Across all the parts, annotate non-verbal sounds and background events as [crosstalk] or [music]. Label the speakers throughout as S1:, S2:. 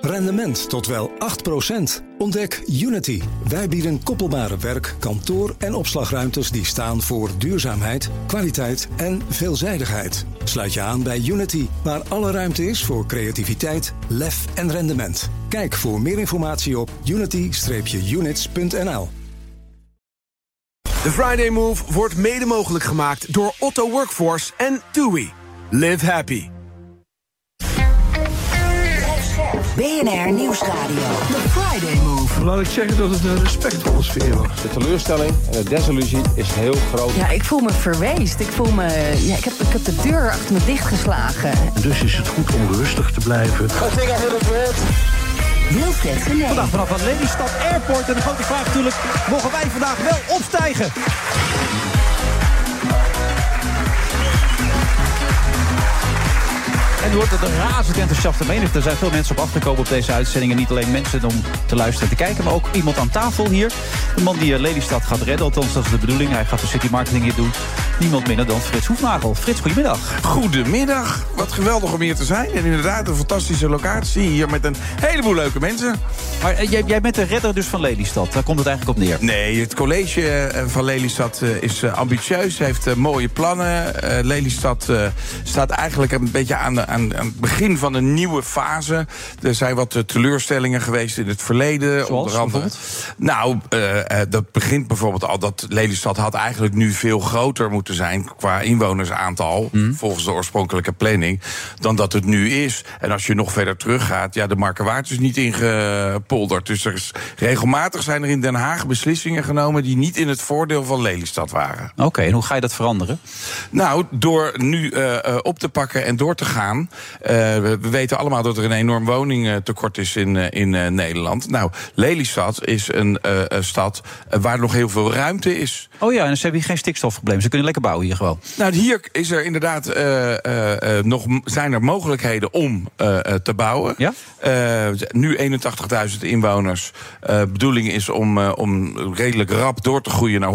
S1: Rendement tot wel 8%. Ontdek Unity. Wij bieden koppelbare werk, kantoor en opslagruimtes die staan voor duurzaamheid, kwaliteit en veelzijdigheid. Sluit je aan bij Unity, waar alle ruimte is voor creativiteit, lef en rendement. Kijk voor meer informatie op unity-units.nl.
S2: De Friday Move wordt mede mogelijk gemaakt door Otto Workforce en TUI. Live happy.
S3: BNR Nieuwsradio. The Friday Move.
S4: Laat ik zeggen dat het een respectvolle sfeer was.
S5: De teleurstelling en de desillusie is heel groot.
S6: Ja, ik voel me verweest. Ik voel me. Ja, ik, heb, ik heb de deur achter me dichtgeslagen.
S4: Dus is het goed om rustig te blijven.
S3: Wilfred Genee.
S7: Vandaag vanaf het Lelystad Airport. En de grote vraag natuurlijk, mogen wij vandaag wel opstijgen? En u hoort het een razend enthousiaste menigte. Er zijn veel mensen op afgekomen op deze uitzendingen. Niet alleen mensen om te luisteren en te kijken, maar ook iemand aan tafel hier. De man die eh, Lelystad gaat redden, althans dat is de bedoeling. Hij gaat de city marketing hier doen. Niemand minder dan Frits Hoefnagel. Frits, goedemiddag.
S8: Goedemiddag, wat geweldig om hier te zijn. En inderdaad, een fantastische locatie hier met een heleboel leuke mensen.
S7: Maar eh, jij, jij bent de redder dus van Lelystad. Daar komt het eigenlijk op neer.
S8: Nee, het college eh, van Lelystad eh, is eh, ambitieus, heeft eh, mooie plannen. Eh, Lelystad eh, staat eigenlijk een beetje aan, de- aan, aan het begin van een nieuwe fase. Er zijn wat eh, teleurstellingen geweest in het verleden.
S7: Zoals
S8: Nou, eh, eh, dat begint bijvoorbeeld al dat Lelystad had eigenlijk nu veel groter moeten zijn qua inwonersaantal,
S7: Hm.
S8: volgens de oorspronkelijke planning, dan dat het nu is. En als je nog verder teruggaat, ja, de Markenwaard is niet ingepolderd. Dus er is, regelmatig zijn er in Den Haag beslissingen genomen die niet in het voordeel van Lelystad waren.
S7: Oké, en hoe ga je dat veranderen?
S8: Nou, door nu eh, eh, op te pakken en door te gaan. Eh, we, we weten allemaal dat er een enorm woningtekort is in, eh, in eh, Nederland. Nou, Lelystad is een eh, eh, stad eh, waar nog heel veel ruimte is.
S7: Oh ja, en ze hebben hier geen stikstofprobleem. Ze kunnen lekker bouwen hier gewoon.
S8: Nou, hier is er inderdaad eh, eh, eh, nog m- zijn er mogelijkheden om eh, eh, te bouwen.
S7: Ja?
S8: Eh, nu 81.000 inwoners. Eh bedoeling is om, eh, om redelijk rap door te groeien naar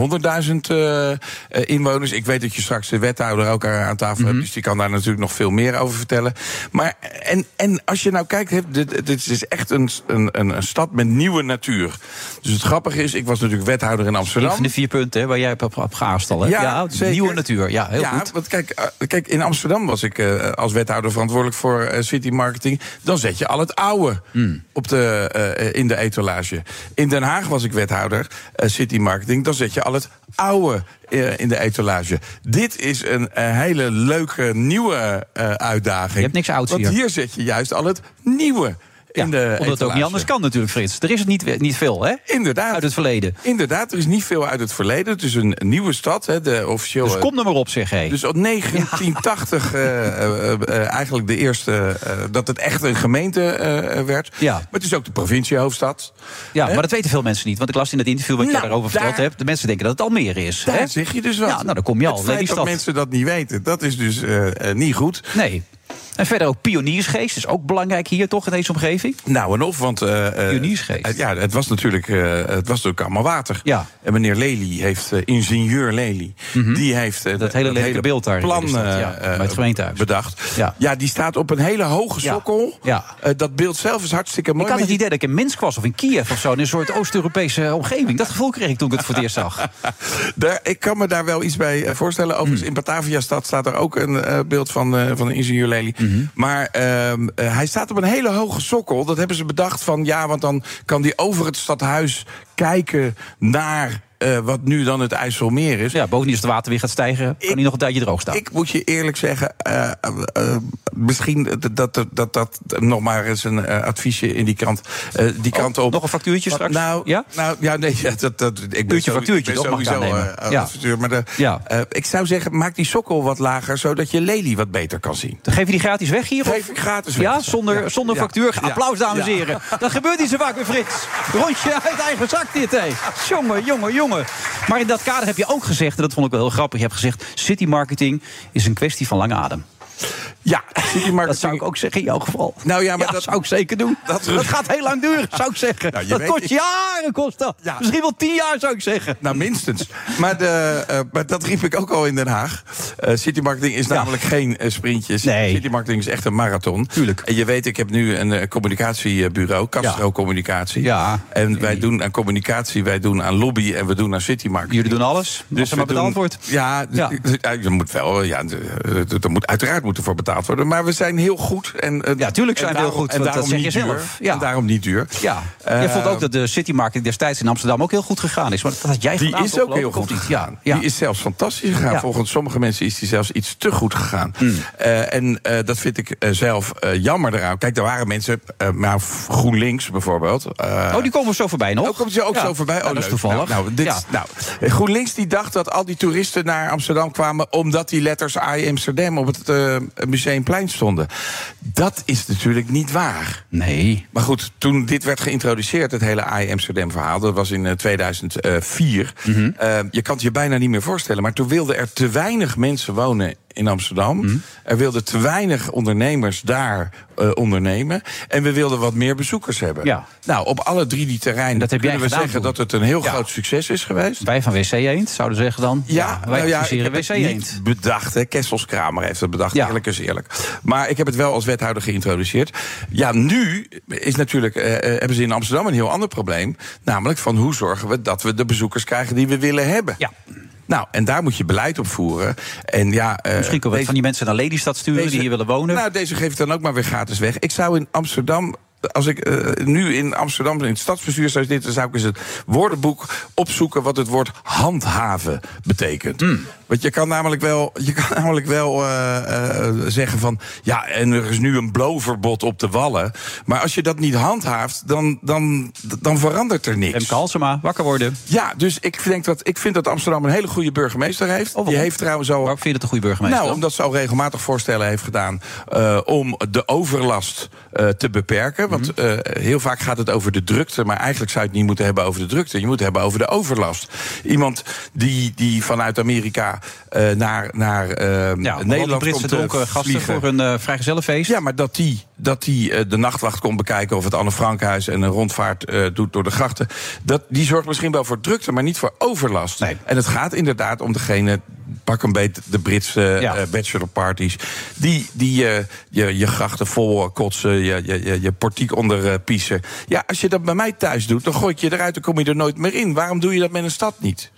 S8: 100.000 eh, eh, inwoners. Ik weet dat je straks de wethouder ook aan aan tafel
S7: Mhm.
S8: hebt, dus die kan daar natuurlijk nog veel meer over vertellen. Maar en, en als je nou kijkt, hè, dit, dit is echt een, een, een, een stad met nieuwe natuur. Dus het grappige is, ik was natuurlijk wethouder in
S7: Een
S8: Amsterdam.
S7: van de vier punten hè, waar jij op, op, op geaast al, hè?
S8: zeker.
S7: nieuwe natuur. Ja, heel goed.
S8: Want kijk, eh, kijk, in Amsterdam was ik eh, als wethouder verantwoordelijk voor eh, city marketing. Dan zet je al het oude
S7: Hmm.
S8: op de, eh, eh, in de etalage. In Den Haag was ik wethouder eh, city marketing. Dan zet je al het oude eh, in de etalage. Dit is een eh, hele leuke nieuwe eh, uitdaging.
S7: Je hebt niks ouds
S8: Want
S7: hier.
S8: hier zet je juist al het nieuwe
S7: Ja,
S8: in de
S7: omdat het ook
S8: etalage.
S7: niet anders kan natuurlijk, Frits. Er is het niet, niet veel, hè?
S8: Inderdaad.
S7: Uit het verleden.
S8: Inderdaad, er is niet veel uit het verleden. Het is een nieuwe stad, hè, de officieel. eh,
S7: Dus kom er maar op, zeg hé.
S8: Dus op 1980 eh, eh, eh, eh, eigenlijk de eerste eh, dat het echt een gemeente eh, eh, werd.
S7: Ja.
S8: Maar het is ook de provinciehoofdstad.
S7: ja,
S8: hè?
S7: maar dat weten veel mensen niet. Want ik las in het interview wat jij
S8: Nou,
S7: daarover
S8: daar-
S7: verteld hebt. De mensen denken dat het Almere is.
S8: Daar
S7: hè?
S8: zeg je dus wat.
S7: Ja, nou, dan kom je al.
S8: Het feit dat
S7: Lelystad.
S8: mensen dat niet weten, dat is dus eh, eh, niet goed.
S7: Nee. En verder ook pioniersgeest. Is ook belangrijk hier, toch, in deze omgeving?
S8: Nou en of, want... eh, eh,
S7: Pioniersgeest.
S8: eh, ja, het was, natuurlijk, eh, het was natuurlijk allemaal water.
S7: Ja. Mhm.
S8: En meneer Lely heeft, eh, ingenieur Lely... die heeft eh,
S7: Dat hele
S8: het
S7: lelijke beeld daar in
S8: plan
S7: Lelystad,
S8: eh,
S7: ja,
S8: eh,
S7: bij het gemeentehuis.
S8: bedacht.
S7: Ja.
S8: Ja. die staat op een hele hoge
S7: Ja.
S8: sokkel.
S7: Ja.
S8: Eh, dat beeld zelf is hartstikke mooi.
S7: Ik had
S8: maar
S7: het
S8: je-
S7: idee dat ik in Minsk was of in Kiev of zo. In een soort Oost-Europese omgeving. Dat gevoel kreeg ik toen ik het voor het eerst zag.
S8: [laughs]
S7: Mm.
S8: Daar, ik kan me daar wel iets bij eh, voorstellen. Overigens, in Batavia-stad staat er ook een eh, beeld van, eh, van de ingenieur Lely.
S7: Mhm.
S8: Maar ehm, eh, hij staat op een hele hoge sokkel. Dat hebben ze bedacht van ja, want dan kan hij over het stadhuis kijken naar eh, wat nu dan het IJsselmeer is.
S7: Ja, bovendien als het water weer gaat stijgen, kan
S8: Ik-
S7: hij nog een tijdje droog staan.
S8: Ik moet je eerlijk zeggen, eh, eh, eh, misschien dat dat, dat dat nog maar eens een eh, adviesje in die kant, eh, die kant op.
S7: Oh, nog een factuurtje
S8: Want
S7: straks?
S8: Nou,
S7: Ja?
S8: ja? nou, ja, nee, ja, dat, dat, ik ben
S7: Uurtje,
S8: sowieso-
S7: factuurtje,
S8: ik
S7: toch?
S8: ben
S7: Mag ik
S8: sowieso
S7: aannemen.
S8: eh,
S7: Ja.
S8: adviseur, maar de-
S7: Ja.
S8: eh, ik zou zeggen, maak die sokkel wat lager, zodat je Lely wat beter kan zien.
S7: Dan geef je die gratis weg hier? of-
S8: Geef ik gratis weg.
S7: Ja, zonder, zonder
S8: Ja.
S7: factuur.
S8: Ja.
S7: Applaus, dames en
S8: Ja.
S7: heren. Dat gebeurt niet zo vaak met Frits. Rondje uit eigen zak dit, hé. Jongen, jongen, jongen. Maar in dat kader heb je ook gezegd, en dat vond ik wel heel grappig... je hebt gezegd, city marketing is een kwestie van lange adem.
S8: Ja, City Market.
S7: Dat zou ik ook zeggen in jouw geval.
S8: Nou ja, maar dat-
S7: dat zou ik zeker doen.
S8: Dat-
S7: Dat, gaat heel lang duren, zou ik zeggen.
S8: Nou,
S7: [laughs]
S8: je
S7: dat
S8: weet
S7: kost
S8: niet.
S7: jaren, kost dat. Dus,
S8: Ja.
S7: Ah. Misschien wel tien jaar, zou ik zeggen.
S8: Nou, minstens. Maar, de, eh, maar dat riep ik ook al in Den Haag. Eh city marketing is namelijk geen eh, sprintje.
S7: Nee.
S8: City marketing is echt een marathon.
S7: Tuurlijk.
S8: En je weet, ik heb nu een eh, communicatiebureau, Castro
S7: Ja.
S8: Communicatie.
S7: Ja.
S8: En wij doen aan communicatie, wij doen aan lobby en we doen aan city marketing.
S7: Jullie doen alles, dus als er
S8: we
S7: maar betaald
S8: doen-
S7: wordt.
S8: Ja, d-
S7: Ja.
S8: d- eh, er moet wel. Ja, d- eh, er moet, uiteraard moet ervoor betaald worden. Maar we zijn heel goed. En, eh,
S7: Ja, tuurlijk
S8: en
S7: zijn we heel
S8: daarom-
S7: goed,
S8: En
S7: want
S8: daarom
S7: dat zeg
S8: niet
S7: je
S8: duur.
S7: zelf. Ja.
S8: En daarom niet duur.
S7: Ja,
S8: Eh,
S7: jij vond ook dat de City Market destijds in Amsterdam ook heel goed gegaan is. Maar dat had jij
S8: Die
S7: gedaan,
S8: is
S7: toch,
S8: ook heel
S7: geloof ik,
S8: goed
S7: of niet?
S8: gegaan.
S7: Ja, ja.
S8: Die is zelfs fantastisch gegaan.
S7: Ja. Hmm.
S8: Volgens sommige mensen is die zelfs iets te goed gegaan. Eh, en eh, dat vind ik eh, zelf eh, jammer eraan. Kijk, er waren mensen, eh, maar GroenLinks bijvoorbeeld. eh,
S7: Oh, die komen we zo voorbij nog.
S8: ook komt ze ook
S7: Ja.
S8: zo voorbij. Oh,
S7: Ja, dat is
S8: leuk.
S7: toevallig.
S8: Nou, nou, dit,
S7: Ja.
S8: is- nou, GroenLinks die dacht dat al die toeristen naar Amsterdam kwamen... omdat die letters I Amsterdam op het eh, Museumplein stonden. Dat is natuurlijk niet waar.
S7: Nee.
S8: Maar goed, toen dit werd geïntroduceerd, het hele AI Amsterdam verhaal, dat was in eh, 2004.
S7: Mhm.
S8: eh, je kan het je bijna niet meer voorstellen, maar toen wilden er te weinig mensen wonen in Amsterdam.
S7: Mhm.
S8: Er wilden te weinig ondernemers daar eh, ondernemen. En we wilden wat meer bezoekers hebben.
S7: Ja.
S8: Nou, op alle drie die terreinen
S7: Dat heb
S8: kunnen
S7: jij
S8: we
S7: gedaan
S8: zeggen
S7: toen.
S8: dat het een heel
S7: Ja.
S8: groot succes is geweest.
S7: Wij van WC Eend zouden zeggen dan.
S8: Ja,
S7: wij
S8: nou ja, ik
S7: adviseren
S8: heb het
S7: WC Eend.
S8: niet bedacht. Hè. Kesselskramer heeft het bedacht,
S7: Ja.
S8: eerlijk is eerlijk. Maar ik heb het wel als wethouder geïntroduceerd. Ja, nu is natuurlijk, eh, eh, hebben ze in Amsterdam een heel ander probleem. Namelijk van hoe zorgen we dat we de bezoekers krijgen die we willen hebben.
S7: Ja.
S8: Nou, en daar moet je beleid op voeren. En ja, eh,
S7: Misschien kunnen we het
S8: deze-
S7: van die mensen naar Lelystad sturen die hier willen wonen.
S8: nou, deze geef ik dan ook maar weer gratis weg. Ik zou in Amsterdam. Als ik eh, nu in Amsterdam in het stadsbestuur zou zitten, zou ik eens het woordenboek opzoeken wat het woord handhaven betekent.
S7: Hmm.
S8: Want je kan namelijk wel, je kan [laughs] namelijk wel eh, eh, zeggen van ja, en er is nu een blowverbod op de wallen. Maar als je dat niet handhaaft, dan, dan, dan verandert er niks.
S7: Remke Halsema, wakker worden.
S8: Ja, dus ik, denk dat, ik vind dat Amsterdam een hele goede burgemeester heeft.
S7: Oh, waarom?
S8: Die heeft trouwens al
S7: Waarom vind je dat een goede burgemeester?
S8: nou, omdat ze al regelmatig voorstellen heeft gedaan eh, om de overlast eh, te beperken. Want
S7: Mhm.
S8: eh, heel vaak gaat het over de drukte, maar eigenlijk zou je het niet moeten hebben over de drukte. Je moet het hebben over de overlast. Iemand die, die vanuit Amerika eh, naar, naar eh,
S7: ja, Nederland
S8: Nederland
S7: Britse
S8: komt eh,
S7: dronken gasten
S8: vliegen.
S7: voor een eh vrijgezellenfeest.
S8: Ja, maar dat die, dat die eh, de nachtwacht komt bekijken of het Anne Frankhuis en een rondvaart eh, doet door de grachten. Dat, die zorgt misschien wel voor drukte, maar niet voor overlast.
S7: Nee.
S8: En het gaat inderdaad om degene, pak een beet de Britse eh,
S7: Ja.
S8: eh, bachelorparties. Die, die eh, je, je grachten vol eh, kotsen, je, je, je, je portiek onder eh, piezen. Ja, als je dat bij mij thuis doet, dan gooi ik je eruit en kom je er nooit meer in. Waarom doe je dat met een stad niet?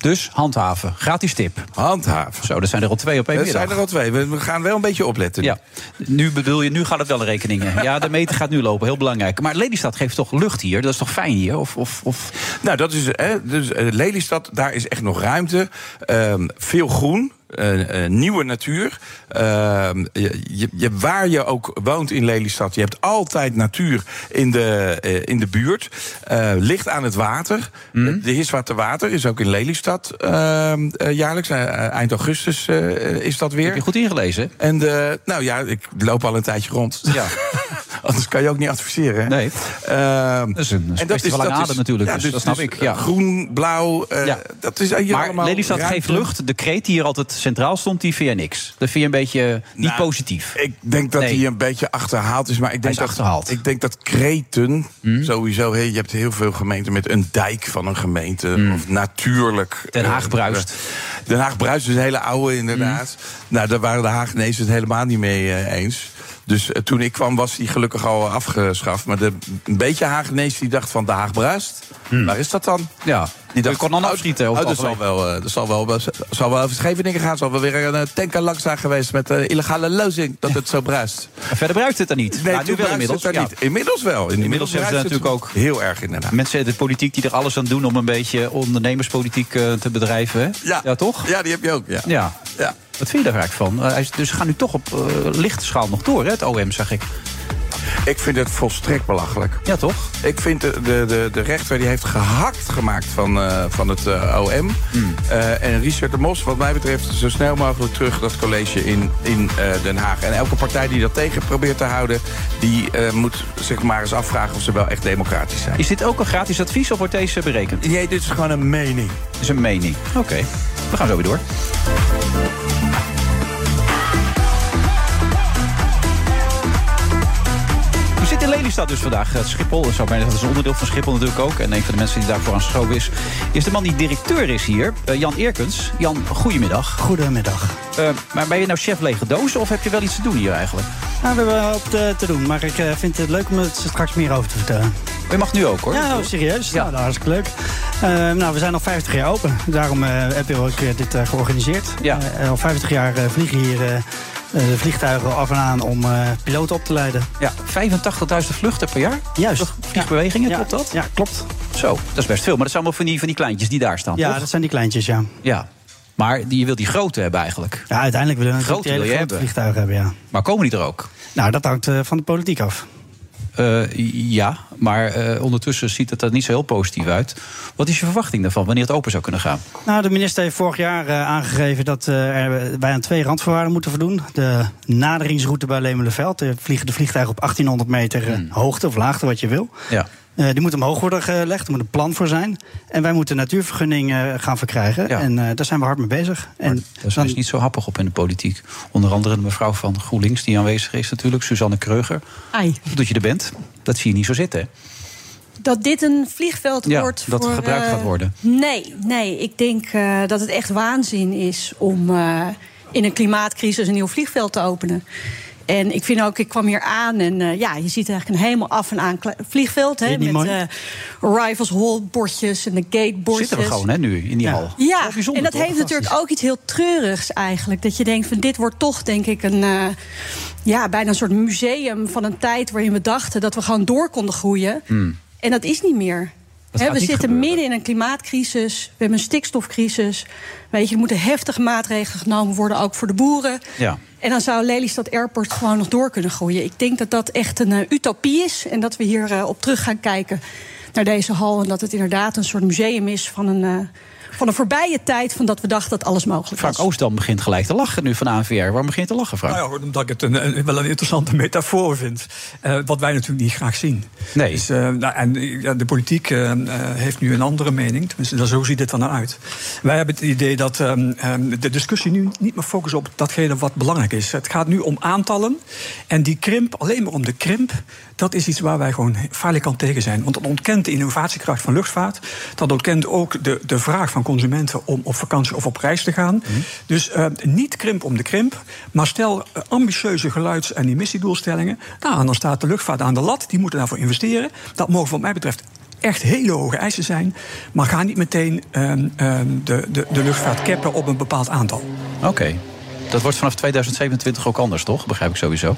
S7: Dus handhaven, gratis tip.
S8: Handhaven.
S7: Zo, dat zijn er al twee op één
S8: Dat
S7: middag.
S8: zijn er al twee. We we gaan wel een beetje opletten.
S7: Ja, nu bedoel je, nu gaat het wel rekeningen. Ja, de meter gaat nu lopen, heel belangrijk. Maar Lelystad geeft toch lucht hier, dat is toch fijn hier? Of, of, of...
S8: Nou, dat is, hè, dus, eh, Lelystad, daar is echt nog ruimte. Ehm, veel groen. eh, eh, nieuwe natuur. Ehm, je, je- je- waar je ook woont in Lelystad, je hebt altijd natuur in de, eh, in de buurt. Eh, ligt aan het water. De Hiswaterwater is ook in Lelystad ehm, eh, jaarlijks. Eh, eind augustus eh, is dat
S7: Heb je
S8: weer.
S7: goed ingelezen?
S8: En de, nou ja, ik loop al een tijdje rond.
S7: Ja.
S8: [laughs] Anders kan je ook niet adviseren. Hè?
S7: Nee.
S8: Ehm,
S7: Dat is een kwestie van lange adem natuurlijk, dus dat snap ik, ja.
S8: Groen, blauw, eh,
S7: Ja.
S8: dat is hier
S7: Maar
S8: allemaal...
S7: Lelystad
S8: ruimte.
S7: geeft lucht. De kreet die hier altijd centraal stond, die vind je niks. Dat vind je een beetje niet
S8: Nou,
S7: positief.
S8: Ik denk dat
S7: Nee.
S8: hij een beetje achterhaald is. Maar ik denk
S7: is
S8: dat,
S7: achterhaald.
S8: Ik denk dat kreten,
S7: Hmm?
S8: sowieso... hé, je hebt heel veel gemeenten met een dijk van een gemeente. Of natuurlijk...
S7: Hmm. Den Haag
S8: eh,
S7: bruist. Hmm.
S8: Den Haag bruist is een hele oude, inderdaad. Nou, daar waren de Haagenezen het helemaal niet mee eh, eens. Dus eh, toen ik kwam, was die gelukkig al afgeschaft. Maar de, een beetje Haagenees die dacht van de Haag bruist. Waar is dat dan?
S7: Hmm. Ja,
S8: Die dacht,
S7: je kon dan
S8: oh,
S7: afschieten. over
S8: Oh,
S7: het
S8: dat zal
S7: algemeen.
S8: wel, eh, dat zal wel, dat zal wel over Scheveningen gaan. Zal wel weer een eh, tanker langs zijn geweest met eh, illegale lozing dat het zo bruist.
S7: Maar [laughs] Verder bruikt het er niet.
S8: Nee,
S7: Nou,
S8: toen
S7: nu wel
S8: bruist
S7: inmiddels.
S8: het daar
S7: ja.
S8: niet. Inmiddels wel.
S7: Inmiddels hebben ze
S8: bruist het
S7: natuurlijk ook-
S8: heel erg inderdaad.
S7: Mensen uit de politiek die er alles aan doen om een beetje ondernemerspolitiek eh, te bedrijven. Hè? toch?
S8: Ja, die heb je ook. Ja.
S7: Ja.
S8: Ja.
S7: Wat vind je daar eigenlijk van? Eh, hij is- dus ze gaan nu toch op eh, lichte schaal nog door, hè, het OM, zag ik.
S8: Ik vind het volstrekt belachelijk.
S7: Ja, toch?
S8: Ik vind de, de, de, de rechter die heeft gehakt gemaakt van, eh, van het eh, OM.
S7: Hmm.
S8: Eh, en Richard de Mos, wat mij betreft, zo snel mogelijk terug dat college in, in eh, Den Haag. En elke partij die dat tegen probeert te houden, die eh, moet zich maar eens afvragen of ze wel echt democratisch zijn.
S7: Is dit ook een gratis advies of wordt deze berekend?
S8: Nee, dit is gewoon een mening.
S7: Dat is een mening. Oké, we gaan zo weer door. Lelystad dus vandaag. Het Schiphol, dat zou bijna zeggen, dat is een onderdeel van Schiphol natuurlijk ook. En een van de mensen die daarvoor aangeschoven is, is de man die directeur is hier, eh, Jan Eerkens. Jan, goedemiddag.
S9: Goedemiddag.
S7: Eh, maar ben je nou chef lege dozen of heb je wel iets te doen hier eigenlijk?
S9: Nou, we hebben wel wat eh, te doen, maar ik eh, vind het leuk om het straks meer over te vertellen.
S7: Maar je mag nu ook hoor.
S9: Ja, nou, serieus. Ja. Nou, dat is hartstikke leuk. Eh, nou, we zijn al 50 jaar open. Daarom eh, heb je ook eh, dit eh, georganiseerd.
S7: Ja.
S9: Eh, al 50 jaar eh, vliegen hier eh, eh, de vliegtuigen af en aan om eh, piloten op te leiden.
S7: Ja, 85.000 vluchten per jaar?
S9: Juist.
S7: Vliegbewegingen,
S9: Ja.
S7: klopt dat?
S9: Ja, klopt.
S7: Zo, dat is best veel. Maar dat zijn allemaal van die, van die kleintjes die daar staan,
S9: Ja,
S7: toch?
S9: dat zijn die kleintjes, ja.
S7: Ja. Maar die, je wilt die grote hebben eigenlijk.
S9: Ja, uiteindelijk willen we
S7: Grote
S9: natuurlijk
S7: wil je
S9: hele
S7: hebben.
S9: grote vliegtuigen hebben, ja.
S7: Maar komen die er ook?
S9: Nou, dat hangt eh, van de politiek af.
S7: Eh, ja, maar eh, ondertussen ziet het er niet zo heel positief uit. Wat is je verwachting daarvan, wanneer het open zou kunnen gaan?
S9: Nou, de minister heeft vorig jaar eh, aangegeven dat eh, er, wij aan twee randvoorwaarden moeten voldoen. De naderingsroute bij Lemelenveld. Er vliegen de vliegtuigen op 1800 meter eh, hoogte of laagte, wat je wil.
S7: Ja.
S9: Eh, die moet omhoog worden gelegd, er moet een plan voor zijn. En wij moeten een natuurvergunning eh, gaan verkrijgen.
S7: Ja.
S9: En eh, daar zijn we hard mee bezig. En
S7: Daar zijn ze dus niet zo happig op in de politiek. Onder andere de mevrouw van GroenLinks die aanwezig is natuurlijk, Suzanne Kreuger.
S10: Ai.
S7: Goed dat je er bent. Dat zie je niet zo zitten, hè?
S10: Dat dit een vliegveld
S7: Ja,
S10: wordt.
S7: dat
S10: voor,
S7: gebruikt
S10: eh,
S7: gaat worden.
S10: Nee, nee. Ik denk eh, dat het echt waanzin is om eh, in een klimaatcrisis een nieuw vliegveld te openen. En ik vind ook, ik kwam hier aan en eh, ja, je ziet eigenlijk een helemaal af en aan kle- vliegveld. Hè,
S9: Vind je
S10: met
S9: het niet
S10: eh, arrivals hall bordjes en de gate bordjes.
S7: Zitten we gewoon hè, nu in die
S9: Ja.
S7: hal.
S10: Ja,
S7: Wel bijzonder,
S10: en dat
S7: toch?
S10: heeft natuurlijk ook iets heel treurigs eigenlijk. Dat je denkt van dit wordt toch denk ik een... eh, ja, bijna een soort museum van een tijd waarin we dachten... dat we gewoon door konden groeien. En dat is niet meer.
S7: Dat
S10: Hè,
S7: gaat
S10: we
S7: niet
S10: zitten
S7: gebeuren.
S10: midden in een klimaatcrisis. We hebben een stikstofcrisis. Weet je, er moeten heftige maatregelen genomen worden, ook voor de boeren.
S7: Ja.
S10: En dan zou Lelystad Airport gewoon nog door kunnen groeien. Ik denk dat dat echt een eh, utopie is. En dat we hier eh, op terug gaan kijken naar deze hal. En dat het inderdaad een soort museum is van een, eh, van een voorbije tijd. van dat we dachten dat alles mogelijk was.
S7: Frank Oostdam begint gelijk te lachen nu van ANVR. Waarom begin je te lachen, Frank?
S11: Nou ja, omdat ik het een, een- wel een interessante metafoor vind. Eh, wat wij natuurlijk niet graag zien.
S7: Nee.
S11: Dus, eh, nou, en eh, ja, de politiek eh, eh, heeft nu een andere mening. Tenminste, dan, zo ziet het er naar uit. Wij hebben het idee dat ehm, ehm, de discussie nu niet meer focust op datgene wat belangrijk is. Het gaat nu om aantallen. En die krimp, alleen maar om de krimp, dat is iets waar wij gewoon vaarlijk aan tegen zijn. Want dat ontkent de innovatiekracht van luchtvaart. Dat ontkent ook de, de vraag van consumenten om op vakantie of op reis te gaan. Dus eh, niet krimp om de krimp, maar stel eh, ambitieuze geluids- en emissiedoelstellingen. Nou, en dan staat de luchtvaart aan de lat, die moeten daarvoor investeren. Dat mogen wat mij betreft echt hele hoge eisen zijn. Maar ga niet meteen ehm, ehm, de, de, de luchtvaart cappen op een bepaald aantal.
S7: Oké. Dat wordt vanaf 2027 ook anders, toch? Begrijp ik sowieso.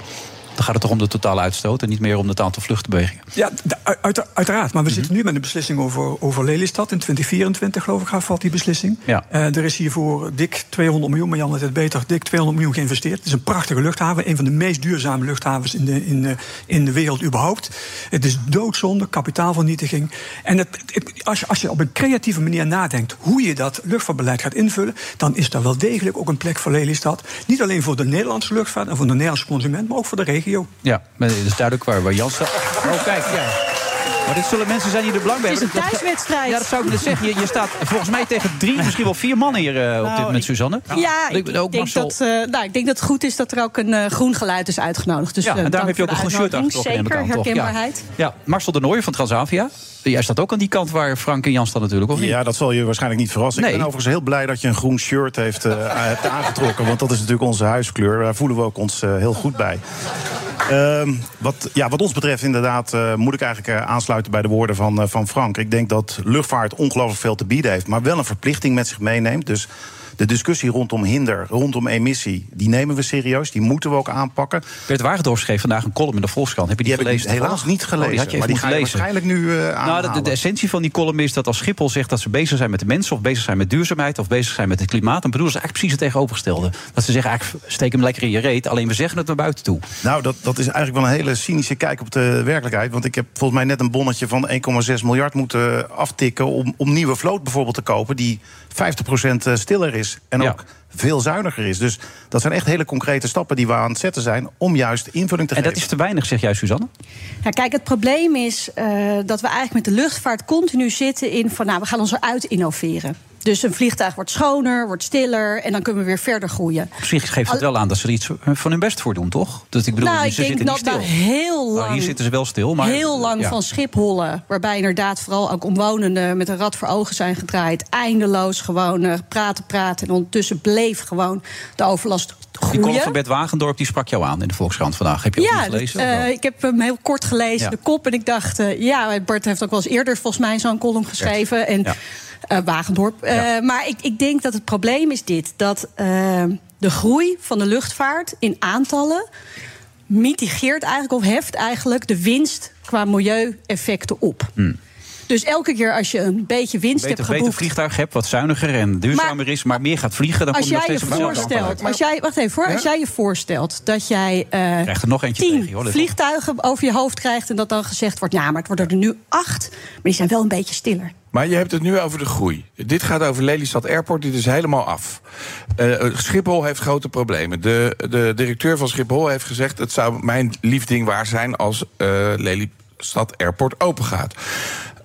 S7: Dan gaat het toch om de totale uitstoot en niet meer om het aantal vluchtbewegingen.
S11: Ja, d- uit- uit- uiteraard. Maar we zitten nu met een beslissing over, over Lelystad. In 2024, geloof ik, valt die beslissing.
S7: Ja.
S11: Eh, er is hiervoor dik 200 miljoen, maar Jan had het beter, dik 200 miljoen geïnvesteerd. Het is een prachtige luchthaven. Een van de meest duurzame luchthavens in de, in de, in de wereld überhaupt. Het is doodzonde, kapitaalvernietiging. En het, het- als, je, als je op een creatieve manier nadenkt hoe je dat luchtvaartbeleid gaat invullen... dan is daar wel degelijk ook een plek voor Lelystad. Niet alleen voor de Nederlandse luchtvaart en voor de Nederlandse consument... maar ook voor de regio.
S7: Ja, maar het is duidelijk waar, waar Jan staat. Oh, kijk, ja. Maar dit zullen mensen zijn die er belang bij
S10: Het is een
S7: hebben. Dat-
S10: thuiswedstrijd.
S7: Ja, dat zou ik net zeggen. Je, je staat volgens mij tegen drie, misschien wel vier mannen hier eh, op dit moment, Suzanne.
S10: Nou, Ja,
S7: Ik-
S10: ik,
S7: ook
S10: ik denk
S7: Marcel.
S10: dat, eh, nou, ik denk dat het goed is dat er ook een eh, groen geluid is uitgenodigd. Dus,
S7: ja,
S10: eh,
S7: en daarom heb
S10: dank
S7: je ook een
S10: voor
S7: groen
S10: de
S7: shirt
S10: uitnodiging.
S7: aangetrokken. neem ik
S10: Zeker,
S7: aan, toch? Ja.
S10: herkenbaarheid.
S7: Ja. Marcel de Nooij van Transavia. Jij staat ook aan die kant waar Frank en Jan staan natuurlijk, of niet?
S12: Ja, dat zal je waarschijnlijk niet verrassen.
S7: Nee.
S12: Ik ben overigens heel blij dat je een groen shirt heeft, eh, hebt aangetrokken. Want dat is natuurlijk onze huiskleur. Daar voelen we ook ons eh, heel goed bij. Ehm, wat, ja, wat ons betreft inderdaad eh, moet ik eigenlijk eh, aansluiten bij de woorden van, eh, van Frank. Ik denk dat luchtvaart ongelooflijk veel te bieden heeft. Maar wel een verplichting met zich meeneemt. Dus de discussie rondom hinder, rondom emissie... die nemen we serieus, die moeten we ook aanpakken.
S7: Bert Wagendorf schreef vandaag een column in de Volkskrant. Heb je die,
S12: Die heb ik
S7: gelezen?
S12: helaas niet
S7: Oh, die had
S12: gelezen.
S7: je even
S12: maar die ga
S7: moeten
S12: je
S7: lezen.
S12: waarschijnlijk nu eh
S7: Nou, de- de,
S12: aanhalen.
S7: de essentie van die column is dat als Schiphol zegt dat ze bezig zijn met de mensen, of bezig zijn met duurzaamheid, of bezig zijn met het klimaat, dan bedoelen ze eigenlijk precies het tegenovergestelde. Dat ze zeggen, eigenlijk steek hem lekker in je reet, alleen we zeggen het naar buiten toe.
S12: Nou, dat, dat is eigenlijk wel een hele cynische kijk op de werkelijkheid. Want ik heb volgens mij net een bonnetje van 1,6 miljard moeten aftikken... Om, om nieuwe vloot bijvoorbeeld te kopen die 50% stiller is. En
S7: Ja.
S12: ook veel zuiniger is. Dus dat zijn echt hele concrete stappen die we aan het zetten zijn... om juist invulling te
S7: En dat
S12: geven.
S7: is te weinig, zeg jij, Suzanne.
S10: Ja, kijk, het probleem nou, is eh, dat we eigenlijk met de luchtvaart continu zitten in van nou, we gaan ons eruit innoveren. Dus een vliegtuig wordt schoner, wordt stiller en dan kunnen we weer verder groeien.
S7: Op zich geeft het wel aan dat ze er iets eh, van hun best voor doen, toch? Dat ik bedoel,
S10: nou,
S7: ze
S10: ik denk
S7: zitten
S10: dat
S7: niet stil.
S10: we heel
S7: Nou,
S10: lang,
S7: hier zitten ze wel stil, maar... eh,
S10: heel lang
S7: ja.
S10: van Schiphollen... waarbij inderdaad vooral ook omwonenden met een rad voor ogen zijn gedraaid... eindeloos gewoon eh, praten, praten... en ondertussen bleef gewoon de overlast
S7: Die column van
S10: groeien.
S7: Bert Wagendorp die sprak jou aan in de Volkskrant vandaag. Heb je ook
S10: Ja,
S7: niet gelezen?
S10: dat,
S7: of
S10: eh,
S7: wel?
S10: ik heb hem heel kort gelezen,
S7: Ja.
S10: de kop. En ik dacht, eh, ja, Bert heeft ook wel eens eerder volgens mij zo'n column geschreven. En
S7: Ja.
S10: eh, Wagendorp. Eh, maar ik, ik denk dat het probleem is dit. Dat eh, de groei van de luchtvaart in aantallen... mitigeert eigenlijk of heft eigenlijk de winst qua milieueffecten op. Dus elke keer als je een beetje winst
S7: Hmm. beter,
S10: hebt geboekt...
S7: beter vliegtuig hebt wat zuiniger en duurzamer is, maar meer gaat vliegen, dan
S10: Als
S7: kom je nog
S10: jij je
S7: steeds op hetzelfde
S10: voorstelt,
S7: aantal
S10: als jij, wacht even hoor, als jij je voorstelt dat jij eh,
S7: Krijg er nog eentje
S10: tien
S7: tegen, dus- joh, dat is
S10: vliegtuigen over je hoofd krijgt en dat dan gezegd wordt, ja, maar het worden er nu acht, maar die zijn wel een beetje stiller.
S8: Maar je hebt het nu over de groei. Dit gaat over Lelystad Airport, dit is helemaal af. Eh, Schiphol heeft grote problemen. De, de directeur van Schiphol heeft gezegd... het zou mijn liefding waar zijn als eh, Lelystad Airport opengaat.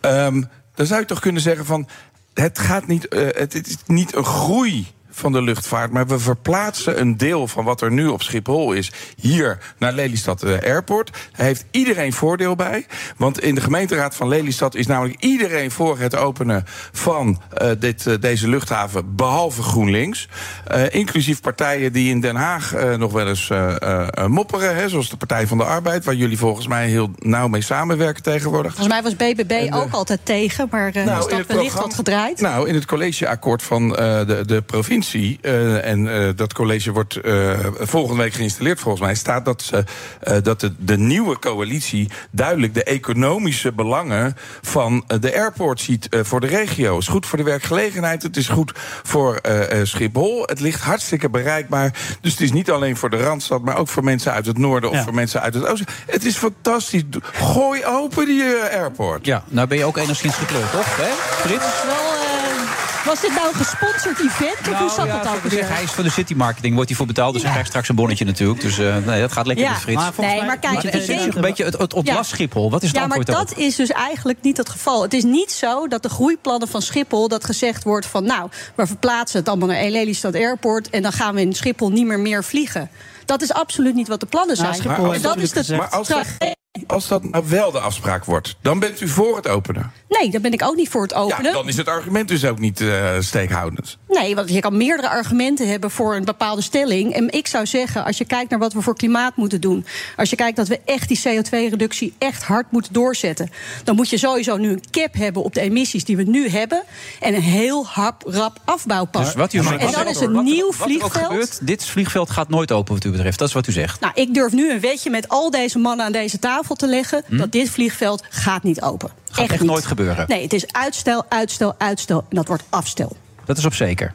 S8: Ehm, dan zou je toch kunnen zeggen van... het, gaat niet, eh, het is niet een groei van de luchtvaart... maar we verplaatsen een deel van wat er nu op Schiphol is... hier naar Lelystad eh, Airport. Daar heeft iedereen voordeel bij. Want in de gemeenteraad van Lelystad is namelijk iedereen voor het openen... van eh, dit, eh, deze luchthaven, behalve GroenLinks. Eh, inclusief partijen die in Den Haag eh, nog wel eens eh, eh, eh, mopperen... Hè, zoals de Partij van de Arbeid, waar jullie volgens mij heel nauw mee samenwerken tegenwoordig.
S10: Volgens mij was BBB ook altijd tegen, maar
S7: Nou,
S10: eh is
S8: in
S10: dat
S8: het
S10: wellicht
S8: programma-
S10: wat gedraaid?
S8: Nou, in het collegeakkoord van eh, de, de provincie. eh, en eh, dat college wordt eh, volgende week geïnstalleerd, volgens mij. Staat dat, ze, eh, dat de, de nieuwe coalitie duidelijk de economische belangen van eh, de airport ziet eh, voor de regio. Het is goed voor de werkgelegenheid. Het is goed voor eh, eh, Schiphol. Het ligt hartstikke bereikbaar. Dus het is niet alleen voor de randstad, maar ook voor mensen uit het noorden of voor mensen uit het oosten. Het is fantastisch. Gooi open die eh, airport.
S7: Ja, nou ben je ook enigszins gekleurd, toch? Hè? Frits?
S10: Wel, eh, was dit nou een gesponsord event of
S7: Nou
S10: hoe zat dat ook weer?
S7: Hij is van de city marketing, wordt hij voor betaald, dus hij krijgt straks een bonnetje natuurlijk. Dus eh, nee, dat gaat lekker
S10: Ja.
S7: met Frits.
S10: Maar volgens Nee, mij- maar kijk,
S7: het
S10: ik
S7: is
S10: denk-
S7: natuurlijk een beetje het, het ontlast
S10: Ja.
S7: Schiphol. Wat is het
S10: ja, maar
S7: antwoord daarop?
S10: dat is dus eigenlijk niet het geval. Het is niet zo dat de groeiplannen van Schiphol dat gezegd wordt van... nou, we verplaatsen het allemaal naar Lelystad Airport... en dan gaan we in Schiphol niet meer meer vliegen. Dat is absoluut niet wat de plannen zijn.
S8: Maar
S10: En
S8: als-
S10: dat is de
S8: maar als, dat,
S10: tra-
S8: als dat nou wel de afspraak wordt, dan bent u voor het openen.
S10: Nee, daar ben ik ook niet voor het
S8: Ja,
S10: openen.
S8: dan is het argument dus ook niet eh, steekhoudend.
S10: Nee, want je kan meerdere argumenten hebben voor een bepaalde stelling. En ik zou zeggen, als je kijkt naar wat we voor klimaat moeten doen... als je kijkt dat we echt die CO2-reductie echt hard moeten doorzetten... dan moet je sowieso nu een cap hebben op de emissies die we nu hebben... en een heel hap, rap afbouwplan.
S7: Dus wat u
S10: en dan is een nieuw
S7: Wat er ook
S10: vliegveld...
S7: gebeurt, dit vliegveld gaat nooit open wat u betreft. Dat is wat u zegt.
S10: Nou, ik durf nu een wetje met al deze mannen aan deze tafel te leggen...
S7: Hm?
S10: dat dit vliegveld gaat niet open.
S7: Gaat echt
S10: niet.
S7: nooit gebeuren.
S10: Nee, het is uitstel, uitstel, uitstel. En dat wordt afstel.
S7: Dat is op zeker.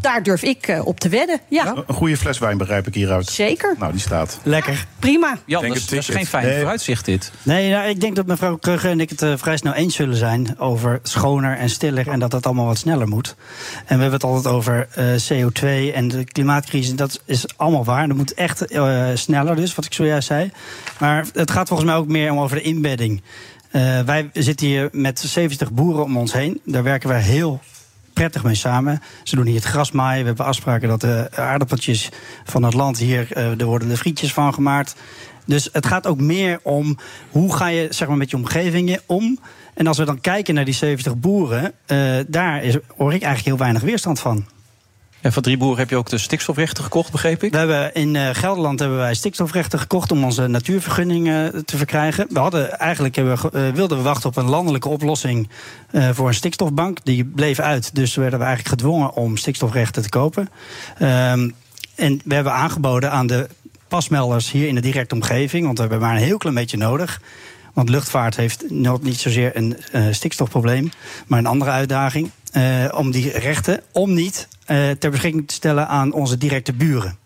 S10: Daar durf ik eh, op te wedden. ja.
S12: Een goede fles wijn begrijp ik hieruit.
S10: Zeker.
S12: Nou, die staat.
S9: Lekker.
S10: Prima.
S7: Jan, dat is, dat is geen fijn vooruitzicht dit.
S9: Nee, nou, ik denk dat mevrouw Krugge en ik het eh, vrij snel eens zullen zijn over schoner en stiller en dat dat allemaal wat sneller moet. En we hebben het altijd over eh, CO2 en de klimaatcrisis. Dat is allemaal waar. Dat moet echt eh, sneller, dus wat ik zojuist zei. Maar het gaat volgens mij ook meer om over de inbedding. Eh, wij zitten hier met 70 boeren om ons heen. Daar werken wij heel prettig mee samen. Ze doen hier het gras maaien. We hebben afspraken dat de aardappeltjes van het land hier, eh, er worden de frietjes van gemaakt. Dus het gaat ook meer om hoe ga je zeg maar, met je omgevingen om. En als we dan kijken naar die 70 boeren, eh, daar is, hoor ik eigenlijk heel weinig weerstand van.
S7: En van drie boeren heb je ook de stikstofrechten gekocht, begreep ik?
S9: We hebben in eh, Gelderland hebben wij stikstofrechten gekocht om onze natuurvergunning eh, te verkrijgen. We hadden eigenlijk hebben, we ge- eh, wilden we wachten op een landelijke oplossing eh, voor een stikstofbank. Die bleef uit, dus werden we eigenlijk gedwongen om stikstofrechten te kopen. Ehm, en we hebben aangeboden aan de pasmelders hier in de directe omgeving, want we hebben maar een heel klein beetje nodig. Want luchtvaart heeft nog niet zozeer een eh, stikstofprobleem, maar een andere uitdaging. eh, om die rechten, om niet, eh, ter beschikking te stellen aan onze directe buren.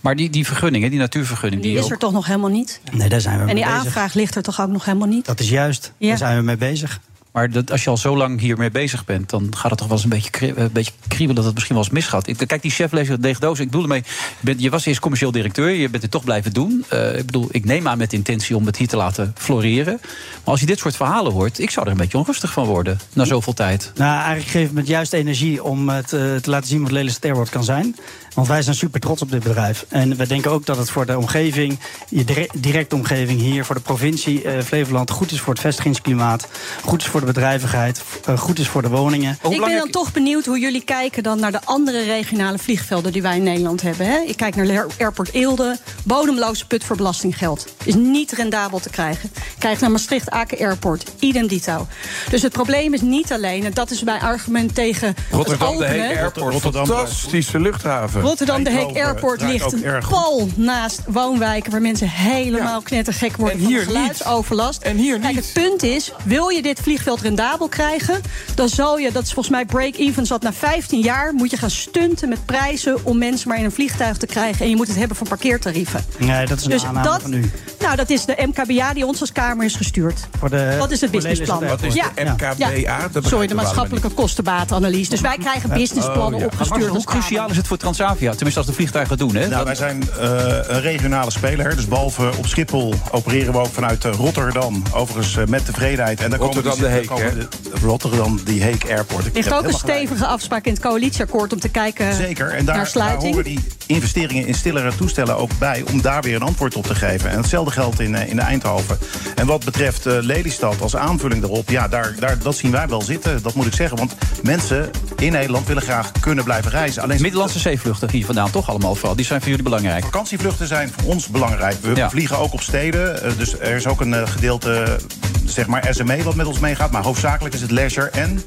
S7: Maar die, die vergunning, hè, die natuurvergunning, die,
S10: Die is
S7: ook-
S10: er toch nog helemaal niet?
S9: Nee, daar zijn we
S10: En
S9: mee
S10: die
S9: bezig.
S10: aanvraag ligt er toch ook nog helemaal niet?
S9: Dat is juist.
S10: Ja.
S9: Daar zijn we mee bezig.
S7: Maar dat, als je al zo lang hiermee bezig bent, dan gaat het toch wel eens een beetje, kri- eh, een beetje kriebelen dat het misschien wel eens misgaat. Ik, kijk, die chef leger Deegdoos, ik bedoel ermee, je, bent- je was eerst commercieel directeur, je bent het toch blijven doen. Eh, ik bedoel, ik neem aan met de intentie om het hier te laten floreren. Maar als je dit soort verhalen hoort, ik zou er een beetje onrustig van worden na zoveel tijd.
S9: Nou, eigenlijk geeft het me juist energie om het, eh, te laten zien wat Lelystad Airport kan zijn. Want wij zijn super trots op dit bedrijf. En we denken ook dat het voor de omgeving, je dire- directe omgeving hier, voor de provincie eh, Flevoland, goed is voor het vestigingsklimaat, goed is voor de bedrijvigheid, eh, goed is voor de woningen.
S10: ik ben dan toch benieuwd hoe jullie kijken dan naar de andere regionale vliegvelden die wij in Nederland hebben. Hè? Ik kijk naar Leer- Airport Eelde, bodemloze put voor belastinggeld. Is niet rendabel te krijgen. Kijk naar Maastricht Aken Airport, idem dito. Dus het probleem is niet alleen, en dat is mijn argument tegen het
S8: Rotterdam de
S10: openen.
S8: Heek Airport,
S12: Rotterdam-
S8: fantastische luchthaven.
S10: Rotterdam de Heek
S9: eh,
S10: Airport ligt een pal naast woonwijken waar mensen helemaal knettergek worden van de geluidsoverlast. En hier Kijk, het punt is, wil je dit vliegveld rendabel krijgen, dan zal je, dat is volgens mij break-even zat na 15 jaar, moet je gaan stunten met prijzen om mensen maar in een vliegtuig te krijgen en je moet het hebben van parkeertarieven.
S9: Nee, dat is een
S10: Dus
S9: aanname
S10: dat-
S9: van u.
S10: Nou, dat is de MKBA die ons als Kamer is gestuurd.
S9: Voor de-
S10: dat is het
S9: voor Lelystad
S10: businessplan.
S9: Airport. Wat is de MKBA? Dat begrijp ik
S10: Sorry, de
S7: wel
S10: maatschappelijke kostenbaatanalyse. Dus wij krijgen businessplannen
S7: Oh, ja. Maar
S10: opgestuurd.
S7: Marcel, hoe cruciaal is het voor Transavia? Tenminste, als de vliegtuigen doen, hè?
S12: Nou, wij zijn eh, een regionale speler. Dus behalve op Schiphol opereren we ook vanuit eh, Rotterdam. Overigens eh, met tevredenheid. En daar
S8: Rotterdam
S12: komen dus
S8: de
S12: daar
S8: Heek,
S12: komen de- Rotterdam de Heek Airport. Ik
S10: Er ligt
S12: heb
S10: ook een
S12: helemaal gelijk.
S10: stevige afspraak in het coalitieakkoord om te kijken
S12: Zeker, en daar,
S10: naar
S12: daar
S10: sluiting.
S12: horen die investeringen in stillere toestellen ook bij... om daar weer een antwoord op te geven. En hetzelfde geldt in, eh, in Eindhoven. En wat betreft eh, Lelystad als aanvulling daarop... ja, daar, daar, dat zien wij wel zitten, dat moet ik zeggen. Want mensen in Nederland willen graag kunnen blijven reizen. Alleen
S7: Middellandse zeevluchten hier vandaan toch allemaal vooral. Die zijn voor jullie belangrijk.
S12: Vakantievluchten zijn voor ons belangrijk. We
S7: Ja.
S12: vliegen ook op steden, eh, dus er is ook een eh, gedeelte... Zeg maar SME wat met ons meegaat, maar hoofdzakelijk is het leisure en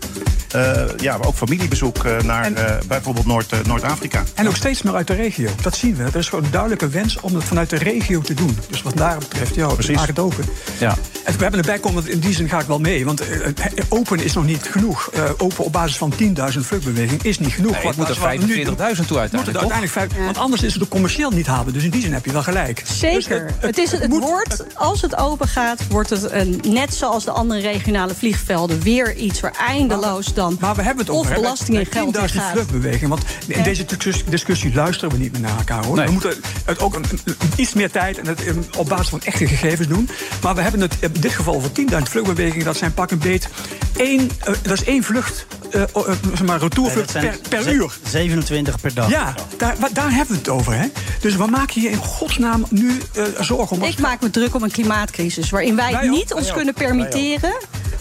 S12: eh, ja, ook familiebezoek eh, naar eh, bijvoorbeeld Noord, eh, Noord-Afrika.
S11: En ook steeds meer uit de regio. Dat zien we. Er is gewoon een duidelijke wens om dat vanuit de regio te doen. Dus wat daar betreft, ja,
S12: Precies.
S11: maak het open.
S7: Ja.
S11: En we hebben een bijkomend, in die zin ga ik wel mee. Want eh, eh, open is nog niet genoeg. Eh, open op basis van 10.000 vluchtbeweging is niet genoeg.
S7: Nee, het moet er
S11: wat we nu
S7: 45.000 toe
S11: doen, moet het
S7: uiteindelijk, toch?
S11: uiteindelijk vijf- Want anders is het ook commercieel niet haalbaar. Dus in die zin heb je wel gelijk. Dus
S10: Zeker. Het, is het, wordt, als het open gaat, wordt het een, net zoals de andere regionale vliegvelden weer iets waar eindeloos dan
S11: Maar we hebben het
S10: of
S11: over hè,
S10: belasting en geld in
S11: 10.000
S10: gaat.
S11: vluchtbeweging. Want in
S10: Ja.
S11: deze discuss- discussie luisteren we niet meer naar elkaar. Hoor.
S7: Nee.
S11: We moeten het ook een- een- iets meer tijd en het um, op basis van echte gegevens doen. Maar we hebben het in dit geval voor 10.000 vluchtbewegingen. Dat zijn pak een beet. één, eh, dat is één vlucht, eh, o- eh, zeg maar, retourvlucht
S9: Nee, dat
S11: per, per
S9: zijn ze-
S11: uur.
S9: 27 per dag.
S11: Ja, daar, wa- daar hebben we het over. Hè? Dus we maken je in godsnaam nu eh, zorgen om.
S10: Ik maak me druk om een klimaatcrisis waarin wij,
S11: Wij ook.
S10: niet ons
S11: Wij ook.
S10: kunnen permitteren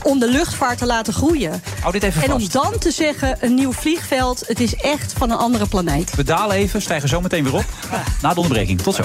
S10: om de luchtvaart te laten groeien.
S7: Hou dit even
S10: en
S7: vast.
S10: om dan te zeggen, een nieuw vliegveld, het is echt van een andere planeet.
S7: We dalen even, stijgen zo meteen weer op. Na de onderbreking. Tot zo.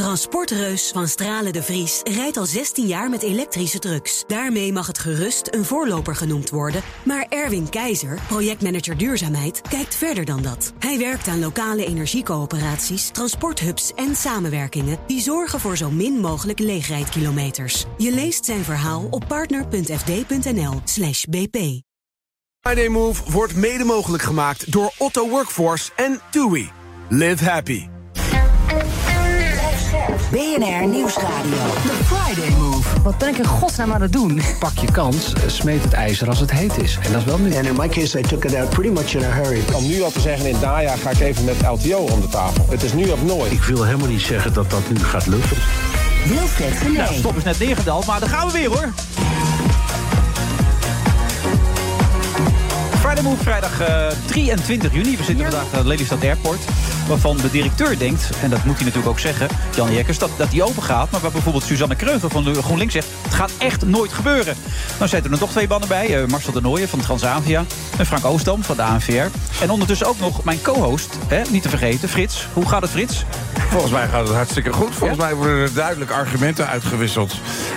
S13: Transportreus van Stralen de Vries rijdt al 16 jaar met elektrische trucks. Daarmee mag het gerust een voorloper genoemd worden. Maar Erwin Keizer, projectmanager duurzaamheid, kijkt verder dan dat. Hij werkt aan lokale energiecoöperaties, transporthubs en samenwerkingen die zorgen voor zo min mogelijk leegrijdkilometers. Je leest zijn verhaal op partner.fd.nl/slash bp.
S2: Friday Move wordt mede mogelijk gemaakt door Otto Workforce en TUI. Live happy.
S3: BNR Nieuwsradio. The Friday Move.
S14: Wat ben ik in godsnaam aan het doen? Pak je kans, eh, smeet het ijzer als het heet is. En dat is wel nu.
S15: And in my case, I took it out pretty much in a hurry.
S5: Om nu al te zeggen, in het najaar ga ik even met LTO om de tafel. Het is nu of nooit. Ik wil helemaal niet zeggen dat dat nu gaat lukken.
S3: Wilfred Genee.
S7: Nou, stop is net neergedaald, maar daar gaan we weer hoor. Friday Move, vrijdag eh, 23 juni. We zitten vandaag aan Lelystad Airport. Waarvan de directeur denkt, en dat moet hij natuurlijk ook zeggen, Jan Jekkers, dat, dat die open gaat. Maar waar bijvoorbeeld Suzanne Kreuger van de GroenLinks zegt: het gaat echt nooit gebeuren. Nou zitten er nog twee bannen bij: eh, Marcel de Nooijen van Transavia en Frank Oostdam van de ANVR. En ondertussen ook nog mijn co-host, hè, niet te vergeten, Frits. Hoe gaat het, Frits?
S8: Volgens mij gaat het hartstikke goed. Volgens mij worden er duidelijk argumenten uitgewisseld.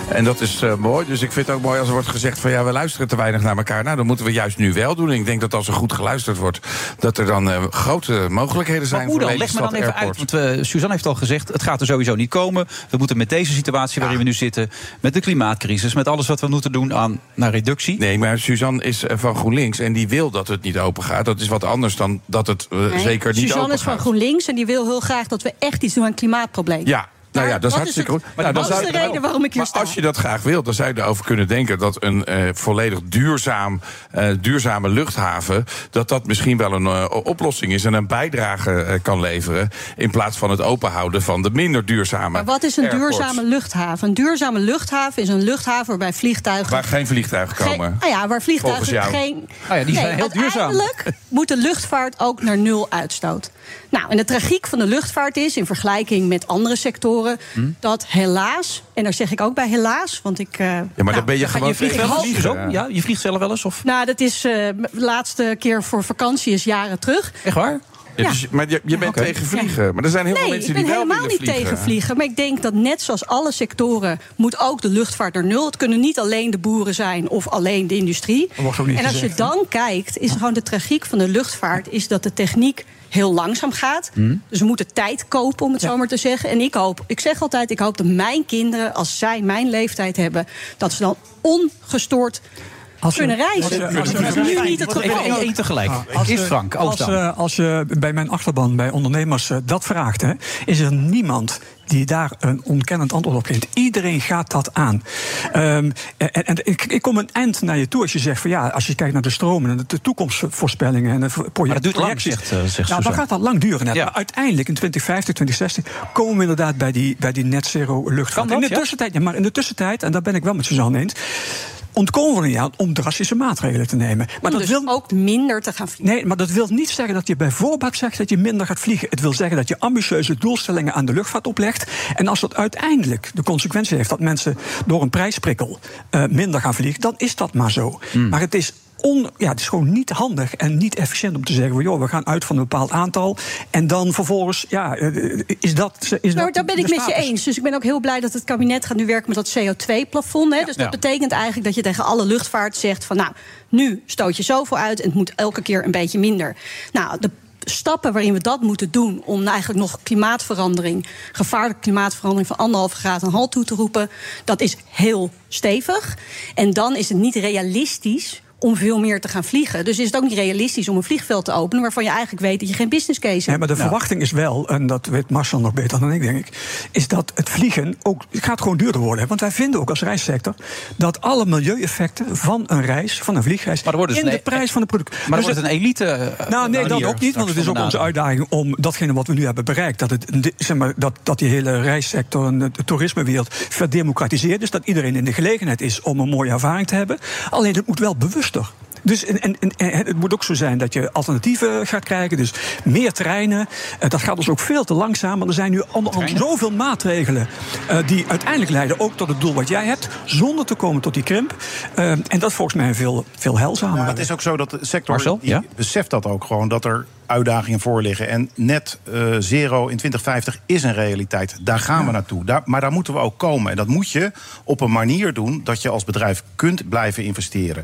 S8: En dat is eh, mooi. Dus ik vind het ook mooi als er wordt gezegd van ja, we luisteren te weinig naar elkaar. Nou, dat moeten we juist nu wel doen. En ik denk dat als er goed geluisterd wordt, dat er dan eh, grote mogelijkheden zijn
S7: moet hoe dan?
S8: over
S7: Leg me dan
S8: Lelystad
S7: even uit.
S8: Airport.
S7: Want eh, Suzanne heeft al gezegd, het gaat er sowieso niet komen. We moeten met deze situatie waarin we nu zitten... met de klimaatcrisis, met alles wat we moeten doen aan naar reductie.
S8: Nee, maar Suzanne is eh, van GroenLinks en die wil dat het niet open gaat. Dat is wat anders dan dat het eh,
S10: Nee,
S8: zeker niet
S10: Suzanne
S8: open
S10: is van
S8: gaat.
S10: GroenLinks en die wil heel graag dat we echt iets doen aan het klimaatprobleem.
S8: Ja. Nou ja, dat is
S10: dat
S8: hartstikke
S10: is
S8: goed.
S10: het-
S8: Nou, dan
S10: dat is
S8: zou-
S10: de reden waarom ik hier
S8: maar
S10: sta.
S8: Als je dat graag wilt, dan zou je erover kunnen denken dat een eh, volledig duurzaam, eh, duurzame luchthaven. dat dat misschien wel een eh, o- oplossing is en een bijdrage eh, kan leveren. in plaats van het openhouden van de minder duurzame.
S10: Maar wat is een
S8: airports,
S10: duurzame luchthaven? Een duurzame luchthaven is een luchthaven waarbij vliegtuigen.
S8: Waar geen vliegtuigen komen.
S10: Nou ja, waar
S8: Volgens
S10: vliegtuigen
S8: jou.
S10: geen.
S8: Nou ja, die zijn heel
S10: uiteindelijk moet de luchtvaart ook naar nul uitstoot. Nou, en de tragiek van de luchtvaart is, in vergelijking met andere sectoren,
S8: Hm?
S10: dat helaas, en daar zeg ik ook bij helaas, want ik. eh,
S8: Ja, maar
S10: nou,
S8: dan ben je
S10: ik
S8: gewoon
S10: vlieg-
S8: tegen
S10: ik hoop-
S8: vliegen.
S7: Ja, je vliegt zelf wel eens? Of?
S10: Nou, dat is eh, de laatste keer voor vakantie is jaren terug.
S7: Echt waar?
S8: Ja, dus- maar je, je bent tegen vliegen. Maar er zijn heel veel
S10: nee,
S8: mensen
S10: ik ben
S8: die wel
S10: helemaal
S8: willen
S10: niet tegen vliegen. Maar ik denk dat net zoals alle sectoren moet ook de luchtvaart naar nul. Het kunnen niet alleen de boeren zijn of alleen de industrie.
S11: Dat wordt ook niet
S10: en als
S11: gezegd,
S10: je
S11: hè?
S10: dan kijkt, is gewoon de tragiek van de luchtvaart... is dat de techniek heel langzaam gaat.
S11: Hmm.
S10: Dus we moeten tijd kopen, om het zo maar te zeggen. En ik hoop, ik zeg altijd, ik hoop dat mijn kinderen... als zij mijn leeftijd hebben, dat ze dan ongestoord... kunnen reizen. dat is nu niet het geval.
S7: één tegelijk.
S11: Als,
S7: Eerst
S11: eh,
S7: Frank,
S11: als,
S7: Oosdam.
S11: eh, als je bij mijn achterban, bij ondernemers, eh, dat vraagt, hè, is er niemand die daar een ontkennend antwoord op geeft. Iedereen gaat dat aan. Ehm, en en ik, ik kom een eind naar je toe als je zegt van ja, als je kijkt naar de stromen en de toekomstvoorspellingen en de vo-
S12: Oh,
S11: project,
S7: Maar dat duurt lang,
S11: projecties.
S7: zegt, eh, zegt
S11: nou, dan
S7: Suzanne.
S11: gaat dat lang duren. net. Maar uiteindelijk in 2050, 2060 komen we inderdaad bij die, bij die net zero luchtvaart. in de tussentijd, ja, maar in de tussentijd, en daar ben ik wel met Suzanne eens, ontkomen we er niet aan om drastische maatregelen te nemen. Maar dat wil
S10: dus ook minder te gaan vliegen.
S11: Nee, maar dat wil niet zeggen dat je bij voorbaat zegt dat je minder gaat vliegen. Het wil zeggen dat je ambitieuze doelstellingen aan de luchtvaart oplegt. En als dat uiteindelijk de consequentie heeft dat mensen door een prijsprikkel eh, minder gaan vliegen, dan is dat maar zo. Maar het is. On, ja, het is gewoon niet handig en niet efficiënt om te zeggen: van, joh, we gaan uit van een bepaald aantal. En dan vervolgens, ja, eh, is dat. Is
S10: Nou,
S11: dat
S10: daar ben
S11: de
S10: ik met je
S11: status?
S10: eens. Dus ik ben ook heel blij dat het kabinet gaat nu werken met dat CO2-plafond. hè. Dus dat
S11: Ja.
S10: betekent eigenlijk dat je tegen alle luchtvaart zegt... van nou, nu stoot je zoveel uit en het moet elke keer een beetje minder. Nou, de stappen waarin we dat moeten doen... om eigenlijk nog klimaatverandering, gevaarlijke klimaatverandering... van anderhalve graad een halt toe te roepen, dat is heel stevig. En dan is het niet realistisch om veel meer te gaan vliegen. Dus is het ook niet realistisch om een vliegveld te openen... waarvan je eigenlijk weet dat je geen business case hebt.
S11: Ja, maar de verwachting is wel, en dat weet Marcel nog beter dan ik, denk ik, is dat het vliegen ook het gaat gewoon duurder worden. hè. Want wij vinden ook als reissector dat alle milieueffecten van een reis, van een vliegreis,
S7: wordt dus
S11: in de
S7: een-
S11: prijs van de product.
S7: Maar dan wordt het een elite. eh,
S11: Nou, nee, dat
S7: manier
S11: ook niet,
S7: straks
S11: want het is
S7: van
S11: ook
S7: de
S11: onze
S7: NAVO.
S11: uitdaging om datgene wat we nu hebben bereikt, dat, het, de- zeg maar, dat, dat die hele reissector en de toerismewereld verdemocratiseert. Dus dat iedereen in de gelegenheid is om een mooie ervaring te hebben. Alleen het moet wel bewuster. Dus en, en, en- en het moet ook zo zijn dat je alternatieven gaat krijgen. Dus meer treinen. Eh, Dat gaat ons ook veel te langzaam. Want er zijn nu onderhand zoveel maatregelen. eh, die uiteindelijk leiden ook tot het doel wat jij hebt. zonder te komen tot die krimp. Eh, en dat is volgens mij een veel, veel heilzamer.
S12: Maar het is ook zo dat de sector
S11: Marcel,
S12: die
S11: ja?
S12: beseft dat ook gewoon dat er uitdagingen voor liggen. En net eh, zero in 2050 is een realiteit. Daar gaan we naartoe. Daar, maar daar moeten we ook komen. En dat moet je op een manier doen dat je als bedrijf kunt blijven investeren.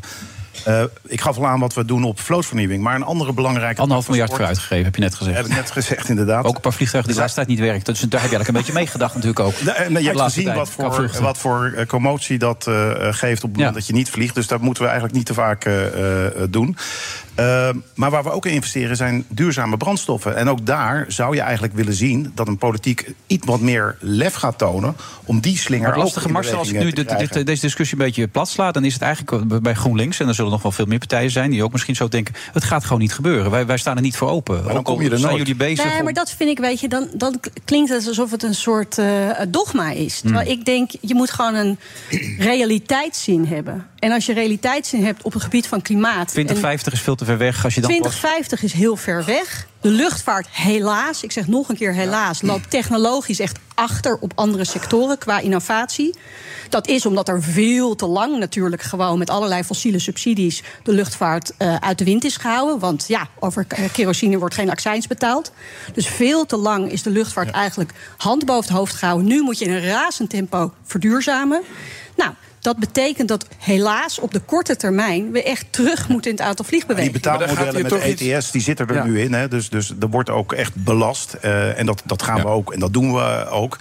S12: Eh, ik gaf al aan wat we doen op vlootvernieuwing. Maar een andere belangrijke...
S7: Anderhalf miljard
S12: transport-
S7: vooruitgegeven, heb je net gezegd.
S12: Heb ik net gezegd, inderdaad.
S7: Ook een paar vliegtuigen die de laatste tijd niet werken. Dus daar heb je eigenlijk een beetje meegedacht natuurlijk ook.
S12: Nou, eh, nou,
S7: De
S12: je hebt
S7: laatste
S12: gezien
S7: tijd,
S12: wat
S7: qua
S12: voor,
S7: vluchten.
S12: wat voor eh, commotie dat eh, eh, geeft op het moment dat je niet vliegt. Dus dat moeten we eigenlijk niet te vaak eh, eh, eh, doen. Eh, maar waar we ook in investeren zijn duurzame brandstoffen. En ook daar zou je eigenlijk willen zien dat een politiek iets wat meer lef gaat tonen. om die slinger
S7: Maar het
S12: ook
S7: lastige,
S12: in
S7: Marcel, als ik
S12: beweging,
S7: nu
S12: eh, te
S7: dit, dit-
S12: krijgen.
S7: deze discussie een beetje plat sla... dan is het eigenlijk bij GroenLinks... en er zullen nog wel veel meer partijen zijn... die ook misschien zo denken, het gaat gewoon niet gebeuren. Wij, wij staan er niet voor open.
S12: dan
S7: Ook al
S12: kom je er
S7: zijn
S12: nooit.
S7: jullie bezig
S10: Nee,
S7: om-
S10: maar dat vind ik, weet je, dan, dan klinkt het alsof het een soort eh, dogma is.
S12: Hmm.
S10: Terwijl ik denk, je moet gewoon
S12: [clears throat]
S10: een realiteitszin hebben. En als je realiteitszin hebt op het gebied van klimaat... en-
S7: 2050 is veel te ver weg als je dan pas...
S10: 2050 is heel ver weg. De luchtvaart, helaas, ik zeg nog een keer helaas, loopt technologisch echt achter op andere sectoren qua innovatie. Dat is omdat er veel te lang natuurlijk gewoon met allerlei fossiele subsidies de luchtvaart eh, uit de wind is gehouden. Want ja, over k- eh, kerosine wordt geen accijns betaald. Dus veel te lang is de luchtvaart eigenlijk hand boven het hoofd gehouden. Nu moet je in een razend tempo verduurzamen. Nou, Dat betekent dat helaas op de korte termijn we echt terug moeten in het aantal
S12: Die
S10: vliegbewegingen.
S12: betaalmodellen met ETS, die zitten er
S10: Ja.
S12: nu in. Hè? Dus, dus er wordt ook echt belast. Eh, en dat, dat gaan we ook. En dat doen we ook.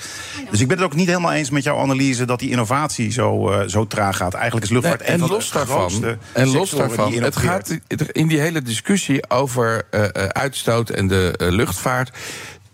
S12: Dus ik ben het ook niet helemaal eens met jouw analyse... dat die innovatie zo, eh, zo traag gaat. Eigenlijk is luchtvaart
S8: Nee,
S12: een
S8: en
S12: van de
S8: los daarvan,
S12: grootste
S8: en
S12: sectoren
S8: los
S12: die
S8: daarvan het
S12: innoveert.
S8: gaat in die hele discussie over eh, eh, uitstoot en de eh, luchtvaart.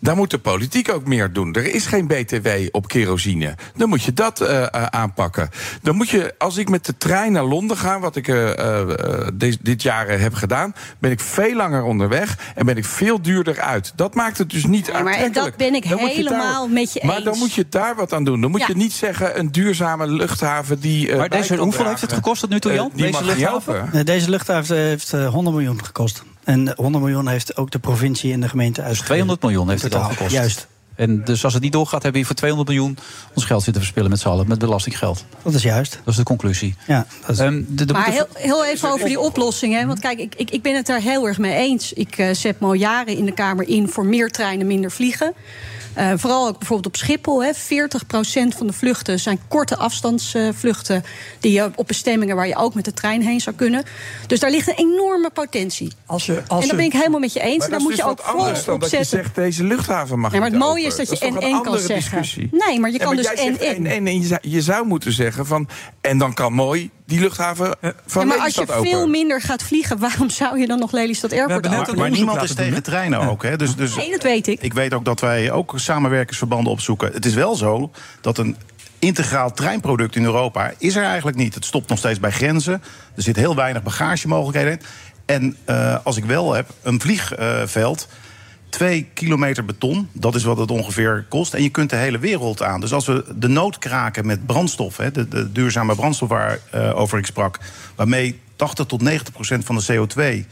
S8: Daar moet de politiek ook meer doen. Er is geen BTW op kerosine. Dan moet je dat eh, eh, aanpakken. Dan moet je, als ik met de trein naar Londen ga, wat ik eh, eh, eh, dit, dit jaar eh, heb gedaan, ben ik veel langer onderweg en ben ik veel duurder uit. Dat maakt het dus niet
S10: maar
S8: aantrekkelijk.
S10: dat ben ik
S8: Dan moet je daar-
S10: helemaal met je
S8: Maar dan
S10: eens.
S8: moet je daar wat aan doen. Dan moet
S10: Ja.
S8: je niet zeggen een duurzame luchthaven die. eh,
S7: Maar
S8: bij
S7: deze-
S8: kan
S7: hoeveel
S8: dragen.
S7: heeft het gekost tot nu toe,
S8: Eh,
S7: Jan?
S8: die
S7: Deze
S8: mag niet
S7: luchthaven?
S8: helpen.
S9: Eh, Deze luchthaven heeft eh, 100 miljoen gekost. En 100 miljoen heeft ook de provincie en de gemeente uitgegeven.
S7: 200 dus miljoen heeft het al
S9: Totaal,
S7: gekost.
S9: Juist.
S7: En dus als het niet doorgaat, hebben we hier voor 200 miljoen ons geld zitten verspillen met z'n allen. Met belastinggeld.
S9: Dat is juist. Dat
S7: is de conclusie.
S9: Ja,
S7: Ehm, de- de-
S10: Maar
S7: de-
S10: heel, heel
S8: Dus
S10: even over die oplossing. Hè? Want kijk, ik, ik, ik ben het daar heel erg mee eens. Ik eh, zet me al jaren in de Kamer in voor meer treinen, minder vliegen. Eh, vooral ook bijvoorbeeld op Schiphol. Hè. 40% van de vluchten zijn korte afstandsvluchten. die je op bestemmingen waar je ook met de trein heen zou kunnen. Dus daar ligt een enorme potentie.
S11: Als je,
S10: en daar ben ik helemaal met je eens. En
S8: Maar
S10: daar
S8: dat
S10: moet
S8: is
S10: je
S8: dus
S10: ook
S8: wat anders
S10: focus
S8: dan
S10: op
S8: dat je
S10: zetten.
S8: zegt deze luchthaven mag
S10: Nee, maar
S8: niet
S10: het mooie
S8: open.
S10: is dat je
S8: toch
S10: en-en
S8: een
S10: kan
S8: andere
S10: zeggen.
S8: discussie?
S10: Nee, maar je kan
S8: maar
S10: dus
S8: jij zegt
S10: en-en.
S8: en-en en je zou- je zou moeten zeggen van... en dan kan mooi die luchthaven van
S10: Ja, maar als je
S8: Lelystad open.
S10: veel minder gaat vliegen, waarom zou je dan nog Lelystad Airport
S12: maar, maar niemand is tegen treinen ook. Hè? Dus, dus
S10: Nee, dat weet ik.
S12: Ik weet ook dat wij ook samenwerkingsverbanden opzoeken. Het is wel zo dat een integraal treinproduct in Europa is er eigenlijk niet. Het stopt nog steeds bij grenzen. Er zit heel weinig bagagemogelijkheden in. En eh, als ik wel heb, een vliegveld. Twee kilometer beton, dat is wat het ongeveer kost. En je kunt de hele wereld aan. Dus als we de nood kraken met brandstof, hè, de, de duurzame brandstof waarover over ik sprak, waarmee 80 tot 90 procent van de CO2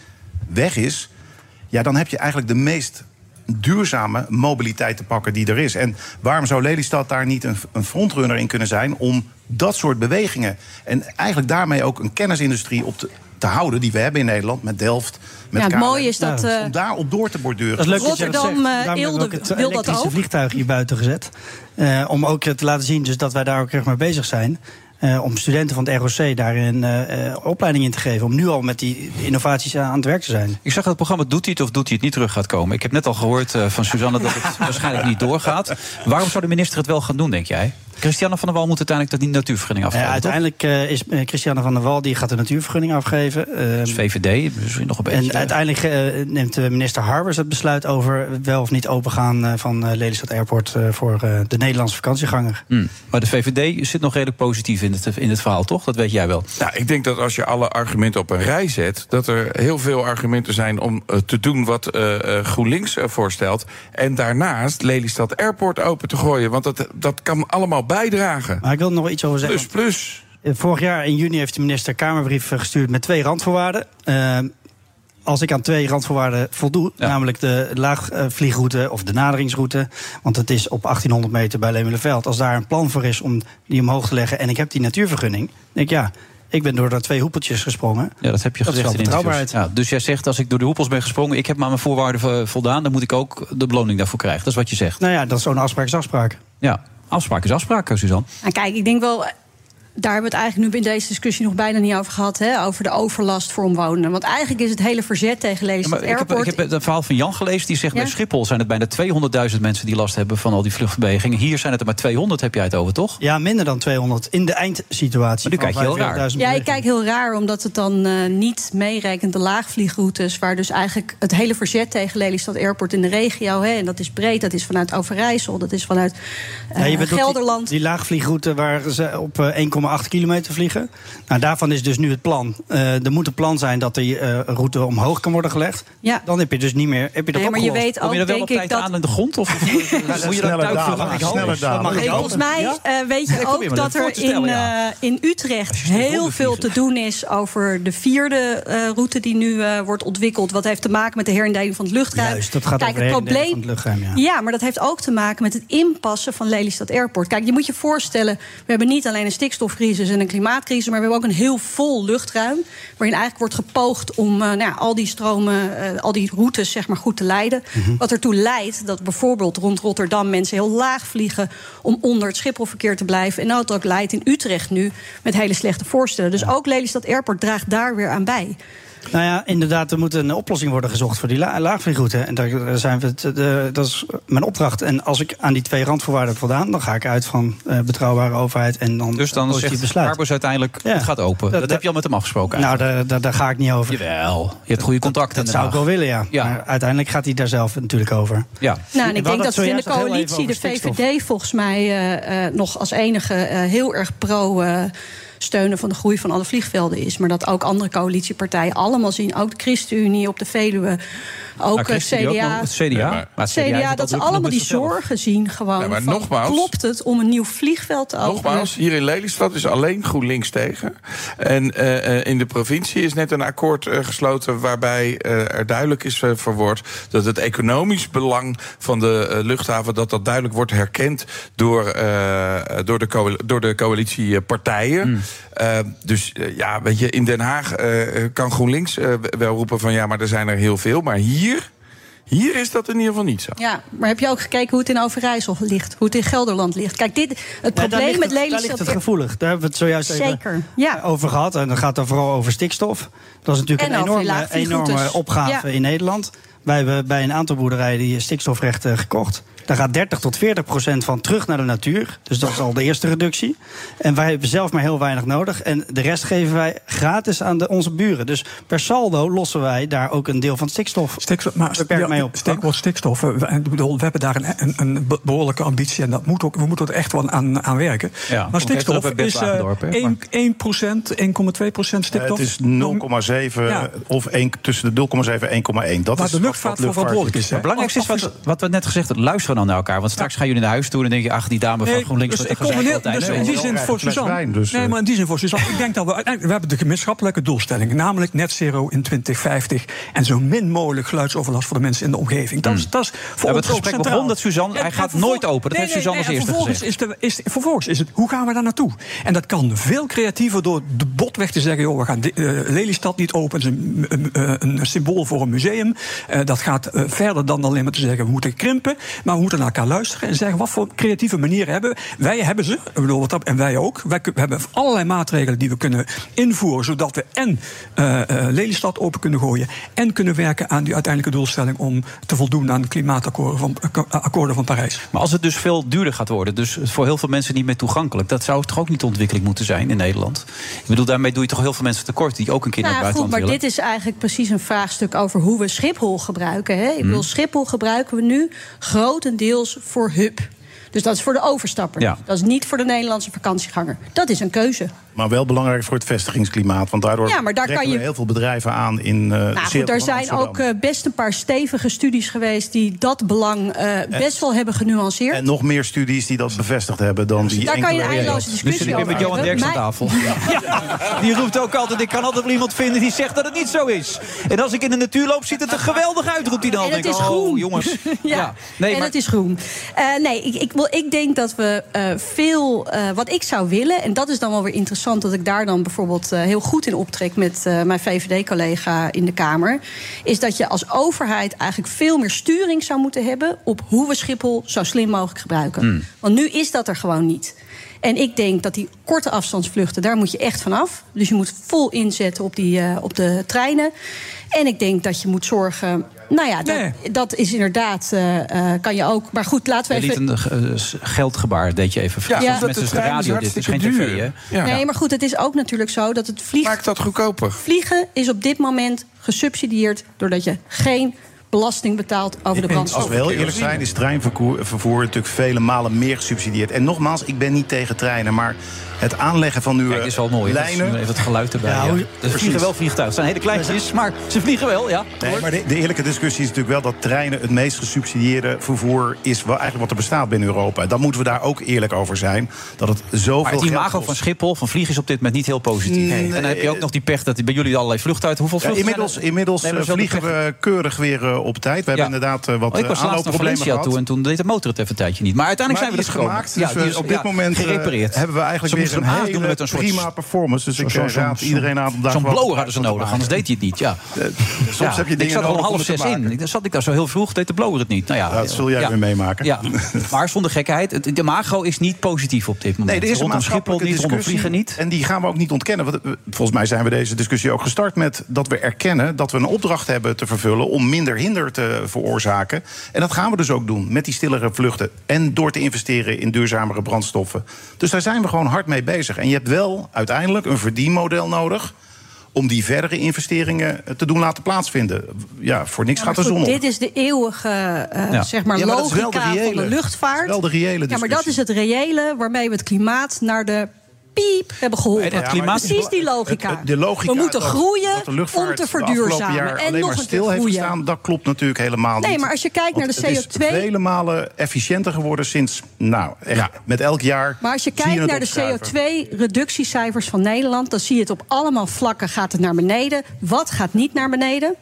S12: weg is, ja, dan heb je eigenlijk de meest duurzame mobiliteit te pakken die er is. En waarom zou Lelystad daar niet een, een frontrunner in kunnen zijn om dat soort bewegingen en eigenlijk daarmee ook een kennisindustrie op te, te houden die we hebben in Nederland met Delft, met
S10: Ja, het
S12: KLM.
S10: mooie is dat, Ja. eh,
S12: om daar op door te borduren.
S9: Dat is leuk dat je
S10: Rotterdam,
S9: dat
S10: eh,
S9: zegt. Daarom hebben we
S10: Eelde
S9: ook het
S10: wil dat
S9: elektrische
S10: ook.
S9: vliegtuig hier buiten gezet. Eh, om ook eh, te laten zien dus dat wij daar ook erg mee bezig zijn. Eh, om studenten van het ROC daarin eh, eh, opleiding in te geven. Om nu al met die innovaties aan aan het werk te zijn.
S7: Ik zag dat het programma Doet hij het of doet hij het niet terug gaat komen. Ik heb net al gehoord eh, van Suzanne dat
S9: [laughs]
S7: het waarschijnlijk niet doorgaat. Waarom zou de minister het wel gaan doen, denk jij? Christiane van der Wal moet uiteindelijk dat die natuurvergunning
S9: Eh,
S7: afgeven.
S9: uiteindelijk eh, is eh, Christiane van der Wal die gaat de natuurvergunning afgeven. Eh,
S7: toch? Dus VVD, misschien nog een beetje.
S9: en uiteindelijk eh, neemt eh, minister Harbers het besluit over het wel of niet opengaan eh, van eh, Lelystad Airport eh, voor eh, de Nederlandse vakantieganger.
S7: Hmm. Maar de VVD zit nog redelijk positief in het, in het verhaal, toch? Dat weet jij wel.
S8: Nou, ik denk dat als je alle argumenten op een rij zet, dat er heel veel argumenten zijn om eh, te doen wat eh, eh, GroenLinks eh, voorstelt. En daarnaast Lelystad Airport open te gooien. Want dat, dat kan allemaal bijdragen.
S9: Maar ik wil er nog wel iets over zeggen.
S8: Plus, plus.
S9: Eh, Vorig jaar in juni heeft de minister Kamerbrief eh, gestuurd met twee randvoorwaarden. Eh, als ik aan twee randvoorwaarden voldoe, namelijk de laagvliegroute of de naderingsroute, want het is op 1800 meter bij Lemelenveld, als daar een plan voor is om die omhoog te leggen en ik heb die natuurvergunning, denk ik ja, ik ben door dat twee hoepeltjes gesprongen.
S7: Ja, dat heb je
S9: Dat is
S7: gezegd in
S9: wel
S7: interviews.
S9: betrouwbaarheid.
S7: Ja, dus jij zegt, als ik door de hoepels ben gesprongen... ik heb maar mijn voorwaarden vo- voldaan... dan moet ik ook de beloning daarvoor krijgen. Dat is wat je zegt.
S9: Nou ja, dat is zo'n afspraak is afspraak.
S7: Ja, afspraak is afspraak, eh, Suzanne.
S10: Nou, kijk, ik denk wel. Daar hebben we het eigenlijk nu in deze discussie nog bijna niet over gehad. Hè, over de overlast voor omwonenden. Want eigenlijk is het hele verzet tegen
S7: Ja,
S10: Lelystad
S7: maar ik, heb,
S10: Airport.
S7: ik heb het verhaal van Jan gelezen. Die zegt
S10: Ja?
S7: bij Schiphol zijn het bijna 200.000 mensen... die last hebben van al die vluchtbewegingen. Hier zijn het er maar 200, heb jij het over, toch?
S9: Ja, minder dan 200 in de eindsituatie.
S7: Maar nu
S9: van
S7: kijk je heel raar.
S9: 45.000
S10: ja, ik kijk heel raar omdat het dan eh, niet meerekent de laagvliegroutes. Waar dus eigenlijk het hele verzet tegen Lelystad Airport in de regio. Hè, en dat is breed, dat is vanuit Overijssel, dat is vanuit eh,
S9: Ja, je bedoelt die-
S10: Gelderland.
S9: Die, laagvliegroute waar ze op eh, 1,8 kilometer vliegen. Nou, daarvan is dus nu het plan. Eh, er moet een plan zijn dat die eh, route omhoog kan worden gelegd.
S10: Ja.
S9: Dan heb je dus niet meer. Heb je dat
S10: Nee, maar je
S9: opgelost.
S10: weet Kom je ook, dan wel op denk ik, tijd dat- aan
S7: in de grond?
S9: [laughs]
S7: Of
S9: moet je dat
S12: sneller dalen.
S9: mag ik
S10: Nee,
S9: hopen.
S10: volgens mij eh, weet je
S9: Ja, kom hier
S10: ook
S9: maar
S10: dat
S9: voor
S10: er
S9: te
S10: in,
S9: stellen, ja.
S10: eh, in Utrecht heel veel te doen is over de vierde eh, route die nu eh, wordt ontwikkeld. Wat heeft te maken met de herindeling van het luchtruim.
S9: Juist, dat gaat
S10: Kijk,
S9: over
S10: het
S9: de herindeling
S10: probleem.
S9: van het luchtruim, ja.
S10: Ja, maar dat heeft ook te maken met het inpassen van Lelystad Airport. Kijk, je moet je voorstellen, we hebben niet alleen een stikstof energiecrisis en een klimaatcrisis. Maar we hebben ook een heel vol luchtruim. Waarin eigenlijk wordt gepoogd om eh, nou ja, al die stromen, eh, al die routes zeg maar, goed te leiden.
S9: Mhm.
S10: Wat ertoe leidt dat bijvoorbeeld rond Rotterdam mensen heel laag vliegen. om onder het Schipholverkeer te blijven. En dat ook leidt in Utrecht nu met hele slechte voorstellen. Dus ook Lelystad Airport draagt daar weer aan bij.
S9: Nou ja, inderdaad, er moet een oplossing worden gezocht voor die la laagvliegroute. En daar daar zijn we het, eh, dat is mijn opdracht. En als ik aan die twee randvoorwaarden heb voldaan, dan ga ik uit van eh, betrouwbare overheid en dan
S7: Dus dan
S9: positief
S7: zegt
S9: besluit.
S7: Carbos uiteindelijk, het gaat open. Dat,
S9: dat-
S7: heb je al met hem afgesproken
S9: Nou, daar, daar, daar ga ik niet over.
S7: Jawel, je hebt goede contacten.
S9: Dat zou ik wel willen, ja. Maar uiteindelijk gaat hij daar zelf natuurlijk over.
S7: Ja.
S10: Nou, en
S9: We
S10: ik denk
S9: hadden
S10: dat
S9: het
S10: in de
S9: zojuist nog heel
S10: coalitie
S9: even
S10: de
S9: over stikstof.
S10: VVD volgens mij eh, eh, nog als enige eh, heel erg pro eh, steunen van de groei van alle vliegvelden is. Maar dat ook andere coalitiepartijen allemaal zien, ook de ChristenUnie op de Veluwe,
S7: Nou,
S10: ook eh,
S7: ChristenUnie
S10: CDA.
S7: ook nog, het CDA. Ja, maar- maar het CDA heeft
S10: CDA,
S7: het
S10: dat ze
S7: al druk
S10: allemaal die
S7: genoeg met zichzelf.
S10: zorgen zien gewoon.
S8: Ja, maar
S10: van,
S8: nogmaals-
S10: klopt het om een nieuw vliegveld te openen?
S8: Nogmaals, hier in Lelystad is alleen GroenLinks tegen. En eh, eh, in de provincie is net een akkoord eh, gesloten waarbij eh, er duidelijk is eh, verwoord dat het economisch belang van de eh, luchthaven dat dat duidelijk wordt herkend door, eh, eh, door, de, coal- door de coalitiepartijen. Eh, dus eh, ja, weet je, in Den Haag eh, eh, kan GroenLinks eh, wel roepen van ja, maar er zijn er heel veel. Maar hier, hier is dat in ieder geval niet zo.
S10: Ja, maar heb je ook gekeken hoe het in Overijssel ligt? Hoe het in Gelderland ligt? Kijk, dit, het
S9: Ja, daar
S10: probleem
S9: ligt
S10: met
S9: het-
S10: Lelystad...
S9: Daar ligt het gevoelig. Daar hebben we het zojuist
S10: Zeker,
S9: even over gehad. En dan gaat dan vooral over stikstof. Dat is natuurlijk
S10: En
S9: een
S10: over
S9: enorme,
S10: laagvliegroutes.
S9: enorme opgave
S10: Ja.
S9: in Nederland. Wij hebben bij een aantal boerderijen die stikstofrechten gekocht. Daar gaat 30 tot 40 procent van terug naar de natuur. Dus dat is al de eerste reductie. En wij hebben zelf maar heel weinig nodig. En de rest geven wij gratis aan de, onze buren. Dus per saldo lossen wij daar ook een deel van het stikstof.
S11: Stikstof, maar ja,
S9: mee op.
S11: steekwoord stikstof. eh, we- Ik bedoel, we hebben daar een, een, een be- behoorlijke ambitie en dat moet ook, we moeten er echt wel aan, aan werken.
S7: Ja,
S11: maar
S7: want
S11: stikstof
S7: even bij
S11: is eh,
S7: Wagendorp, hè,
S11: 1, 1%, 1,2% stikstof.
S12: Het is 0,7
S11: Ja.
S12: of 1, tussen de 0,7 en 1,1. Dat
S11: Waar
S12: is
S11: de luchtvaart
S12: wat
S11: voor verantwoordelijk
S7: Het belangrijkste is wat, wat we net gezegd hebben. Luisteren dan naar elkaar. Want straks gaan jullie naar huis toe en dan denk je... ach, die dame
S11: Nee,
S7: van GroenLinks...
S11: dus
S7: wat
S11: ik
S7: een gezeik
S11: combineer-
S7: altijd.
S11: dus
S7: Nee,
S11: in die
S7: joh.
S11: zin voor Suzanne.
S7: dus, eh.
S11: nee, maar in die zin voor Suzanne. ik denk dat we uiteindelijk. We hebben de gemeenschappelijke doelstelling. Namelijk net zero in 2050. En zo min mogelijk geluidsoverlast voor de mensen in de omgeving. Dat is, dat is voor
S7: Hmm. We hebben het
S11: ons ook
S7: gesprek
S11: centraal.
S7: begon dat Suzanne- hij gaat
S11: vervol-
S7: nooit open. Dat heeft Suzanne als
S11: en
S7: eerste
S11: vervolgens Is de, is, vervolgens is het, hoe gaan we daar naartoe? En dat kan veel creatiever door de botweg te zeggen... joh, we gaan de, eh, Lelystad niet open, dat is een, een, een- een symbool voor een museum. Eh, dat gaat eh, verder dan alleen maar te zeggen, we moeten krimpen. Maar we moeten naar elkaar luisteren en zeggen... wat voor creatieve manieren hebben we? Wij hebben ze, ik bedoel, wat dat, en wij ook. Wij kun- we hebben allerlei maatregelen die we kunnen invoeren... zodat we en eh, eh, Lelystad open kunnen gooien... en kunnen werken aan die uiteindelijke doelstelling... om te voldoen aan de klimaatakkoorden van, eh, akkoorden van Parijs.
S7: Maar als het dus veel duurder gaat worden, dus voor heel veel mensen niet meer toegankelijk, dat zou toch ook niet de ontwikkeling moeten zijn in Nederland? Ik bedoel, daarmee doe je toch heel veel mensen tekort die ook een keer
S10: Nou,
S7: naar het
S10: goed, maar
S7: buitenland willen.
S10: dit is eigenlijk precies een vraagstuk over hoe we Schiphol gebruiken. Hè? Ik bedoel, Schiphol gebruiken we nu grotendeels voor hub. Dus dat is voor de overstapper.
S12: Ja. Eh,
S10: Dat is niet voor de Nederlandse vakantieganger. Dat is een keuze.
S12: Maar wel belangrijk voor het vestigingsklimaat. Want daardoor
S10: Ja, maar daar
S12: trekken
S10: kan je-
S12: we heel veel bedrijven aan in eh de
S10: Nou,
S12: cirkel
S10: goed, er
S12: van
S10: zijn
S12: Amsterdam.
S10: ook eh, best een paar stevige studies geweest die dat belang eh, best wel hebben genuanceerd.
S12: En nog meer studies die dat bevestigd hebben dan die
S10: dus Daar kan je een
S12: enkele-
S10: eindeloze
S7: Dus
S12: Ja.
S10: discussie over hebben. Mij-
S7: Die roept ook altijd, ik kan altijd wel iemand vinden die zegt dat het niet zo is. En als ik in de natuur loop, ziet het er geweldig uit, roept hij dan.
S10: En het
S7: Denk
S10: is
S7: ik, oh,
S10: groen.
S7: jongens.
S10: [laughs] ja.
S7: Nee,
S10: en
S7: maar-
S10: het is groen. Eh, nee, ik, ik, wil, ik denk dat we eh, veel... eh, wat ik zou willen, en dat is dan wel weer interessant... dat ik daar dan bijvoorbeeld eh, heel goed in optrek... met eh, mijn VVD-collega in de Kamer... is dat je als overheid eigenlijk veel meer sturing zou moeten hebben... op hoe we Schiphol zo slim mogelijk gebruiken.
S16: Hmm.
S10: Want nu is dat er gewoon niet. En ik denk dat die korte afstandsvluchten, daar moet je echt vanaf. Dus je moet vol inzetten op, die, eh, op de treinen. En ik denk dat je moet zorgen. Nou ja, dat, dat is inderdaad. eh, eh, kan je ook. Maar goed, laten
S7: Je
S10: we
S7: liet
S10: even.
S7: een eh, s- geldgebaar, deed je even.
S10: Ja,
S7: Soms
S10: omdat
S7: mensen
S10: de
S7: de
S10: trein is
S7: radio, dit is geen
S8: hartstikke
S7: tv, hè?
S8: duur. Ja.
S10: Nee, maar goed, het is ook natuurlijk zo dat het vliegen.
S8: Maakt dat goedkoper?
S10: Vliegen is op dit moment gesubsidieerd doordat je geen belasting betaalt over de brandstof.
S12: Als we heel eerlijk zijn, is treinvervoer vervoer natuurlijk vele malen meer gesubsidieerd. En nogmaals, ik ben niet tegen treinen, maar het aanleggen van nieuwe
S7: Dit is wel mooi. hè? Dat is-
S12: lijnen.
S7: Even het geluid erbij. Ja,
S12: hoe-
S7: Ze vliegen wel vliegtuigen. Het zijn hele kleintjes, maar ze vliegen wel, ja.
S12: Nee, maar de, de eerlijke discussie is natuurlijk wel dat treinen het meest gesubsidieerde vervoer is wel eigenlijk wat er bestaat binnen Europa. Dan moeten we daar ook eerlijk over zijn. Dat het zoveel
S7: Maar het
S12: geld
S7: imago
S12: kost.
S7: van Schiphol, van vliegen is op dit moment niet heel positief.
S12: Nee.
S7: En dan heb je ook nog die pech dat bij jullie allerlei vluchten uit. Hoeveel
S12: Ja,
S7: vluchten
S12: inmiddels
S7: zijn er?
S12: inmiddels
S7: Nee, maar
S12: eh,
S7: zo de
S12: vliegen we keurig weer eh, eh, op tijd. We hebben inderdaad eh, wat
S7: Want ik was
S12: eh,
S7: laatst naar
S12: aanloopproblemen
S7: Valencia
S12: gehad.
S7: toe en toen deed de motor het even een tijdje niet. Maar uiteindelijk
S12: Maar
S7: zijn we
S12: die
S7: er
S12: is
S7: gekomen.
S12: gemaakt, dus we- op dit moment, eh,
S7: gerepareerd.
S12: hebben we eigenlijk
S7: Ze
S12: weer
S7: moesten
S12: een
S7: hem
S12: hele
S7: aandoen met een soort
S12: prima performance, dus ik, eh, raad iedereen aan om daar
S7: Zo'n
S12: gewoon
S7: blower hadden ze nodig, anders deed hij het niet. Ja.
S12: Eh, soms heb je dingen
S7: ik zat er
S12: nodig
S7: om
S12: om
S7: half
S12: het te
S7: zes
S12: maken.
S7: in. Ik- Dan zat ik daar zo heel vroeg, deed de blower het niet. Nou ja,
S12: dat zul jij weer meemaken.
S7: Ja. Maar zonder gekheid, het- de Mago is niet positief op dit moment.
S12: Nee, er is een
S7: rondom Schiphol
S12: maatschappelijke
S7: niet, rondom
S12: discussie.
S7: vliegen niet.
S12: En die gaan we ook niet ontkennen. Want eh, volgens mij zijn we deze discussie ook gestart met dat we erkennen dat we een opdracht hebben te vervullen om minder hinder te veroorzaken. En dat gaan we dus ook doen met die stillere vluchten. En door te investeren in duurzamere brandstoffen. Dus daar zijn we gewoon hard mee bezig. En je hebt wel uiteindelijk een verdienmodel nodig. Om die verdere investeringen eh, te doen laten plaatsvinden. Ja, voor niks
S10: Ja, maar
S12: gaat de zon
S10: goed,
S12: op.
S10: Dit is de eeuwige eh,
S12: Ja.
S10: zeg maar,
S12: Ja, maar dat is wel de
S10: logica van
S12: reële.
S10: de luchtvaart.
S12: Dat is wel de reële
S10: ja, maar
S12: discussie.
S10: dat is het reële waarmee we het klimaat naar de piep hebben geholpen.
S12: Ja, maar het is
S10: Precies die logica.
S12: Het- het- de logica
S10: we moeten
S12: dat-
S10: groeien
S12: dat de
S10: om
S12: luchtvaart
S10: te
S12: de afgelopen
S10: verduurzamen.
S12: jaar
S10: en
S12: alleen
S10: nog
S12: maar
S10: een keer
S12: stil heeft
S10: groeien.
S12: gestaan, dat klopt natuurlijk helemaal
S10: Nee,
S12: niet.
S10: maar als je kijkt
S12: Want
S10: naar de
S12: Het is
S10: CO2
S12: vele malen efficiënter geworden sinds, nou, echt, met elk jaar.
S10: Maar als je
S12: zie
S10: kijkt
S12: het
S10: naar de
S12: opschuiven.
S10: CO2-reductiecijfers van Nederland, dan zie je het op allemaal vlakken gaat het naar beneden. Wat gaat niet naar beneden?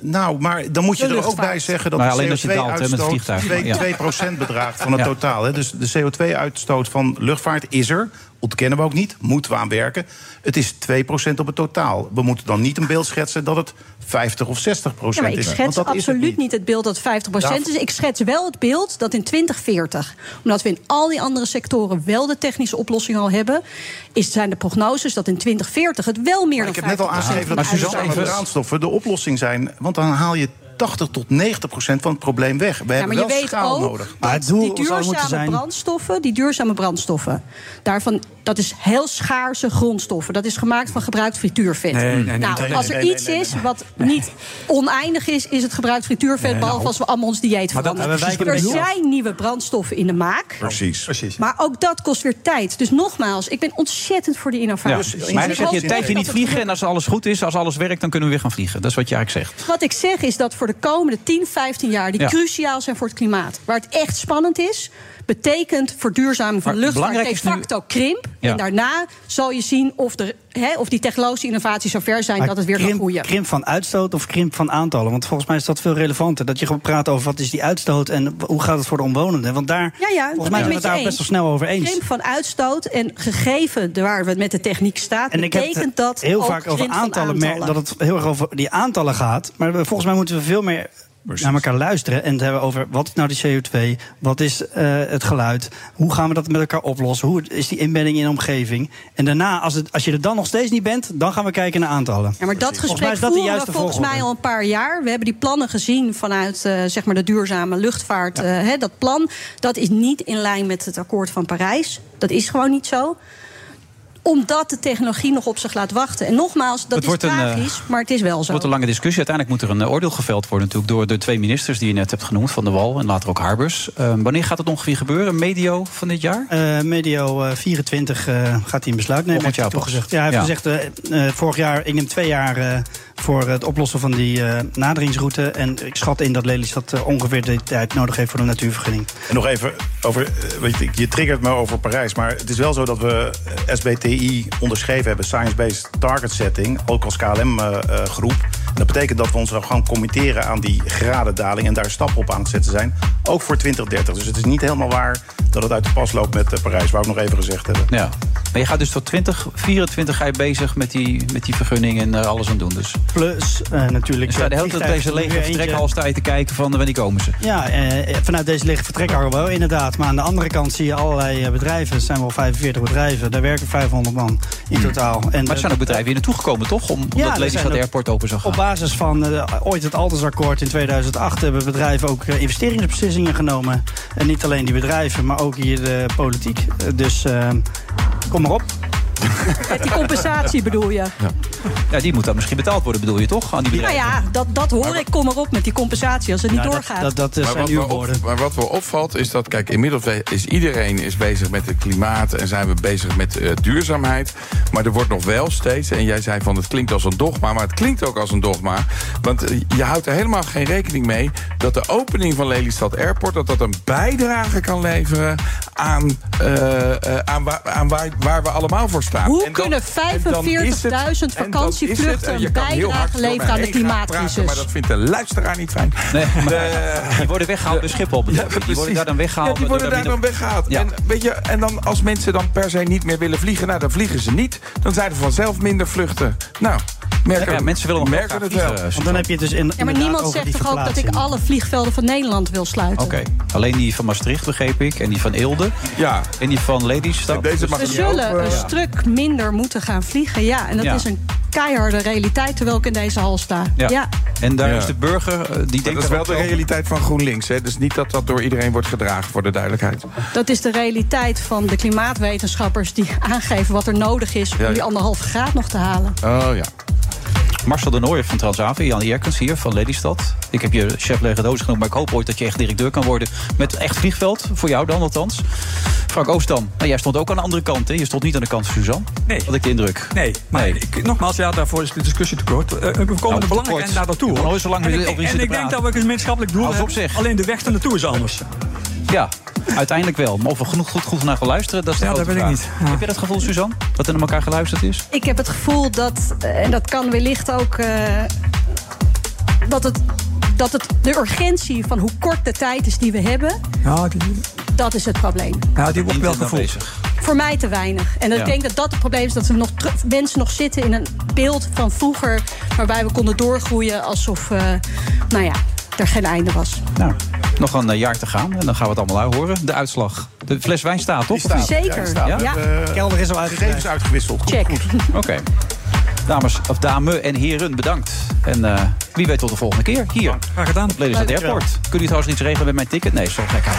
S12: Nou, maar dan moet je
S10: De
S12: er ook
S10: luchtvaart.
S12: bij zeggen dat
S7: Nou ja, alleen als
S12: de
S7: je daalt, hè, met het
S12: CO2-uitstoot
S7: vliegtuig.
S12: 2,
S7: Ja.
S12: bedraagt van het
S7: Ja.
S12: totaal. Hè. Dus de CO2-uitstoot van luchtvaart is er. Ontkennen we ook niet, moeten we aan werken. Het is 2% op het totaal. We moeten dan niet een beeld schetsen dat het 50 of 60%
S10: Ja, maar ik
S12: is.
S10: schets
S12: want dat is het
S10: absoluut niet. het beeld dat 50% is.
S12: Daarvoor-
S10: Ik schets wel het beeld dat in 2040, omdat we in al die andere sectoren wel de technische oplossing al hebben, is, zijn de prognoses dat in 2040 het wel meer
S12: Ik
S10: dan 50%
S12: heb net al aangegeven dat
S10: van de
S12: duurzame
S10: uitstoot is.
S12: brandstoffen de oplossing zijn. Want dan haal je 80 tot 90 procent van het probleem weg. We hebben
S10: maar je
S12: wel
S10: weet
S12: schaal
S10: ook
S12: nodig.
S10: dat die duurzame brandstoffen, die duurzame brandstoffen, daarvan dat is heel schaarse grondstoffen. Dat is gemaakt van gebruikt frituurvet.
S11: Nee, nee, nee,
S10: nou,
S11: nee, nee,
S10: als er
S11: nee,
S10: iets is wat niet oneindig is, is het gebruikt frituurvet,
S11: Nee,
S10: behalve
S11: nou.
S10: als we allemaal ons dieet
S11: Maar dat-
S10: veranderen.
S11: we wijken
S10: Er
S11: een beetje af.
S10: zijn nieuwe brandstoffen in de maak.
S12: Precies.
S11: Precies.
S10: Maar ook dat kost weer tijd. Dus nogmaals, ik ben ontzettend voor die
S12: Dus
S7: Ja.
S10: innovatie.
S7: Maar
S10: En
S7: dan
S10: ik
S7: zeg je
S10: hoop
S7: een tijdje
S10: echt
S7: niet
S10: dat het
S7: vliegen en als alles goed is, als alles werkt, dan kunnen we weer gaan vliegen. Dat is wat je eigenlijk zegt.
S10: Wat ik zeg is dat voor de komende 10, 15 jaar... die
S7: Ja.
S10: cruciaal zijn voor het klimaat... waar het echt spannend is... betekent verduurzaming van de
S7: Maar
S10: luchtvaart
S7: belangrijk is
S10: de
S7: nu-
S10: facto krimp.
S7: Ja.
S10: En daarna zal je zien of, de, hè, of die technologische innovaties zo ver zijn...
S9: Maar
S10: dat het weer gaat
S9: krimp,
S10: groeien.
S9: krimp van uitstoot of krimp van aantallen? Want volgens mij is dat veel relevanter. Dat je gewoon praat over wat is die uitstoot en hoe gaat het voor de omwonenden. Want daar,
S10: Ja, ja,
S9: volgens mij zijn we het daar best wel snel over eens.
S10: Krimp van uitstoot en gegeven de- waar we het met de techniek staat...
S9: En ik heb
S10: betekent
S9: het
S10: dat
S9: heel
S10: ook
S9: vaak over
S10: krimp van
S9: aantallen, mer- dat het heel erg over die aantallen gaat. Maar we- volgens mij moeten we veel meer naar elkaar luisteren. En het hebben over wat is nou die CO2, wat is eh, het geluid, hoe gaan we dat met elkaar oplossen, hoe is die inbedding in de omgeving. En daarna, als, het, als je er dan nog steeds niet bent, dan gaan we kijken naar aantallen.
S10: Ja, maar dat
S9: Volgens mij
S10: gesprek
S9: is dat de
S10: voeren we
S9: juiste
S10: volgens mij
S9: volgorde.
S10: al een paar jaar. We hebben die plannen gezien vanuit eh, zeg maar de duurzame luchtvaart. eh, hè, dat plan dat is niet in lijn met het akkoord van Parijs. Dat is gewoon niet zo omdat de technologie nog op zich laat wachten. En nogmaals, dat
S7: Het
S10: is
S7: wordt een, eh,
S10: tragisch, maar het is wel
S7: Het
S10: zo.
S7: wordt een lange discussie. Uiteindelijk moet er een eh, oordeel geveld worden natuurlijk door de twee ministers die je net hebt genoemd, Van der Wal en later ook Harbers. Eh, wanneer gaat het ongeveer gebeuren? Medio van dit jaar?
S9: Eh, medio eh, 24 eh, gaat hij een besluit nemen.
S7: Volgend
S9: heeft hij
S7: jaar pas.
S9: toegezegd. Ja, hij heeft
S7: Ja.
S9: gezegd eh, eh, vorig jaar, ik neem twee jaar eh, voor het oplossen van die eh, naderingsroute. En ik schat in dat Lelystad eh, ongeveer de tijd nodig heeft voor de natuurvergunning.
S12: En nog even over, eh, weet je, je triggert me over Parijs, maar het is wel zo dat we eh, SBTI onderschreven hebben, Science Based Target Setting, ook als KLM-groep. eh, dat betekent dat we ons dan gaan committeren aan die gradendaling en daar stappen op aan het zetten zijn, ook voor 2030. Dus het is niet helemaal waar dat het uit de pas loopt met eh, Parijs, waar we nog even gezegd hebben.
S7: Ja. Maar je gaat dus tot 2024 ga je bezig met die, met die vergunning en eh, alles aan doen. Dus
S9: Plus eh, natuurlijk.
S7: je staat de hele tijd op
S9: vliegtuigen
S7: deze lege
S9: weer eentje.
S7: vertrekhal sta je te kijken van eh, wanneer komen ze.
S9: Ja, eh, vanuit deze licht vertrekhal wel inderdaad. Maar aan de andere kant zie je allerlei eh, bedrijven. Er zijn wel 45 bedrijven. Daar werken 500 man in totaal. En,
S7: Hmm. maar er
S9: eh,
S7: zijn ook bedrijven hier naartoe gekomen, toch? Om, omdat
S9: Ja, er
S7: Lelystad
S9: zijn ook-
S7: Airport open zou gaan.
S9: Op basis van eh, ooit het Altersakkoord in 2008 hebben bedrijven ook eh, investeringsbeslissingen genomen. En niet alleen die bedrijven, maar ook hier de politiek. Eh, dus eh, kom maar op.
S10: Met die compensatie bedoel je?
S7: Ja, die moet dan misschien betaald worden, bedoel je toch? Aan die
S10: Nou
S7: bedrijven.
S10: ja, dat, dat hoor ik. Kom maar op met die compensatie als het niet doorgaat.
S7: eh,
S8: maar wat me op- maar wat wel opvalt is dat, kijk, inmiddels we- is iedereen is bezig met het klimaat en zijn we bezig met eh, duurzaamheid. Maar er wordt nog wel steeds, en jij zei van het klinkt als een dogma, maar het klinkt ook als een dogma. Want eh, je houdt er helemaal geen rekening mee dat de opening van Lelystad Airport... dat dat een bijdrage kan leveren aan, eh, eh, aan, waar, aan waar, waar we allemaal voor staan.
S10: Hoe
S8: En dan-
S10: kunnen
S8: en dan is het-
S10: 45.000
S8: en dan is het- en
S10: vakantievluchten
S8: je
S10: een
S8: kan heel hard
S10: bijdrage
S8: door
S10: leveren
S8: me
S10: aan de
S8: heen gaan praten, Maar
S10: klimaatcrisis?
S8: dat vindt de luisteraar niet fijn.
S7: Nee, maar die worden weggehaald door Schiphol. bedoel ik. die worden
S8: precies.
S7: daar dan weggehaald.
S8: Ja, die worden daar dan weggehaald. En, weet je, en dan als mensen dan per se niet meer willen vliegen, nou dan vliegen ze niet. Dan zijn er vanzelf minder vluchten. Nou, merken,
S7: Ja, mensen willen nog wel
S8: merken
S7: graag
S8: het wel.
S7: vliegen, eh,
S9: Want dan heb je het dus in.
S10: Ja, maar niemand zegt toch ook dat ik alle vliegvelden van Nederland wil sluiten?
S7: Oké, dus alleen die van Maastricht begreep ik. En die van Eelde.
S8: Ja.
S7: En die van Lelystad. Deze
S10: We zullen een stuk minder moeten gaan vliegen. Ja, en dat
S7: Ja.
S10: is een keiharde realiteit terwijl ik in deze hal sta.
S7: Ja.
S10: ja.
S7: En daar
S8: Ja.
S7: is de burger, eh, die
S8: Maar
S7: denkt
S8: dat is
S7: daar
S8: wel
S7: ook
S8: de realiteit van GroenLinks. Hè? Dus niet dat dat door iedereen wordt gedragen, voor de duidelijkheid.
S10: Dat is de realiteit van de klimaatwetenschappers die [laughs] aangeven wat er nodig is om
S7: Ja, ja.
S10: die anderhalve graad nog te halen.
S8: Oh ja.
S7: Marcel de Nooijer van Transavia, Jan Jerkens hier van Lelystad. Ik heb je chef lege doos genoemd, maar ik hoop ooit dat je echt directeur kan worden. Met een echt vliegveld, voor jou dan althans. Frank Oostam, nou, jij stond ook aan de andere kant. Hè? Je stond niet aan de kant van Suzanne.
S11: Nee.
S7: Had ik de indruk.
S11: Nee, maar ik- nogmaals, ja, daarvoor is de discussie te kort. Eh, we komen
S7: Nou,
S11: er
S7: te
S11: belangrijk
S7: kort.
S11: en naar naartoe.
S7: Je kan
S11: hoor.
S7: nooit zo lang
S11: en
S7: weer
S11: ik,
S7: over iets
S11: en
S7: te
S11: ik denk
S7: praten.
S11: dat we een gemeenschappelijk doel
S7: Hou eens op,
S11: hebben. Alleen de weg er naartoe is anders.
S7: Ja, uiteindelijk wel. Maar of we genoeg goed, goed naar gaan luisteren, dat is de
S11: Ja,
S7: grote
S11: dat weet ik
S7: vraag. Heb je dat gevoel, Suzanne, dat er naar elkaar geluisterd is?
S10: Ik heb het gevoel dat, eh, en dat kan wellicht ook, eh, dat, het, dat het de urgentie van hoe kort de tijd is die we hebben,
S11: Ja, die,
S10: dat is het probleem.
S11: ja, die wordt wel gevoeld.
S10: Voor mij te weinig. En
S11: Ja.
S10: ik denk dat dat het probleem is dat we nog teru- mensen nog zitten in een beeld van vroeger, waarbij we konden doorgroeien alsof, eh, nou ja, er geen einde was.
S7: Nou, nog een eh, jaar te gaan en dan gaan we het allemaal horen. De uitslag. De fles wijn staat, toch?
S10: staat. Zeker, ja. De kelder
S12: is al uitgebreid. Eh, Gegevens uitgewisseld.
S10: Check.
S7: [laughs] Oké. Dames, of dame en heren, bedankt. En eh, wie weet tot de volgende keer. Hier.
S11: Graag gedaan.
S7: Lelystad
S11: Dankjewel.
S7: Airport. Kun je trouwens iets regelen met mijn ticket? Nee, zo gek uit.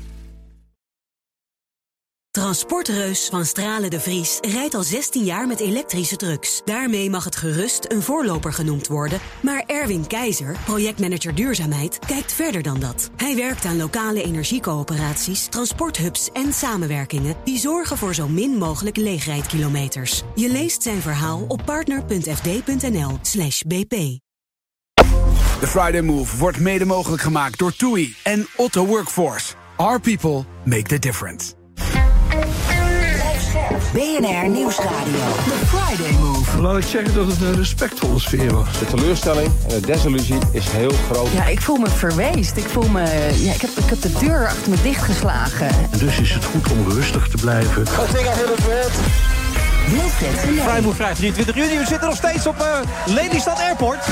S13: Transportreus Van Stralen de Vries rijdt al 16 jaar met elektrische trucks. Daarmee mag het gerust een voorloper genoemd worden. Maar Erwin Keizer, projectmanager duurzaamheid, kijkt verder dan dat. Hij werkt aan lokale energiecoöperaties, transporthubs en samenwerkingen... die zorgen voor zo min mogelijk leegrijdkilometers. Je leest zijn verhaal op partner.fd.nl slash bp.
S2: De Friday Move wordt mede mogelijk gemaakt door TUI en Otto Workforce. Our people make the difference.
S3: BNR Nieuwsradio. The Friday Move.
S4: Laat ik zeggen dat het een respectvolle sfeer was.
S5: De teleurstelling en de desillusie is heel groot.
S6: Ja, ik voel me verweest. Ik voel me. Ja, ik, heb, ik heb de deur achter me dichtgeslagen.
S4: En dus is het goed om rustig te blijven.
S7: Vrijmoed vrijdag 23 juni. We zitten nog steeds op eh, Lelystad Airport.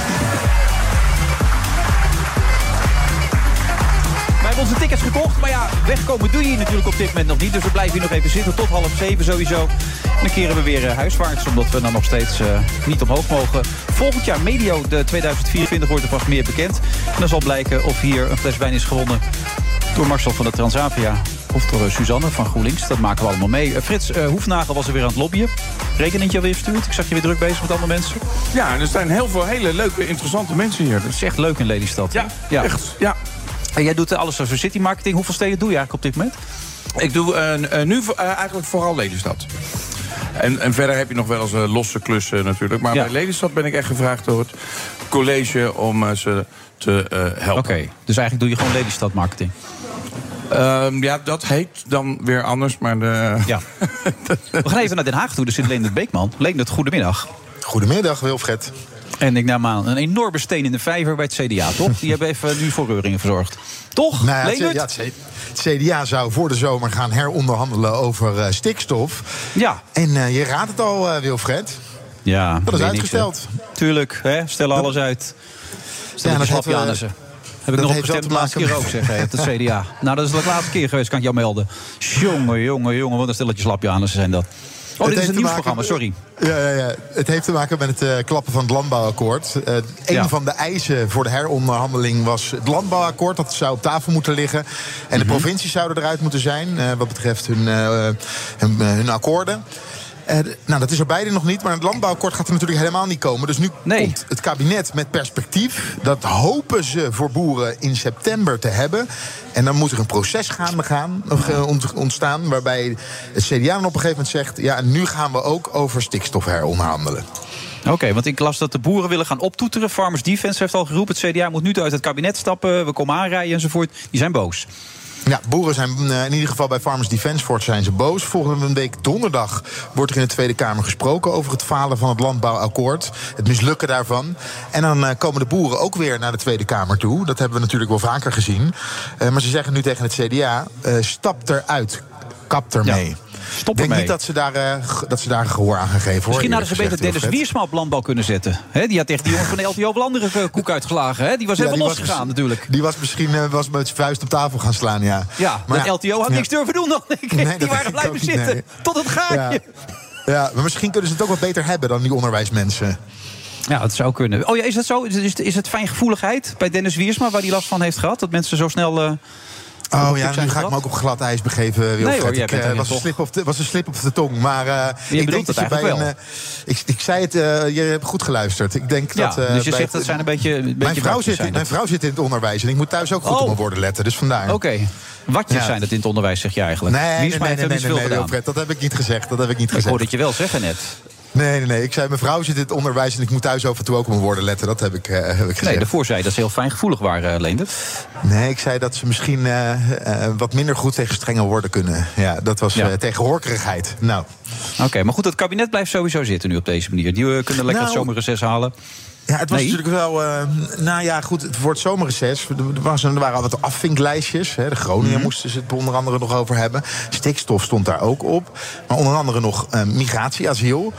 S7: Wij hebben onze tickets gekocht, maar ja, wegkomen doe je hier natuurlijk op dit moment nog niet. Dus we blijven hier nog even zitten tot half zeven sowieso. En dan keren we weer eh, huiswaarts, omdat we dan nog steeds eh, niet omhoog mogen. Volgend jaar, medio de 2024, wordt er pas meer bekend. En dan zal blijken of hier een fles wijn is gewonnen door Marcel van de Transavia. Of door eh, Suzanne van GroenLinks, dat maken we allemaal mee. Eh, Frits eh, Hoefnagel was er weer aan het lobbyen. Rekeningetje alweer verstuurd. Ik zag je weer druk bezig met andere mensen.
S8: Ja, en er zijn heel veel hele leuke, interessante mensen hier.
S7: Het is echt leuk in Lelystad. Ja,
S8: echt, Ja.
S7: En jij doet eh, alles over city marketing. Hoeveel steden doe je eigenlijk op dit moment?
S8: Ik doe eh, eh, nu vo- eh, eigenlijk vooral Lelystad. En, en verder heb je nog wel eens eh, losse klussen natuurlijk. Maar bij Lelystad ben ik echt gevraagd door het college om eh, ze te eh, helpen. Oké,
S7: dus eigenlijk doe je gewoon Lelystad marketing?
S8: ehm, ja, dat heet dan weer anders, maar de...
S7: [laughs] Ja. We gaan even naar Den Haag toe. Daar zit Leendert Beekman. Leendert, goedemiddag.
S16: Goedemiddag, Wilfred.
S7: En ik neem aan, een enorme steen in de vijver bij het CDA, toch? Die hebben even nu voor reuringen verzorgd. Toch,
S16: Nou ja, het,
S7: Leendert?
S16: ja, het C- het CDA zou voor de zomer gaan heronderhandelen over eh, stikstof.
S7: Ja. Oh,
S16: En eh, je raadt het al, eh, Wilfred.
S7: Ja,
S16: Dat is
S7: weet niks,
S16: uitgesteld.
S7: hè. Tuurlijk, hè? stel alles uit. Stel
S16: Ja,
S7: ja,
S16: dat heeft, eh,
S7: Slapjanissen. Heb ik
S16: dat
S7: nog
S16: heeft wel
S7: opgestemd
S16: te
S7: de laatste
S16: maken
S7: keer
S16: met-
S7: ook, zeg hè, op
S16: [laughs]
S7: het CDA. Nou, dat is de laatste keer geweest, kan ik jou melden. Jongen, jongen, jongen, wat een stelletje Slapjanissen zijn dat. dit is
S16: heeft
S7: een
S16: te
S7: nieuwsprogramma, sorry.
S16: Ja, ja, ja. Het heeft te maken met het eh, klappen van het landbouwakkoord. Eh, een
S7: Ja.
S16: van de eisen voor de heronderhandeling was het landbouwakkoord. Dat zou op tafel moeten liggen. En de provincies zouden eruit moeten zijn eh, wat betreft hun, eh, hun, eh, hun akkoorden. Eh, d- nou, dat is er beide nog niet, maar het landbouwakkoord gaat er natuurlijk helemaal niet komen. Dus nu komt het kabinet met perspectief. Dat hopen ze voor boeren in september te hebben. En dan moet er een proces gaan begaan, of, eh, ont- ontstaan... waarbij het CDA dan op een gegeven moment zegt... ja, en nu gaan we ook over stikstof heronderhandelen.
S7: Oké, want ik las dat de boeren willen gaan optoeteren. Farmers Defense heeft al geroepen. Het CDA moet nu uit het kabinet stappen. We komen aanrijden enzovoort. Die zijn boos.
S16: Ja, boeren zijn eh, in ieder geval bij Farmers Defence Force zijn ze boos. Volgende week donderdag wordt er in de Tweede Kamer gesproken over het falen van het landbouwakkoord. Het mislukken daarvan. En dan eh, komen de boeren ook weer naar de Tweede Kamer toe. Dat hebben we natuurlijk wel vaker gezien. Eh, maar ze zeggen nu tegen het CDA: eh, stap eruit, kap ermee.
S7: stop
S16: Ik denk
S7: ermee.
S16: niet dat ze, daar, eh, ge- dat ze daar gehoor aan gaan geven. Hoor,
S7: Misschien hadden ze
S16: eerlijk
S7: beter
S16: gezegd,
S7: Dennis
S16: Wilfred.
S7: Wiersma op landbouw kunnen zetten. Hè, die had echt die jongen van de LTO wel andere eh, koek uitgelagen. Hè? Die was
S16: Ja,
S7: helemaal
S16: die was
S7: losgegaan
S16: mis-
S7: natuurlijk.
S16: Die was misschien eh, was met zijn vuist op tafel gaan slaan, ja.
S7: Ja,
S16: Maar
S7: maar LTO had
S16: ja.
S7: niks durven doen dan. [laughs] denk ik.
S16: Nee,
S7: die
S16: dat
S7: waren
S16: denk ik
S7: blijven
S16: ook niet,
S7: zitten.
S16: nee.
S7: Tot het gaatje.
S16: Ja. ja, maar misschien kunnen ze het ook wat beter hebben dan die onderwijsmensen.
S7: Ja, het zou kunnen. Oh ja, is dat zo? Is, is, is het fijngevoeligheid bij Dennis Wiersma waar hij last van heeft gehad? Dat mensen zo snel. eh,
S16: Oh
S7: op
S16: ja,
S7: zijn
S16: nu ga ik
S7: getrapt?
S16: me ook op glad ijs begeven, Wilfred.
S7: Nee hoor, jij
S16: ik,
S7: bent
S16: eh,
S7: erin
S16: was, een
S7: toch?
S16: slip op de, was een slip op de tong. Maar eh, ik
S7: bedoelt
S16: denk dat
S7: het
S16: je bij
S7: eigenlijk
S16: een... eh,
S7: wel.
S16: ik, ik zei het, eh, je hebt goed geluisterd. Ik denk
S7: Ja,
S16: dat... eh,
S7: dus je
S16: bij-
S7: zegt dat zijn een beetje. Een beetje
S16: Mijn vrouw,
S7: watjes
S16: zit,
S7: zijn
S16: in-
S7: dat.
S16: mijn vrouw zit in het onderwijs en ik moet thuis ook goed op mijn woorden letten. Dus vandaar.
S7: Oh. Oké, watjes
S16: Ja.
S7: zijn dat in het onderwijs, zeg je
S16: Nee,
S7: eigenlijk.
S16: nee,
S7: Wiersma
S16: nee,
S7: heeft
S16: nee, nee,
S7: er niet veel
S16: nee,
S7: gedaan.
S16: Wilfred, dat heb ik niet gezegd. Dat heb ik niet
S7: Ik
S16: gezegd.
S7: hoorde het je wel zeggen net.
S16: Nee, nee, nee. Ik zei, mijn vrouw zit in het onderwijs en ik moet thuis af en toe ook op mijn woorden letten. Dat heb ik, eh, heb ik gezegd.
S7: Nee, daarvoor zei je dat ze heel fijngevoelig waren, eh, Leendert.
S16: Nee, ik zei dat ze misschien eh, eh, wat minder goed tegen strenge woorden kunnen. Ja, dat was eh, tegen horkerigheid. Nou.
S7: Oké, maar goed, het kabinet blijft sowieso zitten nu op deze manier. Die eh, kunnen
S16: Nou,
S7: lekker het zomerreces halen.
S16: Ja, het was
S7: Nee.
S16: natuurlijk wel. eh, nou ja, goed, het wordt zomerreces. Er, was, er waren al wat afvinklijstjes. Hè. De Groningen moesten ze het onder andere nog over hebben. Stikstof stond daar ook op. Maar onder andere nog eh, migratie, asiel.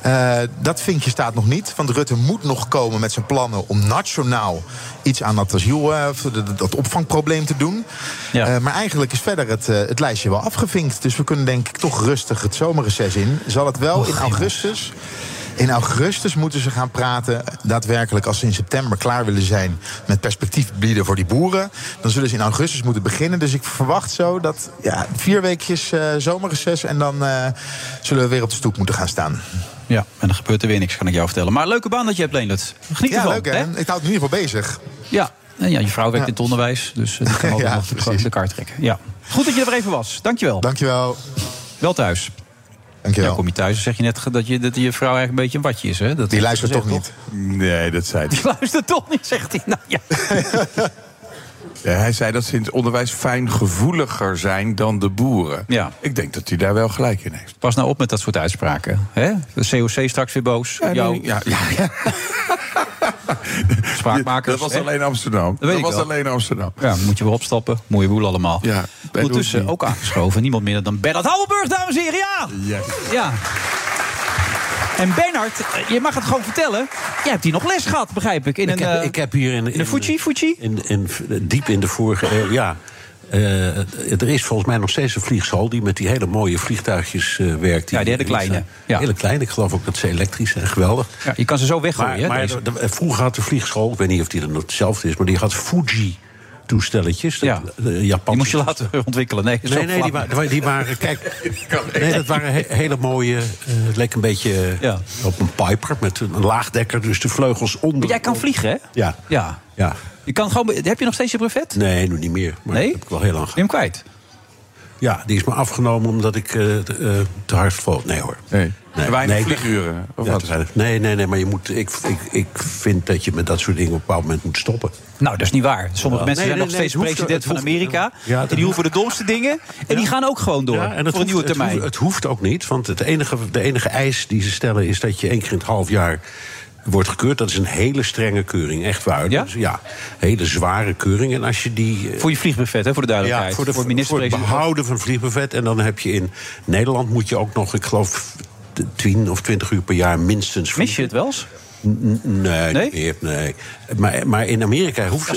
S16: Eh, dat vinkje staat nog niet. Want Rutte moet nog komen met zijn plannen om nationaal iets aan dat asiel, eh, of dat- dat opvangprobleem te doen. Eh, maar eigenlijk is verder het, eh, het lijstje wel afgevinkt. Dus we kunnen denk ik toch rustig het zomerreces in. Zal het wel in augustus. In augustus moeten ze gaan praten. Daadwerkelijk, als ze in september klaar willen zijn met perspectief bieden voor die boeren. Dan zullen ze in augustus moeten beginnen. Dus ik verwacht zo dat ja, vier weekjes eh, zomerreces. En dan eh, zullen we weer op de stoep moeten gaan staan.
S7: Ja, en dan gebeurt er weer niks, kan ik jou vertellen. Maar leuke baan dat je hebt, Leendert. Geniet
S16: ja,
S7: ervan.
S16: leuk hè?
S7: hè?
S16: Ik houd me in ieder geval bezig.
S7: Ja. En ja, je vrouw werkt
S16: Ja.
S7: in het onderwijs, dus eh,
S16: [laughs]
S7: die kan ook
S16: Ja,
S7: nog de-
S16: precies.
S7: de kaart trekken. Ja. Goed dat je er weer even was. Dankjewel.
S16: Dankjewel.
S7: Wel thuis.
S16: Dankjewel.
S7: kom je thuis en zeg je net ge- dat je, dat je vrouw eigenlijk een beetje een watje is. Hè? Dat
S8: Die
S7: [laughs]
S8: luistert
S7: gezegd,
S8: toch Nee, dat zei hij.
S7: Die luistert toch niet, zegt hij. Nou ja.
S16: [laughs]
S8: Ja, hij zei dat ze in het onderwijs fijngevoeliger zijn dan de boeren.
S7: Ja.
S8: Ik denk dat hij daar wel gelijk in heeft.
S7: Pas nou op met dat soort uitspraken. Hè? De COC straks weer boos.
S8: Ja,
S7: Jou.
S8: nee, ja, ja, ja.
S7: [laughs] Spraakmakers.
S8: Dat was
S7: hè?
S8: alleen Amsterdam.
S7: Dat, weet ik
S8: was
S7: wel.
S8: alleen Amsterdam.
S7: Ja, moet je weer opstappen. Mooie boel allemaal.
S8: Ja,
S7: Ondertussen ook aangeschoven. Niemand minder dan Bernard Houwenburg, dames en heren. Ja! ja. En Bernard, eh, je mag het gewoon vertellen. Jij hebt hier nog les gehad, begrijp ik. In
S17: ik,
S7: een,
S17: heb,
S7: eh,
S17: ik heb hier in, in de Fuji, In, in, diep in de vorige eeuw, ja. Eh, er is volgens mij nog steeds een vliegschool die met die hele mooie vliegtuigjes eh, werkt.
S7: Ja, die hele
S17: erin
S7: kleine.
S17: staan. Hele kleine, ik geloof ook dat ze elektrisch zijn. Geweldig.
S7: je kan ze zo weggooien, hè,
S17: Maar, maar
S7: deze.
S17: de- de- vroeger had de vliegschool, ik weet niet of die er nog hetzelfde is, maar die had Fuji toestelletjes. Ja. die moest je laten
S7: [laughs] ontwikkelen. Nee,
S17: nee,
S7: zo
S17: nee die,
S7: flauw.
S17: wa- die
S7: [laughs]
S17: waren, kijk, nee, dat waren he- hele mooie. eh, het leek een beetje eh, op een Piper met een laagdekker, dus de vleugels onder.
S7: Maar jij kan vliegen, hè?
S17: Ja.
S7: Ja.
S17: ja.
S7: Je kan gewoon, be- heb je nog steeds je brevet?
S17: Nee, nu niet meer. Maar
S7: Nee?
S17: Dat heb ik wel heel lang
S7: hem kwijt?
S17: Ja, die is me afgenomen omdat ik eh, t- eh, te hard vloog. Nee hoor.
S8: Nee.
S17: Nee,
S8: Weinig
S17: nee,
S8: vlieguren. Of
S17: Ja,
S8: wat?
S17: te weinig. Nee, nee, nee, maar je moet, ik, ik, ik vind dat je met dat soort dingen op een bepaald moment moet stoppen.
S7: Nou, dat is niet waar. Sommige mensen
S17: Ja. Oh, Nee,
S7: zijn
S17: nee,
S7: nog
S17: nee,
S7: steeds
S17: het hoeft-
S7: president
S17: het
S7: van
S17: hoeft-
S7: Amerika.
S17: Ja,
S7: en
S17: dat-
S7: die hoeven de domste dingen. En die gaan ook gewoon door.
S17: Ja, en
S7: voor
S17: het
S7: een
S17: hoeft-
S7: nieuwe
S17: het
S7: termijn.
S17: hoeft- Het hoeft ook niet, want het enige, de enige eis die ze stellen is dat je één keer in het half jaar wordt gekeurd. Dat is een hele strenge keuring, echt waar. Ja, ja hele zware keuring. En als je die. eh,
S7: Voor je vliegbuffet, hè, voor de duidelijkheid.
S17: ja, voor, de,
S7: Voor
S17: voor,
S7: de
S17: het
S7: minister-president.
S17: behouden van vliegbuffet. En dan heb je in Nederland moet je ook nog, ik geloof, 10 of 20 uur per jaar minstens. Mis
S7: je het wel eens?
S17: N- Nee, nee? Meer, nee. Maar, maar in Amerika hoeft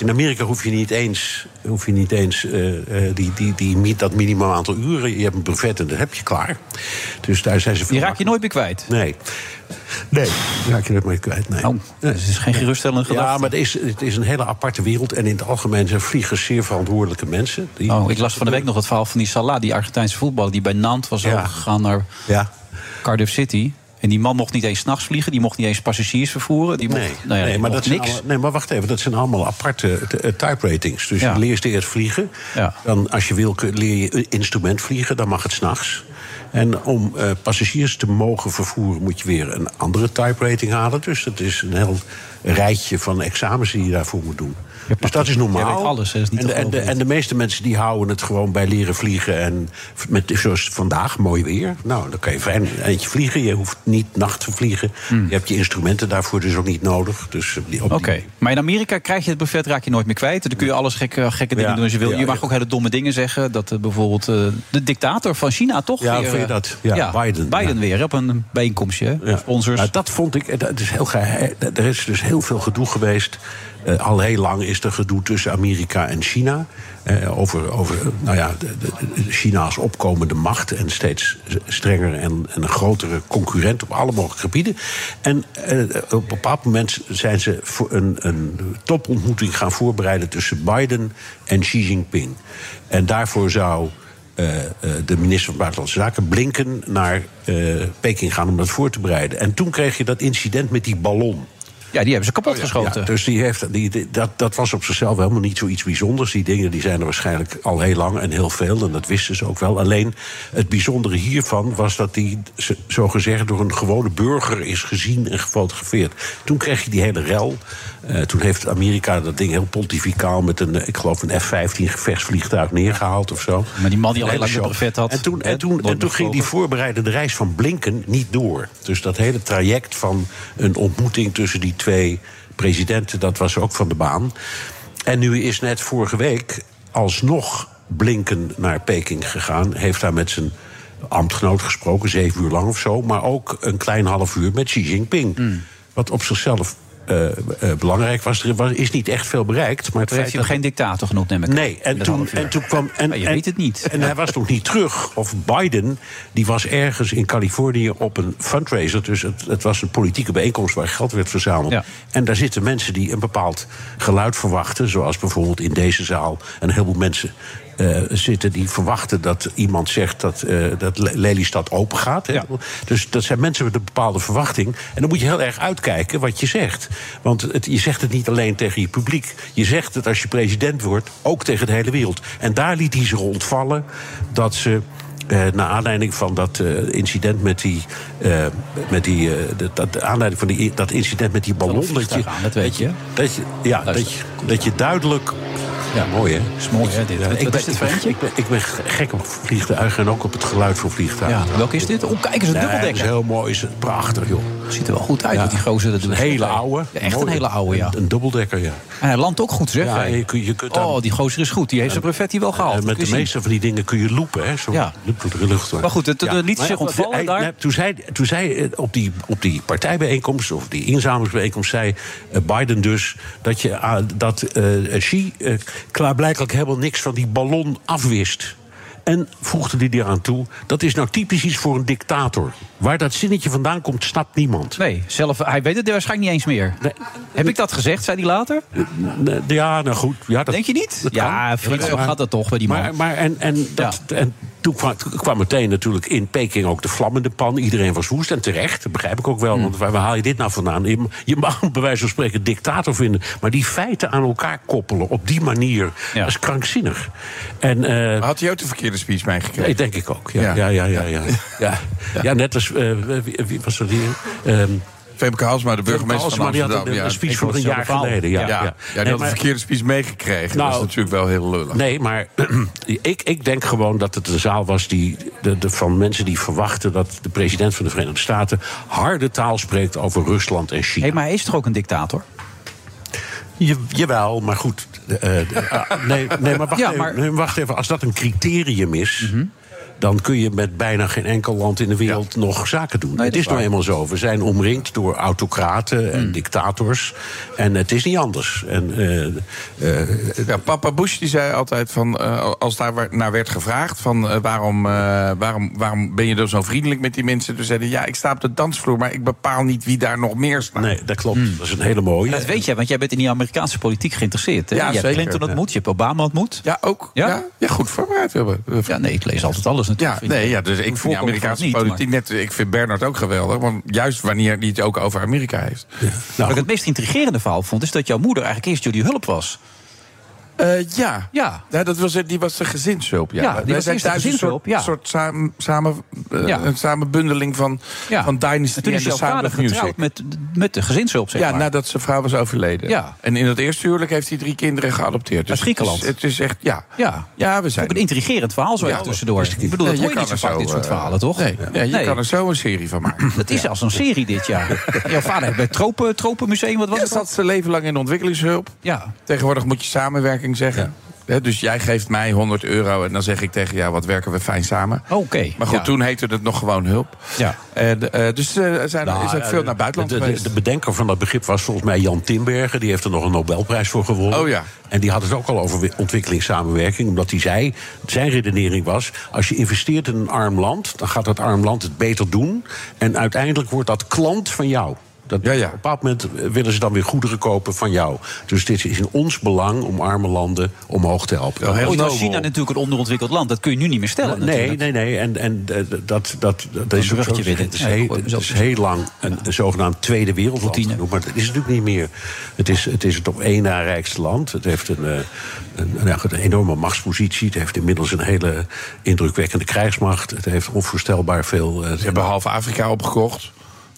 S17: In Amerika hoef je niet eens, hoef je niet eens eh, eh, die, die, die, mi- dat minimum aantal uren. Je hebt een brevet en dat heb je klaar. Dus daar zijn ze. Die raak je
S7: nooit meer kwijt.
S17: Nee. Nee, die raak je nooit meer kwijt. Nee.
S7: het is dus geen geruststellende gedachte.
S17: Ja, maar het is, het is een hele aparte wereld. En in het algemeen zijn vliegers zeer verantwoordelijke mensen. Die-
S7: Oh, ik las van de week nog het verhaal van die Salah, die Argentijnse voetballer... die bij Nantes was overgegaan naar Cardiff City. En die man mocht niet eens 's nachts vliegen, die mocht niet eens passagiers vervoeren. Die mocht,
S17: Nee,
S7: nou ja,
S17: nee,
S7: die
S17: maar dat
S7: mocht
S17: zijn
S7: niks.
S17: alle- nee, maar wacht even. Dat zijn allemaal aparte eh, type ratings. Dus je leert eerst vliegen. Dan, als je wil, kun- leer je een instrument vliegen. Dan mag het s'nachts. En om eh, passagiers te mogen vervoeren... moet je weer een andere type rating halen. Dus dat is een heel rijtje van examens die je daarvoor moet doen. dus dat is normaal.
S7: jij weet alles, hè, is niet
S17: en, de,
S7: te
S17: en, de,
S7: geloven.
S17: en de meeste mensen die houden het gewoon bij leren vliegen. En v- met, zoals vandaag, mooi weer. Nou, dan kan je fijn eentje vliegen. Je hoeft niet nacht te vliegen. Je hebt je instrumenten daarvoor dus ook niet nodig. Dus op die-
S7: Hmm. Oké, maar in Amerika krijg je het buffet, raak je nooit meer kwijt. Dan kun je alles gekke, gekke dingen
S17: Ja,
S7: doen als je wil.
S17: ja,
S7: je mag
S17: ja.
S7: ook hele domme dingen zeggen. Dat eh, bijvoorbeeld eh, de dictator van China toch
S17: Ja,
S7: weer...
S17: vind je
S7: eh,
S17: dat? Ja, Biden.
S7: Biden weer op een bijeenkomstje. hè? Sponsors.
S17: Nou, dat vond ik, eh, dat is heel gehe- eh, er is dus heel veel gedoe geweest. Eh, al heel lang is er gedoe tussen Amerika en China. Eh, over over eh, nou ja, de- de- de- China als opkomende macht en steeds strenger en, en een grotere concurrent op alle mogelijke gebieden. En eh, op een bepaald moment zijn ze voor een, een topontmoeting gaan voorbereiden tussen Biden en Xi Jinping. En daarvoor zou eh, eh, de minister van Buitenlandse Zaken, Blinken, naar eh, Peking gaan om dat voor te bereiden. En toen kreeg je dat incident met die ballon.
S7: Ja, die hebben ze kapot geschoten.
S17: Ja, dus die heeft, die, die- dat, dat was op zichzelf helemaal niet zoiets bijzonders. Die dingen die zijn er waarschijnlijk al heel lang en heel veel. En dat wisten ze ook wel. Alleen het bijzondere hiervan was dat die z- zogezegd door een gewone burger is gezien en gefotografeerd. Toen kreeg je die hele rel. Eh, toen heeft Amerika dat ding heel pontificaal met een, eh, ik geloof, een F-15 gevechtsvliegtuig neergehaald of zo.
S7: Maar die man die al
S17: Een
S7: heel lang
S17: hele
S7: een
S17: show.
S7: brevet had,
S17: En toen,
S7: hè,
S17: en toen, en
S7: nooit
S17: toen ging die voorbereidende reis van Blinken niet door. Dus dat hele traject van een ontmoeting tussen die twee presidenten, dat was ook van de baan. En nu is net vorige week alsnog Blinken naar Peking gegaan. Heeft daar met zijn ambtgenoot gesproken, zeven uur lang of zo. Maar ook een klein half uur met Xi Jinping.
S7: Hmm.
S17: Wat op zichzelf eh, eh, belangrijk was, er was- is niet echt veel bereikt. Maar het
S7: Toen heeft hij
S17: feit
S7: hem
S17: dat-
S7: geen dictator genoemd, neem ik aan,
S17: Nee,
S7: in
S17: en
S7: dat
S17: toen,
S7: half uur.
S17: en toen kwam. En,
S7: Maar je weet het niet.
S17: En hij was nog niet terug. Of Biden, die was ergens in Californië op een fundraiser. Dus het, het was een politieke bijeenkomst waar geld werd verzameld. En daar zitten mensen die een bepaald geluid verwachten. Zoals bijvoorbeeld in deze zaal een heleboel mensen eh, zitten die verwachten dat iemand zegt dat, eh, dat Le- Lelystad open gaat. Hè? Dus dat zijn mensen met een bepaalde verwachting. En dan moet je heel erg uitkijken wat je zegt. Want het, je zegt het niet alleen tegen je publiek. Je zegt het als je president wordt ook tegen de hele wereld. En daar liet hij zich ontvallen dat ze. eh naar aanleiding van dat eh, incident met die. eh, met die eh, dat, dat, aanleiding van die, dat incident met die ballon. Dat, je,
S7: vliegtuig aan, dat weet je.
S17: Dat je, ja, dat je, dat je duidelijk. Ja, mooi hè?
S7: is mooi, hè, dit. Wat- wat is dit voor eentje?
S17: ik ben, ik ben gek op vliegtuigen en ook op het geluid van vliegtuigen.
S7: Ja, welke is dit? Oh, kijk eens, een
S17: Nee,
S7: dubbeldekker.
S17: dat is heel mooi, is het prachtig joh.
S7: Ziet er wel goed uit, wat die gozer dat
S17: Een
S7: doet.
S17: hele oude.
S7: Ja, echt een
S17: Mooi.
S7: hele oude, ja.
S17: Een, een dubbeldekker, ja.
S7: En hij landt ook goed, zeg.
S17: Ja,
S7: hij.
S17: je kun- je kunt dan-
S7: oh, die gozer is goed. Die heeft zijn brevet hier wel gehaald.
S17: En met
S7: Kun
S17: de
S7: je zien.
S17: meeste van die dingen kun je lopen, hè? Zo
S7: Ja.
S17: loep door de lucht.
S7: Maar goed, het- het liet
S17: Maar
S7: zich
S17: ja,
S7: ontvallen
S17: hij-
S7: daar.
S17: nee, toen zij, toen zij eh, op, die, op die partijbijeenkomst, of die inzamelingsbijeenkomst, zei eh, Biden dus dat, je, ah, dat eh, Xi eh, klaarblijkelijk helemaal niks van die ballon afwist. En voegde die eraan toe, dat is nou typisch iets voor een dictator. Waar dat zinnetje vandaan komt, snapt niemand.
S7: Nee, zelf, hij weet het waarschijnlijk niet eens meer. Heb ik dat gezegd, zei hij later?
S17: Eh, Ja, nou goed. Ja, dat,
S7: Denk je niet?
S17: dat
S7: ja,
S17: kan.
S7: vriend,
S17: Ja,
S7: zo
S17: maar-
S7: gaat dat toch bij die man.
S17: Maar, maar en, en, dat, en toen kwam, toen kwam meteen natuurlijk in Peking ook de vlammende pan. Iedereen was woest en terecht. Dat begrijp ik ook
S7: Hmm.
S17: wel. Want waar, waar haal je dit nou vandaan? Je, je mag hem bij wijze van spreken dictator vinden. Maar die feiten aan elkaar koppelen op die manier. Dat is krankzinnig. En,
S8: had hij ook de verkeerde speech meegekregen?
S17: Nee, denk ik ook. Ja, ja. Ja, ja, ja, ja. ja. net als. eh, wie, wie was dat hier? Ehm,
S8: Femke Halsma, de burgemeester
S17: Halsema,
S8: van
S17: die had
S8: Amsterdam.
S17: een- een speech van
S8: Ik hoor
S17: een jaar
S8: hetzelfde
S17: geleden,
S8: verhaal.
S17: ja,
S8: ja.
S17: ja.
S8: ja, die
S17: Nee,
S8: had
S17: maar-
S8: de verkeerde speech meegekregen.
S17: Nou,
S8: dat is natuurlijk wel heel lullig.
S17: Nee, maar [clears throat] ik, ik denk gewoon dat het een zaal was die, de, de- van mensen die verwachten dat de president van de Verenigde Staten harde taal spreekt over Rusland en China.
S7: maar hij is toch ook een dictator?
S17: Je, jawel, maar goed. eh, eh, ah, nee, nee, maar wacht
S7: Ja,
S17: even,
S7: maar- Mhm.
S17: nee, wacht even. Als dat een criterium is. dan kun je met bijna geen enkel land in de wereld nog zaken doen.
S7: dat
S17: het
S7: is
S17: is nou
S7: waar. Mhm.
S17: eenmaal zo. We zijn omringd door autocraten en dictators. En het is niet anders. En, eh,
S8: Eh, ja, papa Bush die zei altijd van eh, als daar wa- naar werd gevraagd van eh, waarom, eh, waarom, waarom ben je dan zo vriendelijk met die mensen? Toen zeiden ja, ik sta op de dansvloer, maar ik bepaal niet wie daar nog meer staat.
S17: Nee, dat klopt. Dat is een hele mooie.
S7: Hmm. Dat weet jij, want jij bent in die Amerikaanse politiek geïnteresseerd. Hè?
S8: Ja,
S7: je hebt
S8: zeker.
S7: eh, Clinton ontmoet,
S8: Ja.
S7: je hebt Obama ontmoet.
S8: Ja, ook.
S7: Ja,
S8: goed voorbereid hebben.
S7: Ja, nee, ik lees altijd alles natuurlijk.
S8: Ja, nee, ja, dus ik vind de Amerikaanse politiek net. Ik vind Bernard ook geweldig, want juist wanneer die het ook over Amerika heeft.
S7: Wat ik het meest intrigerende verhaal vond, is dat jouw moeder eigenlijk eerst jullie hulp was.
S8: Eh, ja.
S7: Ja.
S8: dat was, die was de gezinshulp. Ja,
S7: Ja, die
S8: Wij
S7: was
S8: zijn
S7: eerst de
S8: thuis een
S7: gezinshulp,
S8: soort,
S7: ja.
S8: soort samen, samen, eh,
S7: Ja.
S8: een samenbundeling van,
S7: Ja.
S8: van Dynasty
S7: En toen is
S8: de
S7: jouw
S8: Sound
S7: vader
S8: of Music.
S7: getrouwd met, met de gezinshulp, zeg
S8: ja,
S7: maar.
S8: nadat zijn vrouw was overleden.
S7: Ja.
S8: En in dat eerste huwelijk heeft hij drie kinderen geadopteerd. Dus
S7: Uit Griekenland.
S8: Het is, het is echt, ja.
S7: Ja,
S8: ja we zijn...
S7: Ook een intrigerend verhaal zo
S8: Ja,
S7: even tussendoor.
S8: dat is-
S7: Ik bedoel, dat
S8: Ja,
S7: hoor
S8: je
S7: je niet zo
S8: kan
S7: vaak,
S8: er
S7: dit
S8: zo,
S7: soort
S8: eh,
S7: verhalen, toch?
S8: nee. Ja, je kan er zo een serie van maken.
S7: Dat is als een serie dit
S8: [laughs]
S7: jaar. Jouw vader heeft bij het tropen, Tropenmuseum, wat was
S8: Ja,
S7: het?
S8: zat zijn leven lang in ontwikkelingshulp.
S7: Ja.
S8: Tegenwoordig moet je samenwerking zeggen. Hè, dus jij geeft mij 100 euro en dan zeg ik tegen jou, wat werken we fijn samen.
S7: Oké.
S8: Maar goed,
S7: ja.
S8: toen heette het nog gewoon hulp.
S7: Ja.
S8: En, eh, dus eh, er zijn,
S17: Nou,
S8: is ook
S17: eh,
S8: veel naar buitenland
S17: de, de-
S8: geweest.
S17: De, bedenker van dat begrip was volgens mij Jan Timbergen. Die heeft er nog een Nobelprijs voor gewonnen.
S8: Oh ja.
S17: En die had het ook al over wi- ontwikkelingssamenwerking. Omdat hij zei, zijn redenering was... als je investeert in een arm land, dan gaat dat arm land het beter doen. En uiteindelijk wordt dat klant van jou. Dat, Op een bepaald moment eh, willen ze dan weer goederen kopen van jou. Dus dit is in ons belang om arme landen omhoog te helpen.
S7: Ooit
S17: Heel
S7: was
S17: nobel.
S7: China natuurlijk een onderontwikkeld land. Dat kun je nu niet meer stellen.
S17: Nee,
S7: natuurlijk.
S17: nee, nee. En, en eh, dat, dat, dat, dat is ook
S7: bruggetje
S17: zo-
S7: weer.
S17: Het is,
S7: Ja,
S17: heel,
S7: ik gooi
S17: het is heel lang een, een zogenaamd tweede wereldland genoemd. Maar dat is het natuurlijk niet meer. Het is het, is het op één na rijkste land. Het heeft een, eh, een, nou ja, goed, een enorme machtspositie. Het heeft inmiddels een hele indrukwekkende krijgsmacht. Het heeft onvoorstelbaar veel... Ze
S8: hebben half Afrika opgekocht.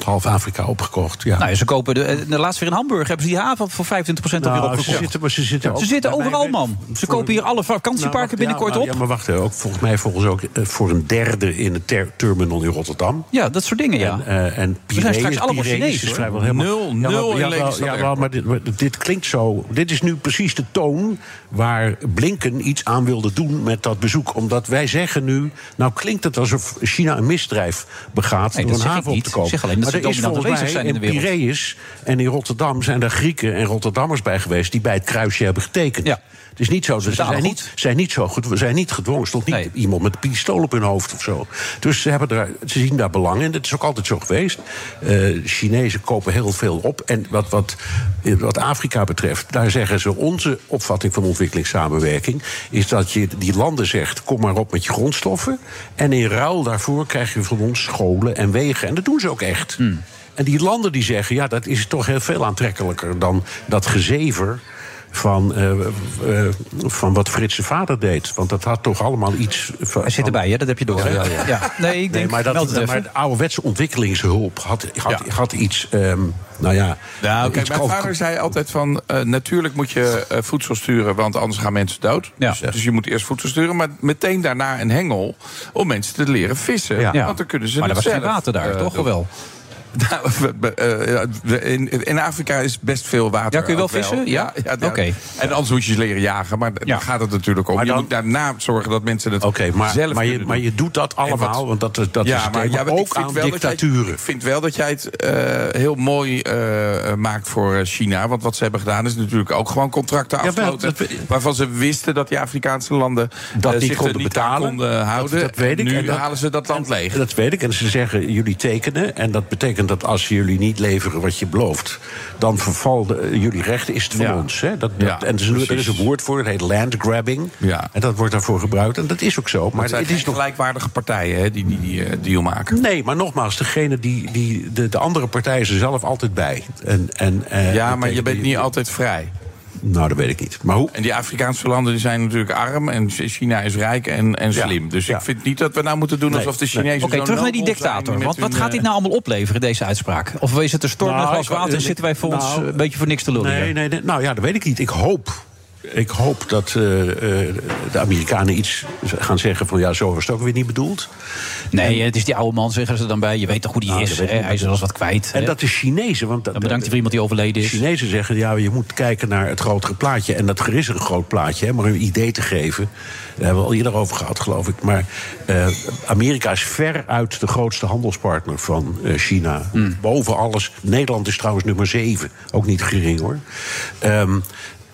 S17: Half Afrika opgekocht, ja.
S7: Nou, ja, ze kopen de, eh, de laatste weer in Hamburg. Hebben ze die haven voor 25%
S17: Nou,
S7: alweer opgekocht?
S17: ze zitten- maar ze zitten ook- bij mij
S7: overal,
S17: met-
S7: man. Ze kopen hier alle vakantieparken
S17: Nou, wacht,
S7: binnenkort
S17: ja, nou,
S7: op.
S17: Ja, maar wacht, hè, ook, volgens mij volgens ook eh, voor een derde in het ter- terminal in Rotterdam.
S7: Ja, dat soort dingen, ja.
S17: En, eh, en
S7: We zijn
S17: Piraeus-
S7: straks allemaal
S17: Piraeus
S7: Chinees,
S17: is
S7: hoor.
S17: vrijwel helemaal...
S7: Nul,
S17: maar-
S7: nul in
S17: ja, wel-
S7: Lelystad
S17: ja,
S7: Airport.
S17: wel, maar dit, maar dit klinkt zo... Dit is nu precies de toon waar Blinken iets aan wilde doen met dat bezoek. Omdat wij zeggen nu... Nou klinkt het alsof China een misdrijf begaat
S7: Nee, dat
S17: door een
S7: zeg ik
S17: haven op
S7: niet.
S17: te
S7: Ik
S17: kopen.
S7: zeg alleen dat
S17: maar
S7: ze
S17: er is
S7: dominant
S17: volgens mij
S7: aanwezig zijn in de wereld.
S17: Piraeus en in Rotterdam zijn daar Grieken en Rotterdammers bij geweest... die bij het kruisje hebben getekend. Het is niet zo. Ze,
S7: betalen
S17: zijn,
S7: goed.
S17: niet, zijn niet zo goed. We zijn niet gedwongen. Stond niet iemand met een pistool op hun hoofd of zo. Dus ze, hebben daar, ze zien daar belang in. Dat is ook altijd zo geweest. Eh, Chinezen kopen heel veel op. En wat, wat, eh, wat Afrika betreft, daar zeggen ze... onze opvatting van ontwikkelingssamenwerking... is dat je die landen zegt, kom maar op met je grondstoffen... en in ruil daarvoor krijg je van ons scholen en wegen. En dat doen ze ook echt.
S7: Hmm.
S17: En die landen die zeggen, ja, dat is toch heel veel aantrekkelijker... dan dat gezever van, eh, eh, van wat Frits' vader deed. Want dat had toch allemaal iets... Van, Hij
S7: zit erbij, hè? dat heb je door.
S17: Ja,
S7: hè?
S17: ja, ja.
S7: Ja. Nee, ik denk,
S17: maar,
S7: meld
S17: dat,
S7: het even.
S17: maar de ouderwetse ontwikkelingshulp had, had, had iets... ehm, nou ja...
S8: Nou,
S17: iets
S8: kijk, mijn
S17: kalk-
S8: vader zei altijd van... eh, natuurlijk moet je eh, voedsel sturen, want anders gaan mensen dood. Dus, dus je moet eerst voedsel sturen, maar meteen daarna een hengel... om mensen te leren vissen.
S7: Ja.
S8: Want dan kunnen ze
S7: Maar
S8: het
S7: er was geen
S8: zelf,
S7: water daar,
S8: eh,
S7: toch?
S8: doen.
S7: Wel.
S8: [laughs] Nou, we- we- eh, we- in, in Afrika is best veel water.
S7: Ja, kun je wel
S8: ook
S7: vissen? Ja?
S8: ja.
S7: Oké.
S8: En anders moet je ze leren jagen, maar daar gaat het natuurlijk om.
S17: Maar
S8: je
S17: dan-
S8: moet daarna zorgen dat mensen het
S17: maar-
S8: zelf
S17: maar je-
S8: kunnen
S17: maar
S8: doen.
S17: je doet dat
S8: En wat-
S17: allemaal, want dat is- dat is het thema,
S8: maar ik
S17: ook
S8: vind wel
S17: aan
S8: dat jij-
S17: dictaturen.
S8: ik vind wel dat jij het eh, heel mooi eh, maakt voor eh, China. Want wat ze hebben gedaan is natuurlijk ook gewoon contracten
S17: Jawel,
S8: afgesloten.
S17: dat we-
S8: waarvan ze wisten dat die Afrikaanse landen
S17: Dat
S8: eh,
S17: niet
S8: zich er
S17: konden
S8: aan
S17: betalen.
S8: konden eh, houden.
S17: Dat weet ik.
S8: Nu
S17: En dat-
S8: halen ze dat land leeg.
S17: Dat weet ik. En ze zeggen, jullie tekenen. En dat betekent dat als jullie niet leveren wat je belooft... dan vervallen eh, jullie rechten, is het van ons. Hè? Dat, dat,
S8: Ja,
S17: en er is, een- er is
S8: precies.
S17: een woord voor, het heet landgrabbing.
S8: Ja.
S17: En dat wordt daarvoor gebruikt. En dat is ook zo.
S8: Maar
S17: Maar
S8: het zijn
S17: het is
S8: geen gelijkwaardige partijen hè, die die, die eh, deal maken.
S17: Nee, maar nogmaals, degene die, die, de, de andere partij is er zelf altijd bij. En, en, eh,
S8: ja, maar je
S17: betekent-
S8: bent niet altijd vrij.
S17: Nou, dat weet ik niet. Maar hoe?
S8: En die Afrikaanse landen die zijn natuurlijk arm en Ch- China is rijk en, en slim. dus ik vind niet dat we nou moeten doen
S7: Nee,
S8: alsof de
S7: nee.
S8: Chinezen.
S7: Oké,
S8: zo
S7: terug naar die
S8: nobel zijn
S7: dictator.
S8: met
S7: Want wat
S8: hun, eh,
S7: gaat dit nou allemaal opleveren, deze uitspraak? Of is het een storm en
S17: Nou,
S7: glas
S17: ik-
S7: water en
S17: ik-
S7: zitten wij voor ons
S17: nou,
S7: een beetje voor niks te lullen?
S17: Nee,
S7: hier?
S17: nee, nee. Nou ja, dat weet ik niet. Ik hoop. ik hoop dat eh, eh, de Amerikanen iets gaan zeggen van ja, zo was het ook weer niet bedoeld.
S7: Nee, het is die oude man, zeggen ze dan bij. Je weet toch hoe die
S17: Nou,
S7: is.
S17: dat weet
S7: hè?
S17: ik
S7: Hij is wel eens wat kwijt.
S17: En
S7: hè? Nou,
S17: dat de Chinezen. Want dan bedankt je voor
S7: iemand die overleden is.
S17: Chinezen zeggen, ja, je moet kijken naar het grotere plaatje. En dat er is een groot plaatje, hè, maar om een idee te geven. Daar hebben we al eerder over gehad, geloof ik. Maar eh, Amerika is veruit de grootste handelspartner van eh, China.
S7: Hmm.
S17: Boven alles. Nederland is trouwens nummer 7. Ook niet gering, hoor. Ehm, eh,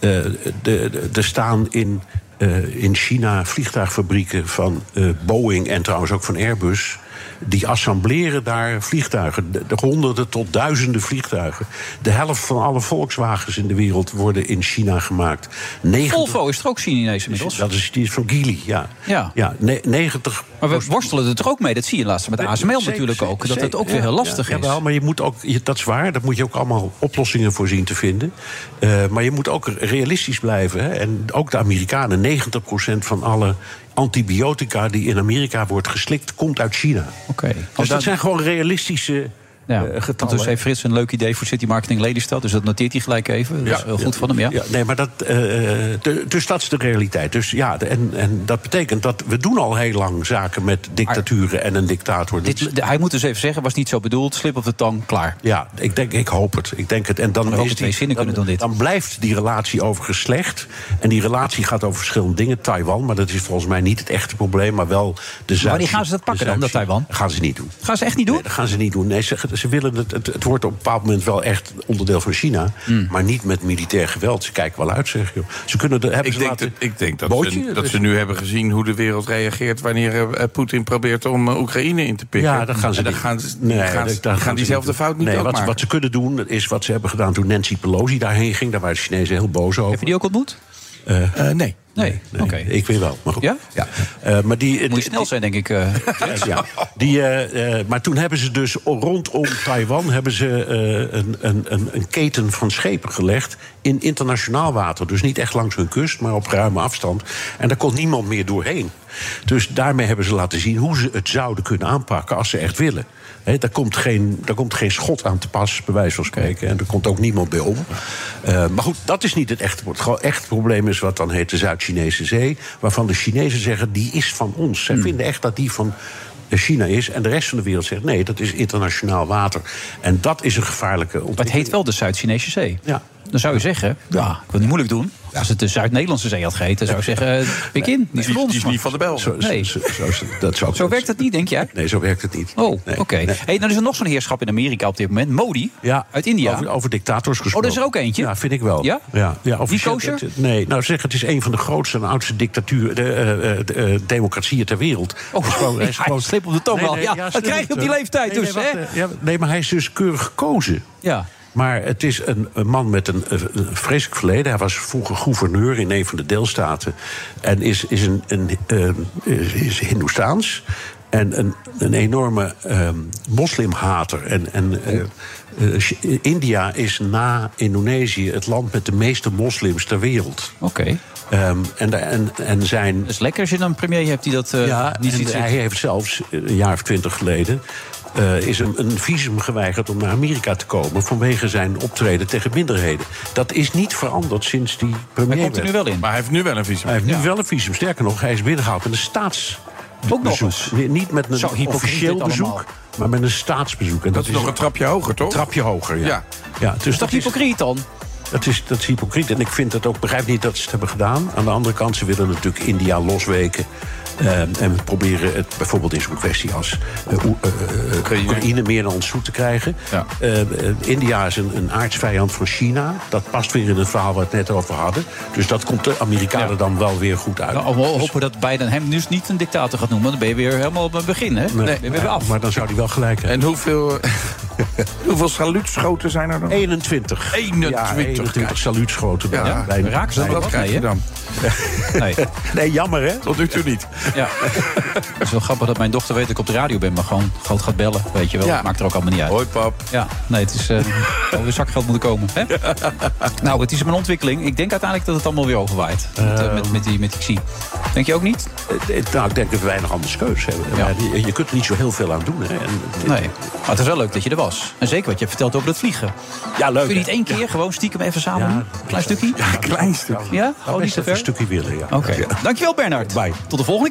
S17: de- de- Er staan in, eh, in China vliegtuigfabrieken van eh, Boeing en trouwens ook van Airbus. Die assembleren daar vliegtuigen. De, de honderden tot duizenden vliegtuigen. De helft van alle Volkswagens in de wereld worden in China gemaakt. 90
S7: Volvo is er ook Chinees inmiddels.
S17: Dat is, die is van Geely, ja.
S7: Ja.
S17: ja ne- 90
S7: Maar we worstelen er toch ook mee. Dat zie je laatst met de ASML
S17: Zeker,
S7: natuurlijk ook. Dat
S17: zeker,
S7: het ook
S17: ja,
S7: weer heel
S17: ja.
S7: lastig is.
S17: Jawel, maar je moet ook, je- dat is waar, daar moet je ook allemaal oplossingen voor zien te vinden. Eh, maar je moet ook realistisch blijven. Hè? En ook de Amerikanen, 90% van alle antibiotica die in Amerika wordt geslikt, komt uit China.
S7: Oké.
S17: Dus dat zijn gewoon realistische
S7: Ja,
S17: eh,
S7: want
S17: getallen.
S7: dus heeft Frits een leuk idee voor City Marketing Lelystad. Dus dat noteert hij gelijk even. Dat is heel goed van hem, ja.
S17: Dus- nee, maar dat, eh, de- dus dat is de realiteit. Dus ja, de- en, en dat betekent dat we doen al heel lang zaken met dictaturen en een dictator. Dit,
S7: De- hij moet dus even zeggen, was niet zo bedoeld. Slip op de tang, klaar.
S17: Ja, ik, denk, ik hoop het. Ik denk het. En dan,
S7: We hopen
S17: is
S7: twee
S17: die,
S7: zinnen
S17: dan, dan blijft die relatie overigens slecht. En die relatie gaat over verschillende dingen. Taiwan, maar dat is volgens mij niet het echte probleem, maar wel de Zuid.
S7: Wanneer gaan ze dat pakken dan, dat
S17: Taiwan? Dat gaan ze niet doen.
S7: Gaan ze echt niet doen?
S17: Nee, dat gaan ze niet doen. Nee, ze, ze willen het, het, het wordt op een bepaald moment wel echt onderdeel van China.
S7: Hmm.
S17: Maar niet met militair geweld. Ze kijken wel uit, zeg joh. Ze kunnen de, hebben
S8: Ik
S17: ze
S8: denk, dat,
S17: laten-
S8: ik denk dat,
S17: Bootje? dus.
S8: ze, dat ze nu hebben gezien hoe de wereld reageert wanneer eh, Poetin probeert om eh, Oekraïne in te pikken.
S17: Ja, dat gaan ze
S8: en dan
S17: niet.
S8: gaan, ze-
S17: Nee,
S8: gaan, ze-
S17: dat- dat
S8: gaan,
S17: gaan ze
S8: diezelfde
S17: niet doen.
S8: fout niet
S17: nee,
S8: ook
S17: wat,
S8: maken.
S17: wat ze kunnen doen, is wat ze hebben gedaan toen Nancy Pelosi daarheen ging. Daar waren de Chinezen heel boos over. Eh, Heb je
S7: die ook ontmoet?
S8: Eh,
S17: nee. Nee,
S7: oké.
S17: Ik weer wel, maar goed. Ja? Ja. Eh, maar die, Moet
S7: je snel zijn, denk ik. eh,
S17: [laughs] ja. die, eh, eh, maar toen hebben ze dus rondom Taiwan... hebben ze eh, een, een, een, een keten van schepen gelegd in internationaal water. Dus niet echt langs hun kust, maar op ruime afstand. En daar kon niemand meer doorheen. Dus daarmee hebben ze laten zien hoe ze het zouden kunnen aanpakken... als ze echt willen. Hè, daar, komt geen, daar komt geen schot aan te pas, bij wijze van spreken. En er komt ook niemand bij om. Eh, maar goed, dat is niet het echte probleem. Het gewoon echt probleem is wat dan heet de Zuid-Chinese Zee. Waarvan de Chinezen zeggen, die is van ons.
S7: Hmm.
S17: Zij vinden echt dat die van China is. En de rest van de wereld zegt, nee, dat is internationaal water. En dat is een gevaarlijke ontwikkeling.
S7: Het heet wel de Zuid-Chinese Zee.
S17: Ja.
S7: Dan zou je zeggen, ja, ik wil het niet moeilijk doen. Als het de Zuid-Nederlandse Zee had geheten, zou ik zeggen, eh, pik in. Die is van ons. man.
S17: de bel. Zo,
S7: Nee.
S17: zo, zo, zo- dat zou dus-
S7: Zo werkt dat niet, denk jij?
S17: Nee, zo werkt het niet.
S7: Oh, oké. Hey, nou is er nog zo'n heerschap in Amerika op dit moment. Modi, uit India.
S17: Over, over dictators gesproken.
S7: Oh, er is er ook eentje?
S17: Ja, vind ik wel.
S7: Ja?
S17: Ja, ja
S7: Die
S17: officieel-
S7: koos er?
S17: het- Nee, nou zeg, het is een van de grootste en oudste dictatuur, de, eh, eh, de, eh, democratieën ter wereld.
S7: Oh,
S17: Hij is
S7: [laughs]
S17: gewoon- hij is
S7: ja,
S17: gewoon-
S7: slip op de tong wel. Ja, dat
S17: slip
S7: krijg je op die
S17: tong.
S7: leeftijd
S17: nee,
S7: dus,
S17: nee,
S7: hè?
S17: wacht, eh, ja, nee, maar hij is dus keurig gekozen.
S7: Ja.
S17: Maar het is een, een man met een, eh, een vreselijk verleden. Hij was vroeger gouverneur in een van de deelstaten. En is, is, een, een, eh, is, is Hindoestaans. En een, een enorme eh, moslimhater. En, en eh, eh, Ch- India is na Indonesië het land met de meeste moslims ter wereld.
S7: Oké.
S17: Ehm, en, en, en zijn.
S7: is lekker als je dan een premier hebt die dat eh,
S17: ja,
S7: niet
S17: en
S7: ziet
S17: Hij
S7: zitten.
S17: heeft zelfs eh, een jaar of twintig geleden. eh, is hem een visum geweigerd om naar Amerika te komen. vanwege zijn optreden tegen minderheden. Dat is niet veranderd sinds die premier.
S8: komt er
S17: werd.
S8: nu wel in. Maar [laughs] hij heeft nu wel een visum.
S17: Hij heeft nu
S8: Ja.
S17: wel een visum. Sterker nog, hij is binnengehaald met een staats.
S8: nog
S17: bezoek.
S8: eens.
S17: Nee, Niet met een
S8: Zo hypocriet
S17: officieel
S8: dit
S17: bezoek,
S8: allemaal.
S17: maar met een staatsbezoek. En
S8: Dat is nog een trapje hoger, toch?
S17: Trapje hoger, ja.
S8: Ja.
S17: dus
S7: toch hypocriet dan?
S17: Dat is, dat is hypocriet. En ik vind het ook, begrijp niet dat ze het hebben gedaan. Aan de andere kant, ze willen natuurlijk India losweken. Ehm, en proberen het bijvoorbeeld in zo'n kwestie als eh, Oe- eh, eh, Oekraïne meer naar ons toe te krijgen. Ehm, eh, India is een, een aardsvijand van China. Dat past weer in het verhaal waar we het net over hadden. Dus dat komt de Amerikanen dan wel weer goed uit.
S7: Nou, we hopen dat Biden hem dus niet een dictator gaat noemen. Dan ben je weer helemaal op het begin, hè?
S17: Nee,
S7: Dan ben je weer af.
S17: Maar dan zou die wel gelijk hebben.
S8: En hoeveel, hoeveel saluutschoten zijn er dan?
S17: 21.
S8: 21.
S7: Ah,
S17: Ja, 21 saluutschoten. bij-
S8: Ja,
S17: bij-
S8: raken ze er
S17: bij-
S8: wat mee, hè?
S7: [laughs] Nee.
S17: nee, jammer, hè?
S8: Tot nu toe niet.
S7: Ja. Het is wel grappig dat mijn dochter weet dat ik op de radio ben, maar gewoon groot gaat bellen. Weet je wel,
S8: Ja.
S7: dat maakt er ook allemaal niet uit.
S8: Hoi, pap.
S7: Ja, nee, het is. eh oh, weer zakgeld moeten komen. Hè? Nou, het is een ontwikkeling. Ik denk uiteindelijk dat het allemaal weer overwaait. Met, eh, met, met die, met die Xi. Denk je ook niet? Eh,
S17: Nou, ik denk dat we weinig anders keus hebben. Maar je, je kunt er niet zo heel veel aan doen. Hè. En,
S7: Nee. Maar het is wel leuk dat je er was. En zeker wat je hebt verteld over dat vliegen.
S18: Ja, leuk.
S7: Kun je niet één keer gewoon stiekem even samen doen? Klein stukje? Ja,
S18: klein stukje.
S7: Ja?
S18: Nou,
S7: Oh, niet
S18: best
S7: te
S18: even een
S7: ver?
S18: stukje willen, ja.
S7: Oké. Dankjewel, Bernard. Bye. Tot de volgende keer.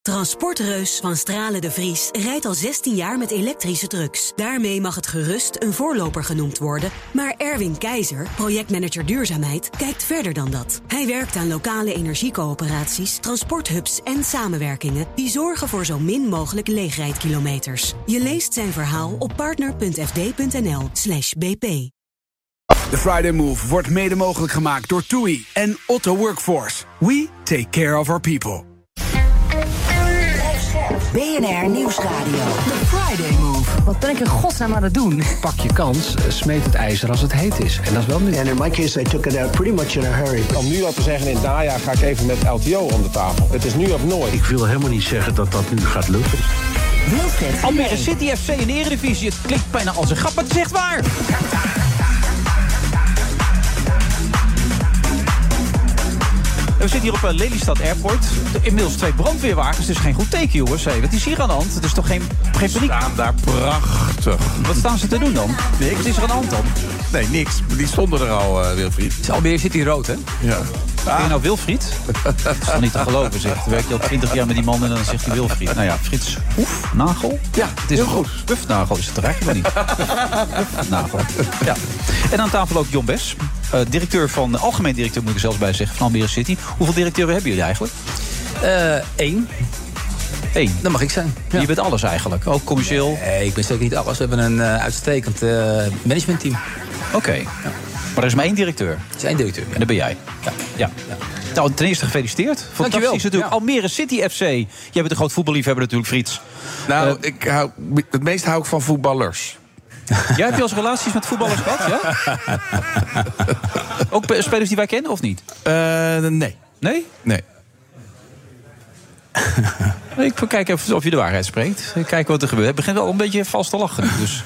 S13: Transportreus van Stralen de Vries rijdt al 16 jaar met elektrische trucks. Daarmee mag het gerust een voorloper genoemd worden. Maar Erwin Keizer, projectmanager duurzaamheid, kijkt verder dan dat. Hij werkt aan lokale energiecoöperaties, transporthubs en samenwerkingen die zorgen voor zo min mogelijk leegrijdkilometers. Je leest zijn verhaal op partner.fd.nl/slash bp.
S2: De Friday Move wordt mede mogelijk gemaakt door TUI en Otto Workforce. We take care of our people.
S3: BNR Nieuwsradio. The Friday Move.
S14: Wat ben ik in godsnaam aan het doen? Pak je kans, eh, smeet het ijzer als het heet is. En dat is wel nu.
S19: And in my case, I took it out pretty much in a hurry.
S17: Om nu al te zeggen, in het najaar ga ik even met LTO om de tafel. Het is nu of nooit.
S18: Ik wil helemaal niet zeggen dat dat nu gaat lukken.
S7: Almere City FC in de Eredivisie. Het klinkt bijna als een grap, maar het is echt waar. En We zitten hier op eh, Lelystad Airport. Inmiddels twee brandweerwagens, dus geen goed teken, jongens. Hé, wat is hier aan de hand? Het is toch geen, geen paniek?
S8: staan daar prachtig.
S7: Wat staan ze te doen dan? Niks. Wat is er aan de hand dan?
S8: Nee, niks. Die stonden er al, eh, Wilfried.
S7: Almere City rood, hè?
S8: Ja.
S7: Ben je nou Wilfried? Dat is toch niet te geloven, zeg. Dan werk je al twintig jaar met die man en dan zegt hij Wilfried. Nou ja, Frits Hoefnagel? Ja, het is heel goed. Hufnagel is het er eigenlijk maar [laughs] niet. Hufnagel. Ja. En aan tafel ook John Bes, eh, directeur van, algemeen directeur moet ik er zelfs bij zeggen, van Almere City. Hoeveel directeuren hebben jullie eigenlijk?
S20: Eén.
S7: Eén.
S20: Dat Eh, mag ik zijn.
S7: Je bent alles eigenlijk, ook commercieel.
S20: Nee, ik ben zeker niet alles. We hebben een eh, uitstekend eh, managementteam.
S7: Oké. Maar er is maar één directeur. Er
S20: is één directeur.
S7: En dat ben jij. Ja. ja. Nou, ten eerste gefeliciteerd. Fantastisch
S20: Dankjewel.
S7: natuurlijk. Almere City FC. Jij bent een groot voetballiefhebber natuurlijk, Frits. Eh,
S8: Nou, ik hou, het meest hou ik van voetballers.
S7: Jij hebt je als relaties met voetballers gehad, ja?
S8: [laughs]
S7: Ook pe- spelers die wij kennen, of niet?
S8: Eh, nee.
S7: Nee?
S8: Nee.
S7: Ik kijk even of je de waarheid spreekt. Kijken wat er gebeurt. Het begint wel een beetje vast te lachen. Dus.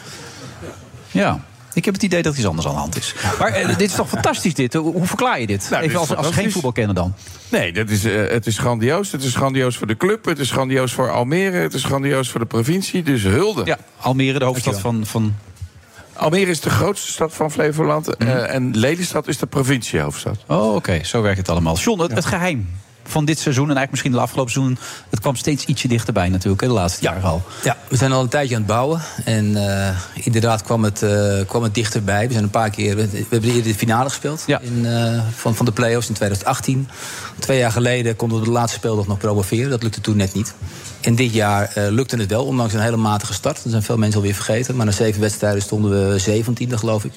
S7: Ja. Ik heb het idee dat er iets anders aan de hand is. Maar eh, dit is toch fantastisch, dit? Hoe hoe verklaar je dit?
S8: Nou,
S7: Even
S8: dit
S7: als, als
S8: is
S7: geen
S8: fantastisch.
S7: voetbal kennen dan.
S8: Nee, dat is, eh, het is grandioos. Het is grandioos voor de club. Het is grandioos voor Almere. Het is grandioos voor de provincie. Dus hulde.
S7: Ja, Almere, de hoofdstad van, van... Mhm.
S8: Almere is de grootste stad van Flevoland. eh, en Lelystad is de provinciehoofdstad.
S7: Oh, oké. Zo werkt het allemaal. John, het, het geheim van dit seizoen... en eigenlijk misschien de afgelopen seizoen... het kwam steeds ietsje dichterbij natuurlijk, hè, de laatste jaren al.
S20: Ja, we zijn al een tijdje aan het bouwen. En eh, inderdaad kwam het, eh, kwam het dichterbij. We zijn een paar keer. We, we hebben eerder de finale gespeeld in, eh, van, van de play-offs in 2018. Twee jaar geleden konden we de laatste speeldag nog promoveren. Dat lukte toen net niet. En dit jaar eh, lukte het wel, ondanks een hele matige start. Dat zijn veel mensen alweer vergeten. Maar na zeven wedstrijden stonden we zeventiende, geloof ik.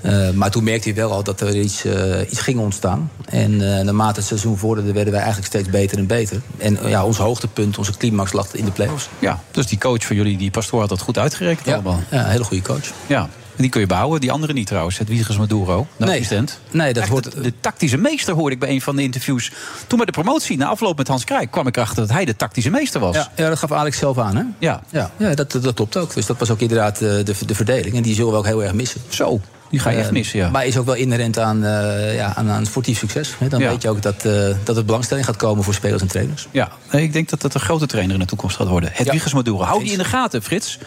S20: Eh, maar toen merkte je wel al dat er iets, eh, iets ging ontstaan. En eh, naarmate het seizoen vorderde, werden wij eigenlijk steeds beter en beter. En eh, ja, ons hoogtepunt, onze climax lag in de play-offs.
S7: Ja, dus die coach van jullie, die pastoor, had dat goed uitgerekend allemaal.
S20: Ja, een hele goede coach.
S7: Ja, en die kun je bouwen. Die andere niet trouwens, het Wiegers Maduro, de assistent.
S20: Nee, dat
S7: hoort... De, de tactische meester hoorde ik bij een van de interviews. Toen bij de promotie, na afloop met Hans Krijk... kwam ik erachter dat hij de tactische meester was.
S20: Ja, ja, dat gaf Alex zelf aan, hè?
S7: Ja.
S20: Ja, ja dat, dat klopt ook. Dus dat was ook inderdaad eh, de, de verdeling. En die zullen we ook heel erg missen. Eh,
S7: Zo, die ga je echt missen, ja.
S20: Maar is ook wel inherent aan, eh, ja, aan, aan sportief succes. hè. Dan
S7: Ja.
S20: weet je ook dat, eh, dat er belangstelling gaat komen voor spelers en trainers.
S7: Ja, nee, ik denk dat dat een grote trainer in de toekomst gaat worden. Het Wiegers Maduro. Hou die in de gaten, Frits.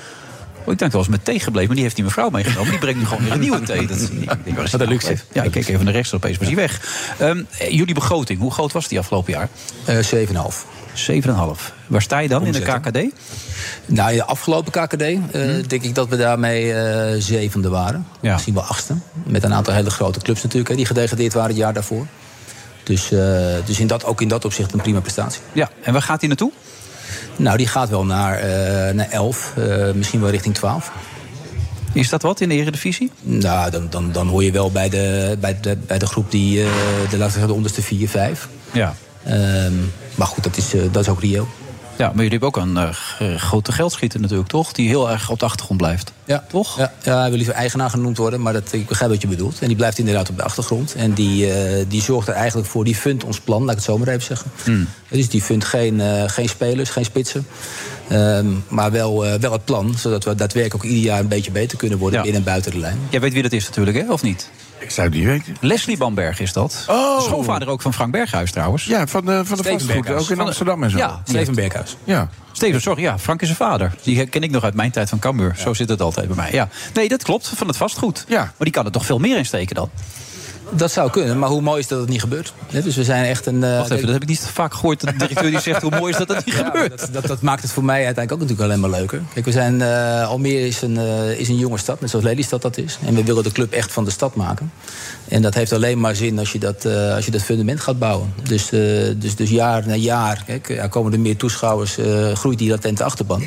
S7: Oh, ik denk wel eens met thee gebleven, maar die heeft die mevrouw meegenomen. Die brengt nu gewoon weer een nieuwe thee. Dat, ik denk, waar is
S20: Wat een
S7: die
S20: luxe.
S7: gebleven? Ja, ik keek even naar rechts opeens, was die weg. Ehm, eh, jullie begroting, hoe groot was die afgelopen jaar?
S20: Eh, 7,5.
S7: 7,5. Waar sta je dan in de KKD?
S20: Nou, in de afgelopen KKD eh, denk ik dat we daarmee eh, zevende waren.
S7: Mhm. Ja.
S20: Misschien wel achtste. Met een aantal hele grote clubs natuurlijk, hè, die gedegradeerd waren het jaar daarvoor. Dus, eh, dus in dat, ook in dat opzicht een prima prestatie.
S7: Ja, en waar gaat die naartoe?
S20: Nou, die gaat wel naar, eh naar 11, eh, misschien wel richting 12.
S7: Is dat wat in de Eredivisie?
S20: Nou, dan, dan, dan hoor je wel bij de, bij de, bij de groep die eh, de, laten we zeggen, de onderste 4, 5.
S7: Ja.
S20: Ehm, maar goed, dat is, eh, dat is ook reëel.
S7: Ja, maar jullie hebben ook een eh, g- grote geldschieter natuurlijk, toch? Die heel erg op de achtergrond blijft.
S20: Ja. Toch? Ja, ja, hij wil liever eigenaar genoemd worden, maar dat, ik begrijp wat je bedoelt. En die blijft inderdaad op de achtergrond. En die, eh, die zorgt er eigenlijk voor, die fundt ons plan, laat ik het zo maar even zeggen. Dus die vindt geen, eh, geen spelers, geen spitsen. Ehm, maar wel, eh, wel het plan, zodat we daadwerkelijk ook ieder jaar een beetje beter kunnen worden binnen en buiten de lijn.
S7: Jij weet wie dat is natuurlijk, hè? Of niet?
S8: Ik zou het niet weten.
S7: Leslie Bamberg is dat. Oh. Schoonvader ook van Frank Berghuis trouwens.
S8: Ja, eh, van de, van de
S7: Steven
S8: vastgoed.
S7: Berghuis.
S8: Ook in
S7: Van de-
S8: Amsterdam en zo.
S7: Ja, Steven Berghuis.
S8: Ja.
S7: Steven, sorry, ja, Frank is zijn vader. Die ken ik nog uit mijn tijd van Cambuur. Zo zit het altijd bij mij. Ja. Nee, dat klopt, van het vastgoed. Ja. Maar die kan er toch veel meer in steken dan?
S20: Dat zou kunnen, maar hoe mooi is dat het niet gebeurt? Hè, Dus we zijn echt een. eh,
S7: Wacht even, dat heb ik niet vaak gehoord. De directeur die zegt, hoe mooi is dat dat niet
S20: Ja,
S7: gebeurt?
S20: Dat, dat, dat maakt het voor mij uiteindelijk ook natuurlijk alleen maar leuker. Kijk, we zijn, eh, Almere is een, eh, is een jonge stad, net zoals Lelystad dat is. En we willen de club echt van de stad maken. En dat heeft alleen maar zin als je dat, eh, als je dat fundament gaat bouwen. Dus, eh, dus, dus jaar na jaar kijk, ja, komen er meer toeschouwers, eh, groeit die latente achterban.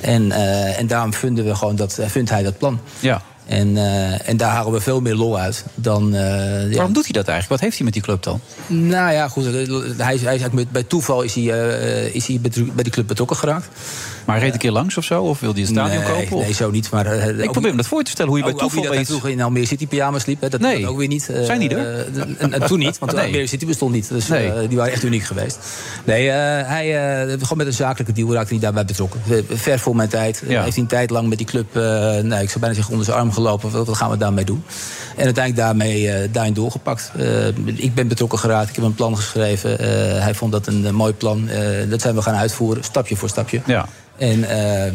S20: En, eh, en daarom vinden we gewoon dat, eh, vindt hij dat plan.
S7: Ja.
S20: En, eh, en daar halen we veel meer lol uit dan. eh, Waarom
S7: doet hij dat eigenlijk? Wat heeft hij met die club dan?
S20: Nou ja, goed. eh, Hij, is- hij is eigenlijk met, bij toeval is hij, eh, is hij betro- bij die club betrokken geraakt.
S7: Maar hij reed een keer langs of zo? Of wil hij een stadion
S20: nee,
S7: kopen? Of?
S20: Nee, zo niet. Maar, eh,
S7: ik
S20: ook
S7: probeer me dat voor te stellen, hoe je bij
S20: ook- ook
S7: toeval
S20: wie dat
S7: weet...
S20: hij vroeger in Almere City pyjama's liep. Hè, dat
S7: Nee.
S20: dat ook weer niet. eh,
S7: Zijn die er?
S20: eh, en, en toen niet, want
S7: [laughs] Nee.
S20: Almere City bestond niet. Dus
S7: Nee.
S20: eh, die waren echt uniek geweest. Nee, eh, hij, eh, gewoon met een zakelijke deal raakte hij daarbij betrokken. Eh, Ver voor mijn tijd. eh,
S7: Ja.
S20: heeft hij een tijd lang met die club, eh, nou, ik zou bijna zeggen, onder zijn arm gelopen. Wat, wat gaan we daarmee doen? En uiteindelijk daarmee, eh, daarin doorgepakt. Eh, ik ben betrokken geraakt, ik heb een plan geschreven. Eh, hij vond dat een eh, mooi plan. Eh, dat zijn we gaan uitvoeren, stapje voor stapje.
S7: Ja.
S20: En,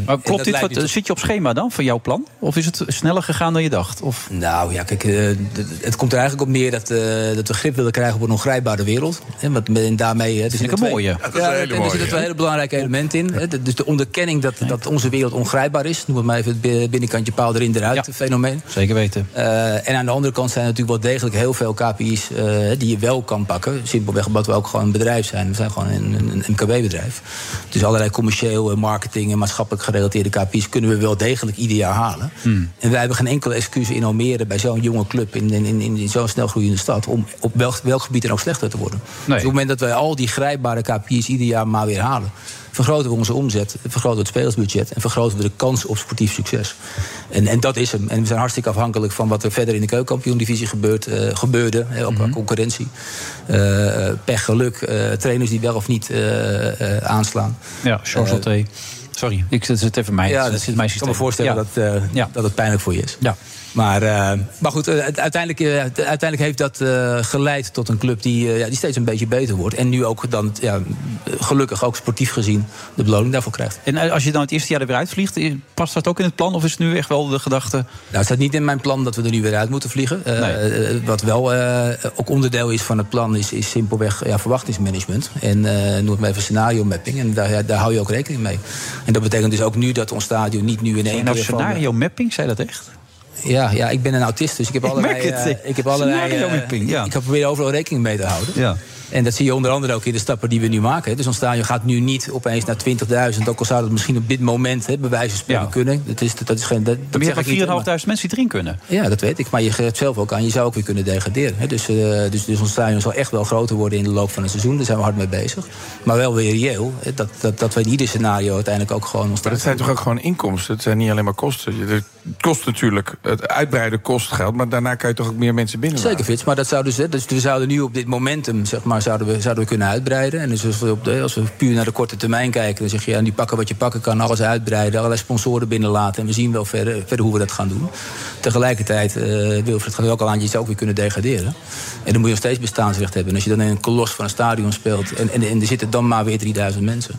S7: Maar klopt dit? Wat, zit je op schema dan van jouw plan? Of is het sneller gegaan dan je dacht? Of?
S20: Nou ja, kijk, eh, d- het komt er eigenlijk op neer dat, eh, dat we grip willen krijgen op een ongrijpbare wereld. En, wat, en daarmee. Het is
S7: Vind ik een mooie. Ja, dat is een
S20: Ja,
S7: hele
S20: en er
S7: mooie,
S20: zitten
S7: ja.
S20: twee hele belangrijke elementen in. hè. De- Dus de onderkenning dat, dat onze wereld ongrijpbaar is. Noem het maar even het bi- binnenkantje paal erin, eruit fenomeen.
S7: Zeker weten.
S20: Eh, en aan de andere kant zijn er natuurlijk wel degelijk heel veel KPI's eh, die je wel kan pakken. Simpelweg omdat we ook gewoon een bedrijf zijn. We zijn gewoon een, een, een MKB-bedrijf. Dus allerlei commercieel, eh, marketing en maatschappelijk gerelateerde KPI's kunnen we wel degelijk ieder jaar halen. En wij hebben geen enkele excuus in Almere bij zo'n jonge club in, in, in, in zo'n snelgroeiende stad om op welk, welk gebied dan ook slechter te worden. Dus op het moment dat wij al die grijpbare KPI's ieder jaar maar weer halen, vergroten we onze omzet, vergroten we het spelersbudget en vergroten we de kans op sportief succes. En, en dat is hem. En we zijn hartstikke afhankelijk van wat er verder in de keukenkampioendivisie gebeurt, eh, gebeurde, hè, ook qua concurrentie. Eh, pech, geluk, eh, trainers die wel of niet eh, eh, aanslaan.
S7: Ja, Charles
S20: Eh,
S7: Alté. Sorry, ik zit zit even mij.
S20: Ja,
S7: dat
S20: dat-
S7: zit mijn
S20: ik kan me voorstellen dat, eh, dat het pijnlijk voor je is.
S7: Ja.
S20: Maar, eh, maar goed, eh, u- uiteindelijk, eh, u- uiteindelijk heeft dat eh, geleid tot een club die, eh, ja, die steeds een beetje beter wordt. En nu ook dan, ja, gelukkig ook sportief gezien, de beloning daarvoor krijgt.
S7: En eh, als je dan het eerste jaar er weer uitvliegt, eh, past dat ook in het plan? Of is het nu echt wel de gedachte...
S20: Nou, het staat niet in mijn plan dat we er nu weer uit moeten vliegen. Eh, eh, wat wel eh, ook onderdeel is van het plan, is, is simpelweg ja, verwachtingsmanagement. En eh noem het maar even scenario mapping. En daar, ja, daar hou je ook rekening mee. En dat betekent dus ook nu dat ons stadion niet nu in één
S7: Nou,
S20: keer van- eh,
S7: scenario mapping, zei dat echt?
S20: Ja, ja, ik ben een autist, dus ik heb
S7: Ik
S20: allerlei...
S7: merk het.
S20: eh, ik heb allerlei
S7: Scenario
S20: eh,
S7: mapping, ja.
S20: Ik heb proberen overal rekening mee te houden.
S7: Ja.
S20: En dat zie je onder andere ook in de stappen die we nu maken. Dus ons stadion gaat nu niet opeens naar 20.000. Ook al zou dat misschien op dit moment hè, bij wijze van spreken kunnen. Dat is, dat, is geen, dat, dat
S7: Maar je
S20: zeg ik
S7: hebt
S20: niet, hè,
S7: maar
S20: maar-
S7: 4.500 mensen die erin kunnen.
S20: ja, dat weet ik. Maar je geeft zelf ook aan, je zou ook weer kunnen degraderen. hè. Dus, eh, dus, dus ons stadion zal echt wel groter worden in de loop van het seizoen. Daar zijn we hard mee bezig. Maar wel weer reëel. hè, Dat, dat, dat we in ieder scenario uiteindelijk ook gewoon ons
S8: Maar dat zijn toch ook gewoon inkomsten? Het zijn niet alleen maar kosten. Je- Het kost natuurlijk, het uitbreiden kost geld... maar daarna kan je toch ook meer mensen binnen
S20: Zeker, Frits. Maar dat zou dus, hè, dus we zouden nu op dit momentum zeg maar, zouden we, zouden we kunnen uitbreiden. En dus als, we op de, als we puur naar de korte termijn kijken, dan zeg je ja, die pakken wat je pakken kan, alles uitbreiden, allerlei sponsoren binnenlaten. En we zien wel verder, verder hoe we dat gaan doen. Tegelijkertijd, eh Wilfred gaat ook al aan, je zou ook weer kunnen degraderen. En dan moet je nog steeds bestaansrecht hebben. En als je dan in een kolos van een stadion speelt en, en, en er zitten dan maar weer 3000 mensen.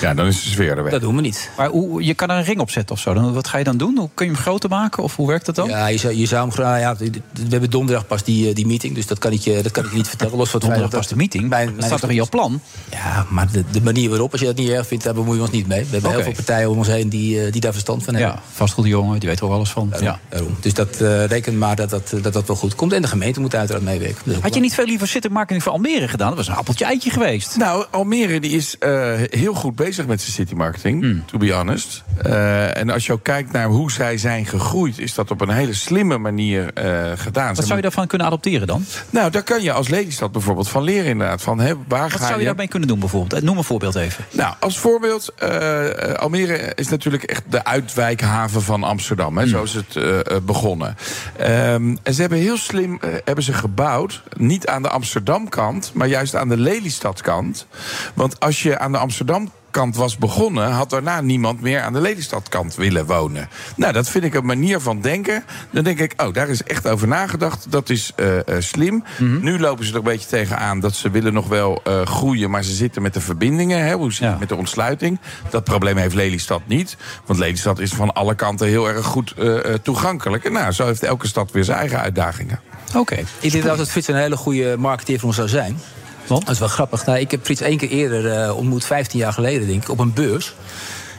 S8: Ja, dan is de sfeer er weg.
S20: Dat doen we niet.
S7: Maar hoe, je kan er een ring op zetten of zo. Dan, wat ga je dan doen? Hoe kun je hem groter maken? Of hoe werkt dat dan?
S20: Ja, je zou, je zou hem graag. Ja, we hebben donderdag pas die, eh, die meeting, dus dat kan ik je, dat kan ik je niet vertellen. Los van het
S7: Donderdag
S20: feit
S7: pas de meeting?
S20: Mijn,
S7: Dat staat toch in jouw plan?
S20: Ja, maar de, de manier waarop, als je dat niet erg vindt, daar bemoeien we ons niet mee. We hebben
S7: Oké.
S20: heel veel partijen om ons heen die, eh, die daar verstand van hebben.
S7: Ja, vastgoedjongen, die weet er wel alles van. Ja.
S20: Daarom. Dus dat eh reken maar dat dat, dat dat wel goed komt. En de gemeente moet uiteraard meewerken. Dat is ook
S7: Had je niet veel liever zitten marketing voor Almere gedaan? Dat was een appeltje eitje geweest.
S8: Nou, Almere die is eh, heel goed bezig met zijn city marketing,
S7: Hmm.
S8: to be honest. Eh, en als je ook kijkt naar hoe zij zijn gegroeid, is dat op een hele slimme manier eh, gedaan. Ze
S7: Wat zou je daarvan kunnen adopteren dan?
S8: Nou, daar kan je als Lelystad bijvoorbeeld van leren. inderdaad. Van, hè, waar
S7: Wat
S8: ga
S7: zou je daarmee kunnen doen bijvoorbeeld? Eh, Noem een voorbeeld even.
S8: Nou, als voorbeeld, eh, Almere is natuurlijk echt de uitwijkhaven van Amsterdam. Hè, Zo is het eh, eh, begonnen. Ehm, en ze hebben heel slim eh, hebben ze gebouwd, niet aan de Amsterdamkant, maar juist aan de Lelystadkant. Want als je aan de Amsterdamkant was begonnen, had daarna niemand meer aan de Lelystadkant willen wonen. Nou, dat vind ik een manier van denken. Dan denk ik, oh, daar is echt over nagedacht. Dat is eh, eh, slim. Nu lopen ze er een beetje tegenaan dat ze willen nog wel eh, groeien, maar ze zitten met de verbindingen. Hè? Hoe zit het met de ontsluiting? Dat probleem heeft Lelystad niet. Want Lelystad is van alle kanten heel erg goed eh, eh, toegankelijk. En nou, zo heeft elke stad weer zijn eigen uitdagingen.
S20: Oké. Ik denk dat het Frits een hele goede marketeer voor ons zou zijn. Dat is wel grappig. Nou, ik heb Frits één keer eerder eh, ontmoet, 15 jaar geleden denk ik, op een beurs.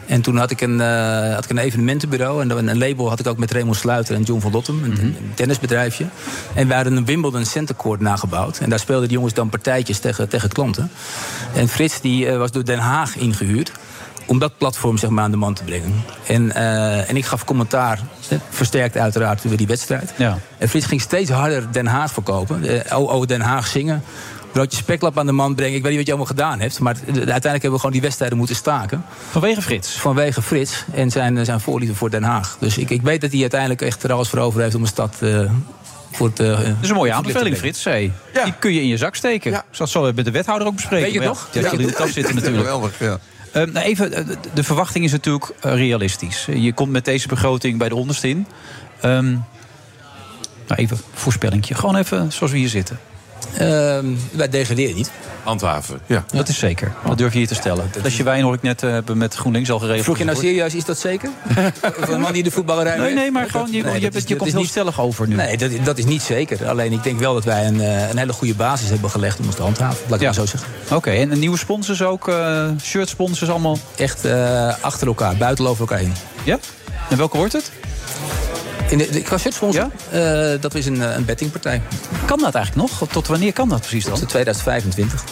S20: En toen had ik een, eh, had ik een evenementenbureau en dan- een label had ik ook met Raymond Sluiter en John van Lottem, een, een tennisbedrijfje. En we hadden een Wimbledon Center Court nagebouwd. En daar speelden die jongens dan partijtjes tegen, tegen klanten. En Frits die, eh, was door Den Haag ingehuurd om dat platform zeg maar, aan de man te brengen. En, eh, en ik gaf commentaar, eh, versterkt uiteraard, door die wedstrijd.
S7: Ja.
S20: En Frits ging steeds harder Den Haag verkopen. Eh, oh, oh, Den Haag zingen. Broodje speklap aan de man brengen. Ik weet niet wat je allemaal gedaan hebt. Maar het- uiteindelijk hebben we gewoon die wedstrijden moeten staken.
S7: Vanwege Frits?
S20: Vanwege Frits en zijn, zijn voorliefde voor Den Haag. Dus ik, ik weet dat hij uiteindelijk echt er alles voor over heeft om een stad... eh, voor het, eh,
S7: Dat is een mooie
S20: voor het licht te
S7: aanbeveling,
S20: brengen.
S7: Frits. Hey. Die kun je in je zak steken. Dat zal we met de wethouder ook bespreken.
S20: Weet je
S7: Maar
S20: het nog?
S7: Ja, die zal in de tas zitten natuurlijk.
S8: Geweldig, ja.
S7: Eh, nou even, eh, de- de verwachting is natuurlijk eh, realistisch. Eh, Je komt met deze begroting bij de onderste in. Ehm, nou even een voorspellingje. Gewoon even zoals we hier zitten.
S20: Ehm, wij degraderen niet.
S8: Handhaven, ja.
S7: Dat is zeker. Dat durf je hier te stellen. Dat je wijn hoor ik net eh, hebben met GroenLinks al geregeld.
S20: Vroeg je nou serieus, is dat zeker? Van een man die de voetballerij
S7: Nee,
S20: weet?
S7: nee, maar
S20: Dat-
S7: gewoon, je-
S20: nee,
S7: je
S20: dat
S7: bent-
S20: is-
S7: je
S20: dat
S7: komt
S20: is
S7: heel
S20: niet-
S7: stellig over nu.
S20: Nee, dat, dat is niet zeker. Alleen ik denk wel dat wij een, eh, een hele goede basis hebben gelegd om ons te handhaven. Laat ik het maar zo zeggen.
S7: Oké, en nieuwe sponsors ook? eh shirt sponsors allemaal?
S20: Echt eh, achter elkaar, buiten over elkaar heen.
S7: Ja? En welke wordt het?
S20: In de, de, qua shirtsponsor? Eh, dat is een, eh, een bettingpartij.
S7: Kan dat eigenlijk nog? Tot wanneer kan dat precies dan?
S20: Tot 2025.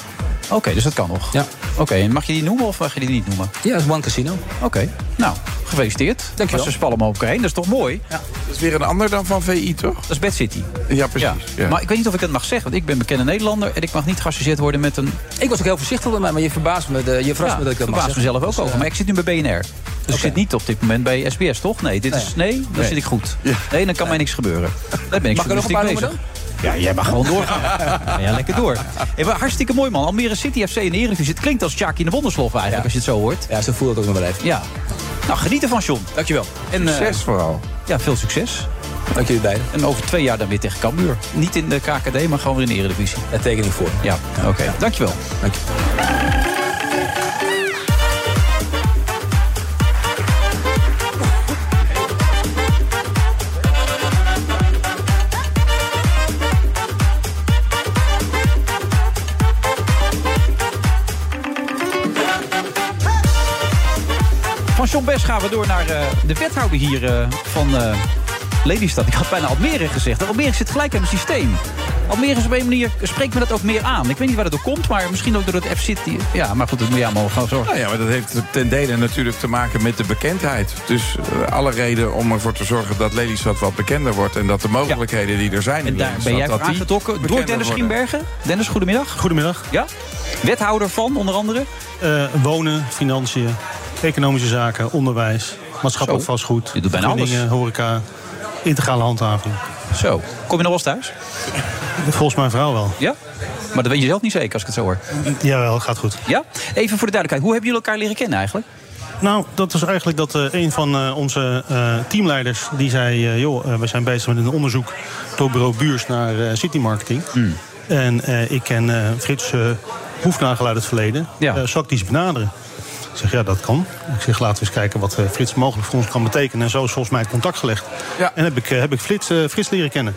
S7: Oké, dus dat kan nog.
S20: Ja.
S7: Oké, en mag je die noemen of mag je die niet noemen?
S20: Ja, dat is One Casino.
S7: Oké, nou, gefeliciteerd. Dank je wel. Ze spallen hem ook heen, dat is toch mooi?
S8: Dat is weer een ander dan van VI, toch?
S7: Dat is Bad City.
S8: Ja, precies. Ja.
S7: Maar ik weet niet of ik dat mag zeggen, want ik ben bekende Nederlander... en ik mag niet geassocieerd worden met een...
S20: Ik was ook heel voorzichtig met mij, maar je verbaast me, de, je verrast me dat ik dat mag
S7: verbaas
S20: zeggen.
S7: mezelf ook
S20: Dus,
S7: over.
S20: eh,
S7: Maar ik zit nu bij BNR. Dus ik zit niet op dit moment bij SBS, toch? Nee, dit
S20: Nee.
S7: is, nee dan
S20: Nee.
S7: zit ik goed. Nee, dan kan mij niks gebeuren. Daar ben ik
S20: Mag ik er nog een
S7: journalistiek
S20: paar
S7: bezig.
S20: noemen
S7: Ja, jij mag gewoon doorgaan. ja, ja, lekker door. Hey, maar hartstikke mooi, man. Almere City FC in de Eredivisie. Het klinkt als Sjaki in de Wonderslof eigenlijk, als je het zo hoort.
S20: Ja, zo voel ik ook nog wel even.
S7: Ja. Nou, geniet ervan, John.
S20: Dankjewel.
S7: En, eh,
S8: Succes vooral.
S7: Ja, veel succes.
S20: Dank jullie beiden.
S7: En over twee jaar dan weer tegen Cambuur. Niet in de KKD, maar gewoon weer in de Eredivisie.
S20: Daar teken ik voor.
S7: Ja, oké. Dankjewel.
S20: Dank
S7: je. Van John Best gaan we door naar eh, de wethouder hier eh, van eh, Lelystad. Ik had bijna Almere gezegd. Almere zit gelijk in het systeem. Almere is op een manier, spreekt me dat ook meer aan. Ik weet niet waar dat door komt, maar misschien ook door het F City. Ja, maar goed, dat moet je allemaal gaan zorgen.
S8: Nou ja, maar dat heeft ten dele natuurlijk te maken met de bekendheid. Dus eh, alle reden om ervoor te zorgen dat Lelystad wat bekender wordt... en dat de mogelijkheden die er zijn in
S7: En daar ben
S8: Lelystad,
S7: jij voor
S8: dat die
S7: aangetrokken door
S8: bekender
S7: Dennis
S8: worden.
S7: Schienbergen. Dennis, goedemiddag.
S21: Goedemiddag.
S7: Ja? Wethouder van, onder andere?
S21: Eh, wonen, financiën, economische zaken, onderwijs, maatschappelijk
S7: Zo.
S21: vastgoed.
S7: Je doet bijna alles.
S21: vergunningen, horeca, integrale handhaving.
S7: Zo. Kom je nog wel eens thuis?
S21: Volgens mijn vrouw wel.
S7: Ja? Maar dat weet je zelf niet zeker als ik het zo hoor.
S21: Jawel, gaat goed.
S7: Ja? Even voor de duidelijkheid, hoe hebben jullie elkaar leren kennen eigenlijk?
S21: Nou, dat is eigenlijk dat eh, een van eh, onze eh, teamleiders die zei: eh, joh, eh, we zijn bezig met een onderzoek door bureau Buurs naar eh, city marketing. En eh, ik ken eh, Frits eh Hoefnagel uit het verleden. Ja. zal ik die eens benaderen? Ik zeg ja, dat kan. Ik zeg laten we eens kijken wat eh, Frits mogelijk voor ons kan betekenen. En zo is volgens mij het contact gelegd. En heb ik, eh, heb ik Frits, eh, Frits leren kennen.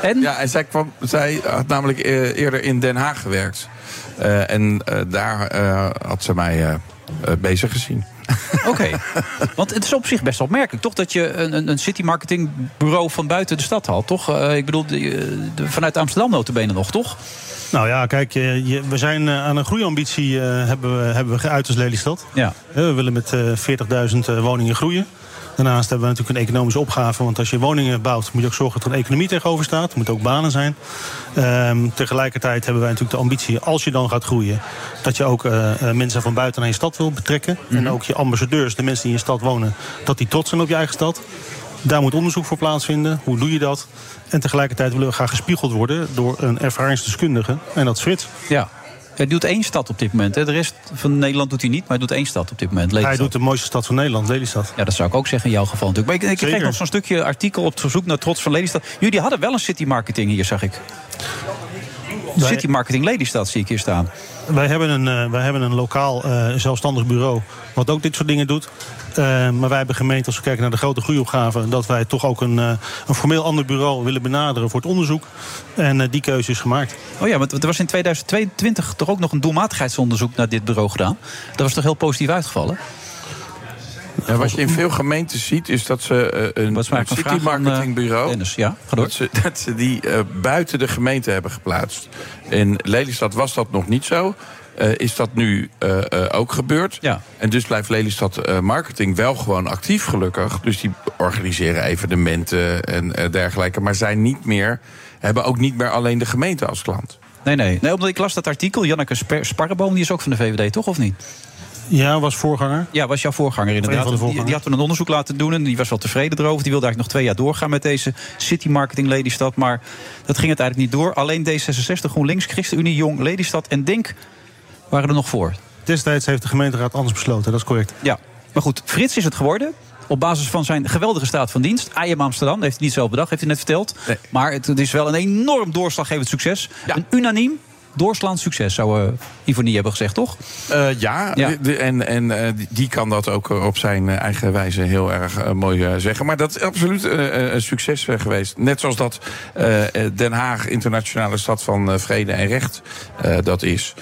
S7: En?
S8: Ja, en zij, kwam, zij had namelijk eh, eerder in Den Haag gewerkt. Eh, en eh, daar eh, had ze mij eh, eh, bezig gezien.
S7: Oké. Want het is op zich best opmerkelijk, toch? Dat je een, een, een city marketingbureau van buiten de stad haalt, toch? Eh, ik bedoel, de- eh, de- vanuit Amsterdam notabene nog, toch?
S21: Nou ja, kijk, eh, je- we zijn eh, aan een groeiambitie eh, hebben, we, hebben we geuit als Lelystad.
S7: Ja.
S21: Eh, We willen met eh, 40.000 eh, woningen groeien. Daarnaast hebben we natuurlijk een economische opgave. Want als je woningen bouwt, moet je ook zorgen dat er een economie tegenover staat. Er moeten ook banen zijn. Ehm, tegelijkertijd hebben wij natuurlijk de ambitie, als je dan gaat groeien, dat je ook eh, eh, mensen van buiten naar je stad wil betrekken. En ook je ambassadeurs, de mensen die in je stad wonen, dat die trots zijn op je eigen stad. Daar moet onderzoek voor plaatsvinden. Hoe doe je dat? En tegelijkertijd willen we graag gespiegeld worden door een ervaringsdeskundige. En dat is Frits.
S7: Ja. Hij doet één stad op dit moment. Hè. De rest van Nederland doet hij niet, maar hij doet één stad op dit moment. Lelystad.
S21: Hij doet de mooiste stad van Nederland, Lelystad.
S7: Ja, dat zou ik ook zeggen in jouw geval natuurlijk. Maar ik, ik kreeg
S21: Zeker.
S7: nog zo'n stukje artikel op het verzoek naar Trots van Lelystad. Jullie hadden wel een city marketing hier, zag ik. City marketing Lelystad zie ik hier staan.
S21: Wij hebben een, eh, wij hebben een lokaal eh, zelfstandig bureau wat ook dit soort dingen doet. Eh, maar wij hebben gemeend, als we kijken naar de grote groeiopgave... dat wij toch ook een, eh, een formeel ander bureau willen benaderen voor het onderzoek. En eh, die keuze is gemaakt.
S7: Oh ja, want er was in 2022 toch ook nog een doelmatigheidsonderzoek naar dit bureau gedaan. Dat was toch heel positief uitgevallen?
S8: Ja, wat je in veel gemeentes ziet, is dat ze eh, een, een
S7: maar even een vraag
S8: city
S7: aan, eh,
S8: marketingbureau.
S7: ja,
S8: dat, ze, dat ze die eh, buiten de gemeente hebben geplaatst. In Lelystad was dat nog niet zo. Eh, is dat nu eh, eh, ook gebeurd? En dus blijft Lelystad eh, Marketing wel gewoon actief, gelukkig. Dus die organiseren evenementen en eh, dergelijke. Maar zijn niet meer, hebben ook niet meer alleen de gemeente als klant.
S7: Nee, nee. nee omdat ik las dat artikel. Janneke Sper- Sparreboom, die is ook van de VVD, toch of niet?
S21: Ja, was voorganger.
S7: Ja, Nou, was jouw voorganger inderdaad.
S21: van de
S7: Die, die had toen een onderzoek laten doen en die was wel tevreden erover. Die wilde eigenlijk nog twee jaar doorgaan met deze City Marketing Lelystad. Maar dat ging het eigenlijk niet door. Alleen D66, GroenLinks, ChristenUnie, Jong, Lelystad en Denk waren er nog voor.
S21: Destijds heeft de gemeenteraad anders besloten, dat is correct.
S7: Ja, maar goed, Frits is het geworden. Op basis van zijn geweldige staat van dienst. IM Amsterdam, dat heeft hij niet zelf bedacht, heeft hij net verteld. Maar het, het is wel een enorm doorslaggevend succes. Een unaniem doorslaand succes, zou eh Ivonie hebben gezegd, toch?
S8: Eh, ja,
S7: Ja.
S8: de- de- en, en eh, die- die kan dat ook eh, op zijn eh, eigen wijze heel erg eh, mooi eh, zeggen. Maar dat is absoluut eh, eh, een succes eh, geweest. Net zoals dat eh, eh, Den Haag internationale stad van eh, vrede en recht eh, dat is.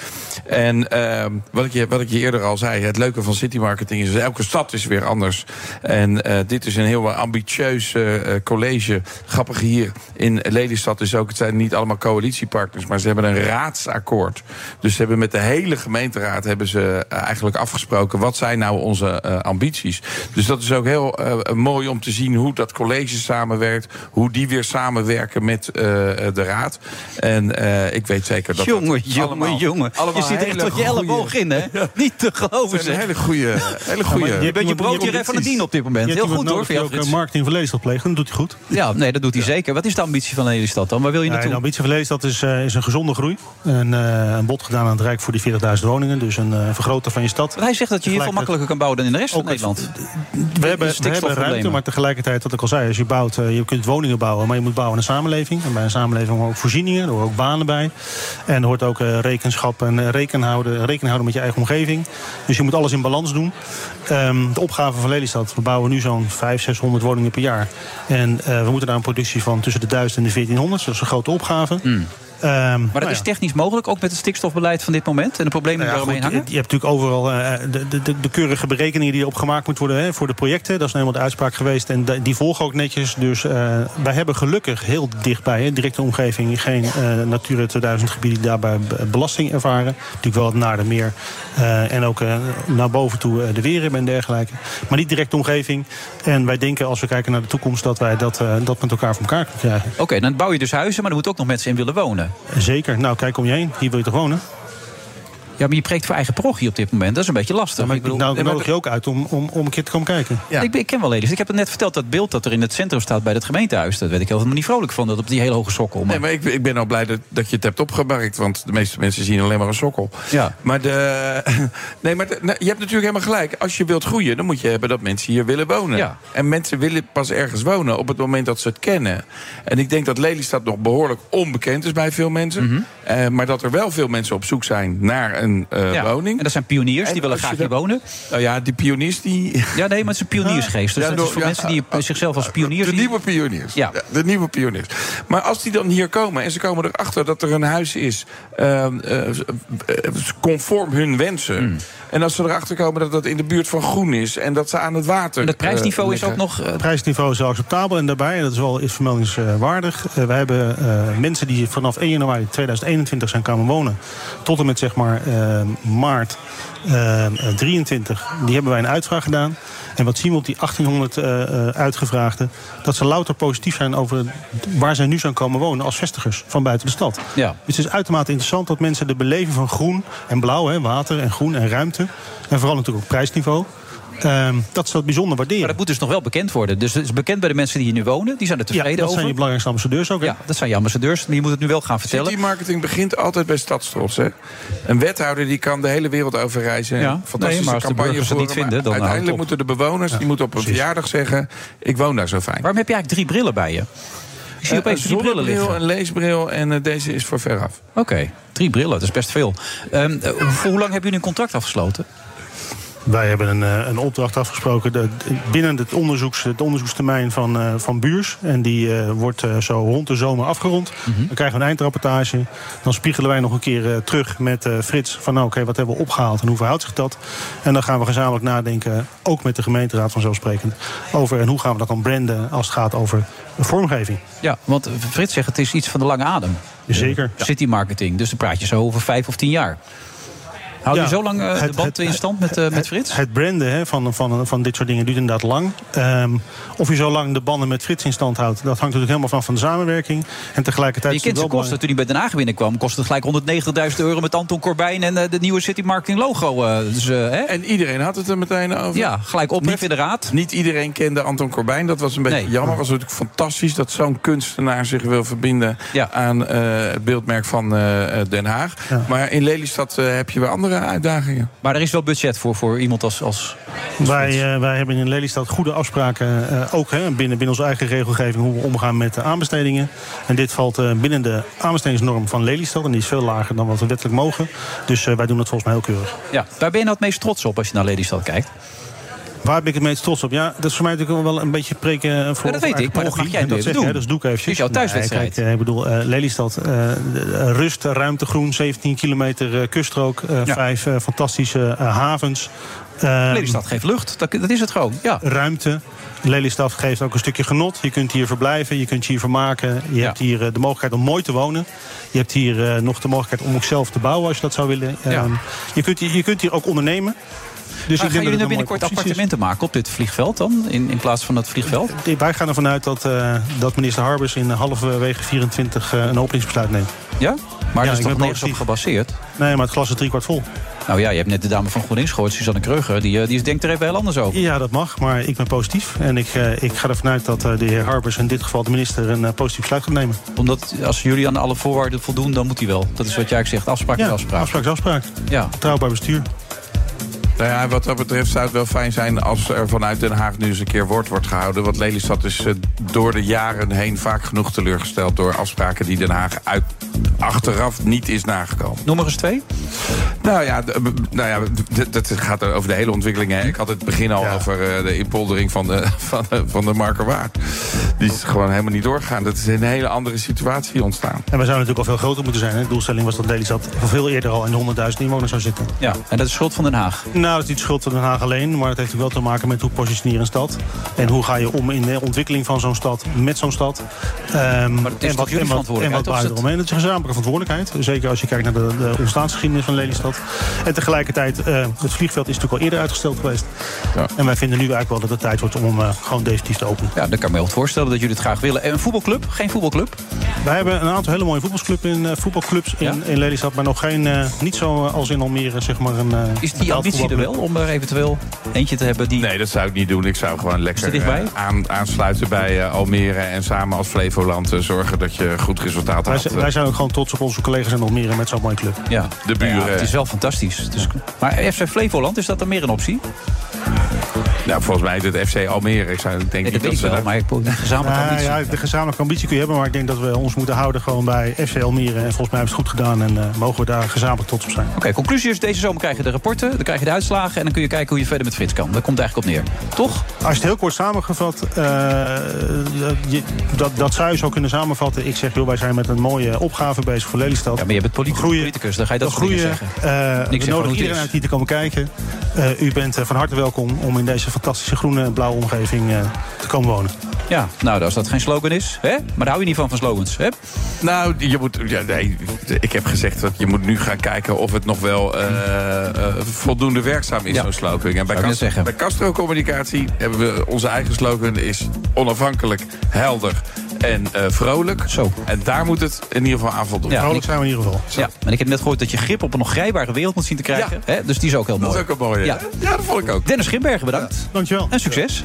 S8: En ehm, wat, ik je, wat ik je eerder al zei, het leuke van city marketing is... elke stad is weer anders. En eh, dit is een heel ambitieus eh, eh, college. Grappig hier in Lelystad is ook... het zijn niet allemaal coalitiepartners, maar ze hebben een raadsakkoord. Dus ze hebben met de hele gemeenteraad hebben ze eh, eigenlijk afgesproken... wat zijn nou onze eh, ambities. Dus dat is ook heel eh, mooi om te zien hoe dat college samenwerkt... hoe die weer samenwerken met eh, de raad. En eh, ik weet zeker dat dat
S7: Jongen, jongen,
S8: allemaal-
S7: jongen. Je
S8: allemaal
S7: zit echt
S8: hele
S7: tot je
S8: goeie-
S7: elleboog in,
S8: [laughs]
S7: hè? [laughs] Niet te geloven,
S8: Het
S7: zeg.
S8: zijn hele
S7: [laughs]
S8: goede, hele goede.
S7: Ja, maar je bent je broodje ref van de dien op dit moment.
S21: Je hebt
S7: Heel goed
S21: iemand
S7: hoor, voor
S21: nodig die
S7: jou,
S21: ook eh,
S7: Frits.
S21: marketing van Lelystad pleegt, en dat doet hij goed.
S7: Ja, nee, dat doet hij zeker. Wat is de ambitie van Lelystad dan? Waar wil je
S21: Nee,
S7: naartoe?
S21: de ambitie van Lelystad is, eh, is een gezonde groei. En, eh, een bod gedaan aan het Rijk voor die 40.000 woningen. Dus een eh vergroten van je stad.
S7: Want hij zegt dat je hier veel makkelijker kan bouwen dan in de rest van Nederland.
S21: We hebben, we hebben ruimte,
S7: stikstofproblemen.
S21: maar tegelijkertijd, wat ik al zei, als je bouwt, eh, je kunt woningen bouwen, maar je moet bouwen aan een samenleving. En bij een samenleving horen ook voorzieningen, er horen ook banen bij. En er hoort ook eh, rekenschap en eh, reken houden, rekening houden met je eigen omgeving. Dus je moet alles in balans doen. Ehm, de opgave van Lelystad, we bouwen nu zo'n 500, 600 woningen per jaar. En eh, we moeten naar een productie van tussen de 1000 en de 1400. Dat is een grote opgave. Ehm,
S7: Maar
S21: nou
S7: dat is technisch mogelijk, ook met het stikstofbeleid van dit moment en de problemen die daaromheen
S21: goed,
S7: hangen?
S21: Je hebt natuurlijk overal eh, de, de, de, de keurige berekeningen die erop gemaakt moeten worden hè, voor de projecten. Dat is nou eenmaal de uitspraak geweest en da- die volgen ook netjes. Dus eh, wij hebben gelukkig heel dichtbij, hè, directe omgeving, geen eh Natura 2000 gebieden die daarbij be- belasting ervaren. Natuurlijk wel het Naardenmeer eh en ook eh, naar boven toe eh, de Weren en dergelijke. Maar niet directe omgeving. En wij denken als we kijken naar de toekomst dat wij dat, eh, dat met elkaar voor elkaar kunnen krijgen.
S7: Oké, dan bouw je dus huizen, maar er moeten ook nog mensen in willen wonen.
S21: Zeker. Nou, kijk om je heen. Hier wil je toch wonen?
S7: Ja, maar je preekt voor eigen parochie op dit moment. Dat is een beetje lastig. ik bedoel,
S21: Nou,
S7: nee, maar
S21: nodig je ook uit om, om, om een keer te komen kijken.
S7: Ik, ik ken wel ladies. Ik heb het net verteld, dat beeld dat er in het centrum staat bij het gemeentehuis. Dat weet ik helemaal niet vrolijk van, dat op die hele hoge sokkel. Maar...
S8: Nee, maar ik, ik ben al blij dat, dat je het hebt opgemerkt. Want de meeste mensen zien alleen maar een sokkel.
S7: Ja.
S8: Maar, de, [laughs] nee, maar de- nou, je hebt natuurlijk helemaal gelijk. Als je wilt groeien, dan moet je hebben dat mensen hier willen wonen.
S7: Ja.
S8: En mensen willen pas ergens wonen op het moment dat ze het kennen. En ik denk dat Lelystad nog behoorlijk onbekend is bij veel mensen.
S7: Mhm.
S8: Eh, maar dat er wel veel mensen op zoek zijn naar een eh,
S7: Ja.
S8: woning.
S7: En dat zijn pioniers,
S8: En
S7: die willen
S8: als
S7: graag
S8: je
S7: hier
S8: dat-
S7: wonen.
S8: Nou ja, die pioniers die...
S7: Ja, nee, maar het is een pioniersgeest. Dus
S8: Ja,
S7: dat
S8: door-
S7: is voor
S8: ja, Ah,
S7: mensen die eh, zichzelf als pioniers
S8: De nieuwe pioniers. Ja. De nieuwe pioniers. Maar als die dan hier komen en ze komen erachter dat er een huis is eh, eh, eh, conform hun wensen.
S7: Hmm.
S8: En als ze erachter komen dat dat in de buurt van groen is en dat ze aan het water.
S7: En het prijsniveau
S8: eh,
S7: is ook
S8: liggen.
S7: nog... eh,
S21: Het prijsniveau is acceptabel en daarbij, en dat is wel is vermeldingswaardig. eh, wij hebben eh, mensen die vanaf 1 januari 2021 zijn komen wonen. Tot en met zeg maar eh, eh, maart eh, 23, die hebben wij een uitvraag gedaan. En wat zien we op die 1800 eh, eh, uitgevraagden? Dat ze louter positief zijn over waar zij nu zijn komen wonen als vestigers van buiten de stad.
S7: Ja.
S21: Dus het is uitermate interessant dat mensen de beleving van groen en blauw, hè, water en groen en ruimte, en vooral natuurlijk ook prijsniveau, ehm, dat ze dat bijzonder waarderen.
S7: Maar dat moet dus nog wel bekend worden. Dus het is bekend bij de mensen die hier nu wonen. Die zijn er tevreden
S21: Ja, dat
S7: over.
S21: zijn je belangrijkste ambassadeurs ook.
S7: Ja, dat zijn je ambassadeurs. Maar je moet het nu wel gaan vertellen.
S8: Die marketing begint altijd bij stadstrots. Hè? Een wethouder die kan de hele wereld over reizen.
S7: Ja,
S8: Fantastische
S7: nee, maar als de
S8: campagne
S7: burgers het
S8: voor
S7: niet
S8: hem, maar
S7: vinden, dan nou, houdt het
S8: uiteindelijk
S7: op.
S8: moeten de bewoners die moeten op een verjaardag zeggen: Ik woon daar zo fijn.
S7: Waarom heb je eigenlijk drie brillen bij je? Ik zie
S8: Eh,
S7: opeens
S8: een
S7: drie brillen
S8: zonnebril,
S7: liggen.
S8: Een leesbril en eh, deze is voor veraf.
S7: Oké, drie brillen, dat is best veel. Ehm, eh, voor hoe lang hebben jullie een contract afgesloten?
S21: Wij hebben een, eh, een opdracht afgesproken dat binnen het, onderzoeks, het onderzoekstermijn van, eh, van Buurs. En die eh, wordt eh, zo rond de zomer afgerond. Dan krijgen we een eindrapportage. Dan spiegelen wij nog een keer eh, terug met eh, Frits van nou, oké, wat hebben we opgehaald en hoe verhoudt zich dat? En dan gaan we gezamenlijk nadenken, ook met de gemeenteraad vanzelfsprekend, over en hoe gaan we dat dan branden als het gaat over vormgeving.
S7: Ja, want Frits zegt het is iets van de lange adem.
S21: Zeker.
S7: Eh, City marketing, dus dan praat je zo over vijf of tien jaar. Hou je
S21: Ja,
S7: zo lang eh, de
S21: het-
S7: band
S21: het-
S7: in stand met, eh, met Frits?
S21: Het branden hè, van, van, van dit soort dingen duurt inderdaad lang. Ehm, of je zo lang de banden met Frits in stand houdt, dat hangt natuurlijk helemaal van van de samenwerking. En tegelijkertijd.
S7: Je
S21: is het
S7: kent zijn
S21: wel
S7: kosten. Toen hij bij Den Haag binnenkwam, kostte het gelijk 190.000 euro met Anton Corbijn en eh, de nieuwe City Marketing logo. eh, dus,
S8: En iedereen had het er meteen over.
S7: Ja, Ah, gelijk op in de raad.
S8: Niet iedereen kende Anton Corbijn. Dat was een beetje jammer. Het was natuurlijk fantastisch dat zo'n kunstenaar zich wil verbinden aan eh, het beeldmerk van eh, Den Haag. Maar in Lelystad eh, heb je weer andere uitdagingen.
S7: Maar er is wel budget voor, voor iemand als, als
S21: Wij, eh, wij hebben in Lelystad goede afspraken, eh, ook hè, binnen, binnen onze eigen regelgeving, hoe we omgaan met de aanbestedingen. En dit valt eh, binnen de aanbestedingsnorm van Lelystad. En die is veel lager dan wat we wettelijk mogen. Dus eh, wij doen dat volgens mij heel keurig.
S7: Ja, waar ben je nou het meest trots op als je naar Lelystad kijkt?
S21: Dus Waar ben ik het meest trots op? Ja, dat is voor mij natuurlijk wel een beetje preken eh, voor.
S7: Ja, dat weet
S21: voor
S7: ik, maar dat
S21: eigen
S7: mag jij
S21: pogie.
S7: nu
S21: dat
S7: even
S21: zeg
S7: doen.
S21: Hè, dus doe ik eventjes.
S7: Dit is jouw thuiswedstrijd.
S21: Nee, kijk, eh, ik bedoel, eh, Lelystad, eh, de- eh, rust, ruimte, groen, 17 kilometer eh, kuststrook, eh, vijf eh, fantastische eh, havens. Ehm,
S7: Lelystad geeft lucht, dat, is het gewoon. Ja.
S21: Ruimte. Lelystad geeft ook een stukje genot. Je kunt hier verblijven, je kunt je hier vermaken. Je hebt hier eh, de mogelijkheid om mooi te wonen. Je hebt hier eh, nog de mogelijkheid om ook zelf te bouwen als je dat zou willen. Ehm, je, kunt, hier- je kunt hier ook ondernemen. Dus
S7: Dus gaan
S21: ik denk
S7: jullie
S21: dat
S7: nou
S21: het een mooie
S7: binnenkort
S21: optie is.
S7: appartementen maken op dit vliegveld dan? In, in plaats van dat vliegveld?
S21: Wij gaan ervan uit dat, eh, dat minister Harbers in halverwege 24 eh, een openingsbesluit neemt.
S7: Ja? Maar
S21: Ja,
S7: dat
S21: ik
S7: is toch
S21: ben
S7: nergens op
S21: positief.
S7: gebaseerd?
S21: Nee, maar het glas is driekwart vol.
S7: Nou ja, je hebt net de dame van GroenLinks gehoord, Suzanne Kreuger. Die, eh, die denkt er even heel anders over.
S21: Ja, dat mag, maar ik ben positief. En ik, eh, ik ga ervan uit dat eh, de heer Harbers, in dit geval de minister, een eh, positief besluit gaat nemen.
S7: Omdat als jullie aan alle voorwaarden voldoen, dan moet hij wel. Dat is wat jij zegt. Afspraak
S21: Ja,
S7: is afspraak.
S21: afspraak is afspraak.
S7: Ja.
S21: Trouwbaar bestuur.
S8: Nou ja, wat dat betreft zou het wel fijn zijn als er vanuit Den Haag nu eens een keer woord wordt gehouden. Want Lelystad is eh, door de jaren heen vaak genoeg teleurgesteld door afspraken die Den Haag uit, achteraf niet is nagekomen.
S7: Noem maar eens twee.
S8: Nou ja, d- b- nou ja d- d- dat gaat er over de hele ontwikkeling. Hè. Ik had het begin al over eh, de inpoldering van de, [laughs] van, de- van de Markerwaard. Die is gewoon helemaal niet doorgegaan. Dat is een hele andere situatie ontstaan.
S21: En we zouden natuurlijk al veel groter moeten zijn. Hè? De doelstelling was dat Lelystad veel eerder al in de 100.000 inwoners zou zitten.
S7: Ja, en dat is schuld van Den Haag.
S21: Nou, dat is niet schuld van Den Haag alleen. Maar het heeft ook wel te maken met hoe positioneer je een stad. En hoe ga je om in de ontwikkeling van zo'n stad, met zo'n stad. Ehm,
S7: is
S21: en
S7: toch
S21: wat,
S7: jullie
S21: en wat, en
S7: verantwoordelijkheid, of
S21: wat
S7: is
S21: bouw je
S7: het-
S21: eromheen. Het is een gezamenlijke verantwoordelijkheid. Zeker als je kijkt naar de, de ontstaansgeschiedenis van Lelystad. En tegelijkertijd, eh, het vliegveld is natuurlijk al eerder uitgesteld geweest. En wij vinden nu eigenlijk wel dat het tijd wordt om hem eh, gewoon definitief te openen.
S7: Ja, dat kan ik me wel voorstellen dat jullie het graag willen. En een voetbalclub? Geen voetbalclub?
S21: Wij hebben een aantal hele mooie voetbalclubs in, eh, voetbalclubs in, in Lelystad. Maar nog geen, eh, niet zo als in Almere, zeg maar. Een, eh,
S7: Is die
S21: betaald
S7: ambitie er wel om
S21: voetbalclub.
S7: er eventueel eentje te hebben die...
S8: Nee, dat zou ik niet doen. Ik zou gewoon lekker
S7: dichtbij?
S8: eh, aan, aansluiten bij eh, Almere. En samen als Flevoland eh, zorgen dat je goed resultaat
S21: Wij,
S8: haalt. eh,
S21: zijn- wij zijn ook gewoon trots op onze collega's in Almere met zo'n mooie club.
S7: Ja,
S8: de buren.
S7: Ja, het is wel fantastisch. Dus, maar FC Flevoland, is dat dan meer een optie?
S8: Nou, volgens mij is het FC Almere. Ik zou, ik denk
S7: Nee, dat
S8: niet
S7: weet ik
S8: ze
S7: wel,
S8: dat-
S7: maar ik moet gezamenlijk
S21: Nou
S7: ambitie.
S21: ja, de gezamenlijke ambitie kun je hebben, maar ik denk dat we ons moeten houden gewoon bij FC Almere. En volgens mij hebben ze het goed gedaan en eh, mogen we daar gezamenlijk trots op zijn.
S7: Oké, conclusie is, deze zomer krijg je de rapporten, dan krijg je de uitslagen... en dan kun je kijken hoe je verder met Frits kan. Daar komt het eigenlijk op neer. Toch?
S21: Als je het heel kort samengevat, eh, je- dat, dat zou je zo kunnen samenvatten. Ik zeg, joh, wij zijn met een mooie opgave bezig voor Lelystad. Ja,
S7: maar je bent politicus, dan ga je dat soort
S21: groeien,
S7: dingen zeggen.
S21: eh,
S7: Niks zeggen hoe
S21: we
S7: het
S21: nodigen
S7: is.
S21: iedereen uit die te komen kijken. Eh, u bent eh, van harte welkom. om in deze fantastische groene en blauwe omgeving eh, te komen wonen.
S7: Ja, nou, als dat geen slogan is, hè? Maar daar hou je niet van, van slogans, hè?
S8: Nou, je moet, ja, nee, ik heb gezegd dat je moet nu gaan kijken of het nog wel eh, eh, voldoende werkzaam is, zo'n slogan. En bij,
S7: ik net
S8: Castro-
S7: zeggen.
S8: bij Castro Communicatie hebben we onze eigen slogan is onafhankelijk, helder en eh, vrolijk. Zo. En daar moet het in ieder geval aan voldoen.
S21: Vrolijk zijn we in ieder geval.
S7: Ja, en ik heb net gehoord dat je grip op een nog grijpbare wereld moet zien te krijgen. Hè? Dus die is ook heel mooi.
S8: Dat is ook een mooie.
S7: Ja.
S8: ja, dat vond ik ook.
S7: Dennis Schimbergen, bedankt.
S21: Dankjewel.
S7: En succes.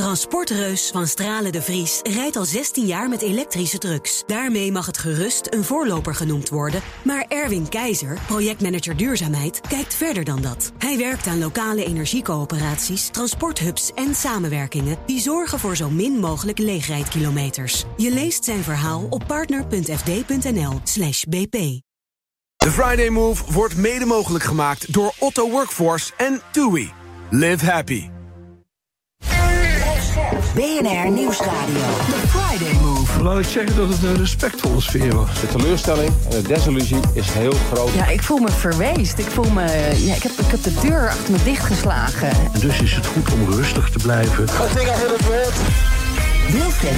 S13: Transportreus van Stralen de Vries rijdt al 16 jaar met elektrische trucks. Daarmee mag het gerust een voorloper genoemd worden. Maar Erwin Keizer, projectmanager duurzaamheid, kijkt verder dan dat. Hij werkt aan lokale energiecoöperaties, transporthubs en samenwerkingen die zorgen voor zo min mogelijk leegrijdkilometers. Je leest zijn verhaal op partner.fd.nl/slash bp.
S22: De Friday Move wordt mede mogelijk gemaakt door Otto Workforce en TUI. Live happy.
S14: er-
S3: BNR Nieuwsradio. The Friday Move.
S17: Laat ik zeggen dat het een respectvolle sfeer was.
S5: De teleurstelling en de desillusie is heel groot.
S6: Ja, ik voel me verweest. Ik voel me. Ja, ik, heb, ik heb de deur achter me dichtgeslagen.
S17: En dus is het goed om rustig te blijven.
S3: Wilfred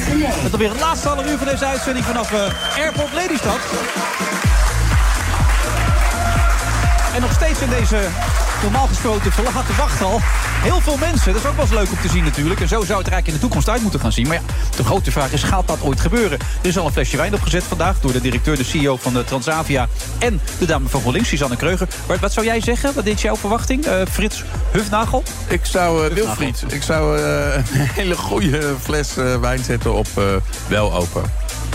S3: Genee.
S7: Met alweer het laatste half uur van deze uitzending vanaf eh, Airport Lelystad. En nog steeds in deze normaal gesproken verlaten wachthal heel veel mensen. Dat is ook wel eens leuk om te zien natuurlijk. En zo zou het er eigenlijk in de toekomst uit moeten gaan zien. Maar ja, de grote vraag is, gaat dat ooit gebeuren? Er is al een flesje wijn opgezet vandaag door de directeur, de CEO van de Transavia... en de dame van GroenLinks, Suzanne Kreuger. Bart, wat zou jij zeggen? Wat is jouw verwachting? Eh, Frits Hufnagel?
S8: Ik zou, eh, Wilfried, ik zou eh, [laughs] een hele goede fles eh, wijn zetten op eh, wel open.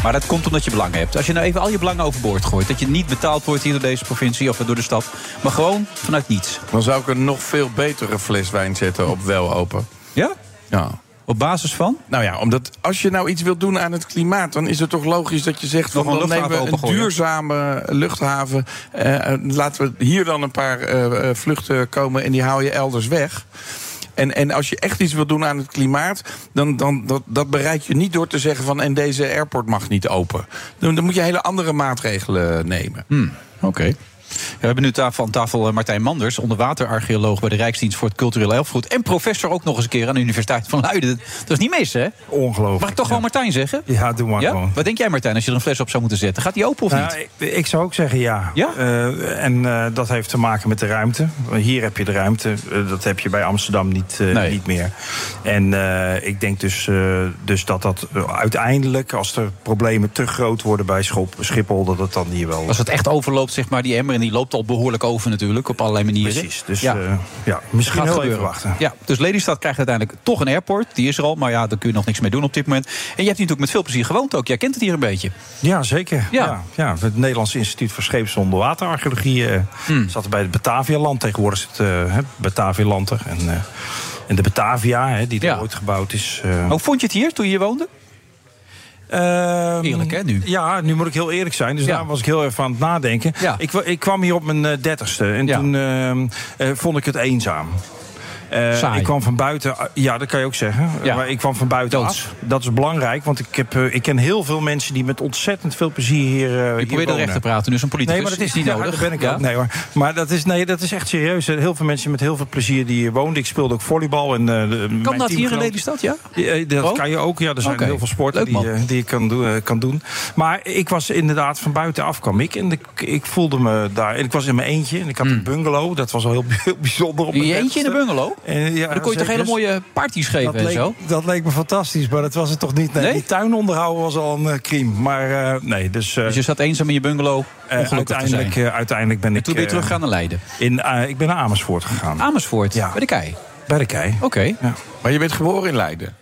S7: Maar dat komt omdat je belangen hebt. Als je nou even al je belangen overboord gooit... dat je niet betaald wordt hier door deze provincie of door de stad... maar gewoon vanuit niets.
S8: Dan zou ik een nog veel betere fles wijn zetten op wel open.
S7: Ja?
S8: Ja.
S7: Op basis van?
S8: Nou ja, omdat als je nou iets wilt doen aan het klimaat... dan is het toch logisch dat je zegt...
S7: Nog
S8: Van,
S7: een
S8: dan nemen we
S7: luchthaven
S8: een
S7: opengooien.
S8: duurzame luchthaven. eh, eh, laten we hier dan een paar eh, eh, vluchten komen en die haal je elders weg. En, en als je echt iets wilt doen aan het klimaat... dan, dan dat, dat bereik je niet door te zeggen van... en deze airport mag niet open. Dan, dan moet je hele andere maatregelen nemen.
S7: Hm. Oké. We hebben nu tafel, aan tafel eh, Martijn Manders, onderwaterarcheoloog bij de Rijksdienst voor het Cultureel Erfgoed. En professor ook nog eens een keer aan de Universiteit van Leiden. Dat is niet mis, hè?
S23: Ongelooflijk.
S7: Mag ik toch gewoon Martijn zeggen?
S23: Ja, doe maar gewoon.
S7: Wat denk jij, Martijn, als je er een fles op zou moeten zetten? Gaat die open of
S23: Nou,
S7: niet?
S23: ik, ik zou ook zeggen ja. Eh, en eh, dat heeft te maken met de ruimte. Want Hier heb je de ruimte. eh, dat heb je bij Amsterdam niet, eh, niet meer. En eh, ik denk dus, eh, dus dat dat eh, uiteindelijk, als de problemen te groot worden bij Schop, Schiphol, dat het dan hier wel.
S7: Als het echt overloopt, zeg maar, die emmer. En die loopt al behoorlijk over natuurlijk, op allerlei manieren.
S23: Precies, dus,
S7: ja.
S23: ja, misschien
S7: Gaat
S23: heel
S7: gebeuren.
S23: even wachten.
S7: Ja, dus Lelystad krijgt uiteindelijk toch een airport. Die is er al, maar ja, daar kun je nog niks mee doen op dit moment. En je hebt hier natuurlijk met veel plezier gewoond ook. Jij kent het hier een beetje.
S23: Ja, zeker.
S7: Ja.
S23: Ja. Ja, Het Nederlands Instituut voor Scheeps- en Onderwaterarcheologie eh,
S7: Hmm.
S23: zat er bij het Batavialand. Tegenwoordig zit eh, het Batavialand er. En, eh, en de Batavia, hè, die er ooit gebouwd is. eh,
S7: Hoe vond je het hier toen je hier woonde?
S23: Eerlijk, hè, nu? Ehm, Ja, nu moet ik heel eerlijk zijn. Dus daar was ik heel even aan het nadenken. Ik, wa- ik kwam hier op mijn eh, dertigste. En toen ehm, eh, vond ik het eenzaam. Eh,
S7: Saai.
S23: ik kwam van buiten, ah, ja, dat kan je ook zeggen.
S7: Ja.
S23: Maar ik kwam van buiten af. Dat is belangrijk, want ik, heb, eh, ik ken heel veel mensen die met ontzettend veel plezier hier. eh, hier
S7: Ik probeer dat
S23: wonen.
S7: recht te praten, dus een politicus.
S23: Nee, maar dat is
S7: niet
S23: ja,
S7: nodig.
S23: daar ben ik
S7: Ja?
S23: ook. Nee hoor. Maar dat is, nee, dat is echt serieus. Heel veel mensen met heel veel plezier die hier woonden. Ik speelde ook volleybal. En,
S7: Kan dat hier in Lelystad, ja?
S23: eh, Dat kan je ook. Ja, er zijn
S7: Oh? Oké.
S23: heel veel sporten die, eh, die je kan, doen- eh, kan doen. Maar ik was inderdaad van buitenaf kwam ik. En ik, ik voelde me daar. En ik was in mijn eentje. En ik had een bungalow. Dat was al heel, [laughs] heel bijzonder. Op
S7: Hmm. Je
S23: mijn
S7: eentje in een
S23: dertigste.
S7: bungalow?
S23: En, ja,
S7: Maar dan kon je toch
S23: zeker. Dus
S7: hele mooie parties geven
S23: dat
S7: en
S23: leek,
S7: zo?
S23: Dat leek me fantastisch, maar dat was het toch niet. Nee, Die tuin onderhouden was al een eh, crime. Maar eh, nee, dus... eh,
S7: Dus je zat eenzaam in je bungalow,
S23: eh,
S7: ongelukkig te
S23: uiteindelijk,
S7: zijn.
S23: eh, uiteindelijk ben ik...
S7: toen ben je
S23: eh,
S7: teruggegaan naar Leiden?
S23: In, eh, ik ben naar Amersfoort gegaan.
S7: Amersfoort? Bij de Kei?
S23: Bij de Kei.
S7: Oké.
S23: Ja.
S8: Maar je bent geboren in Leiden?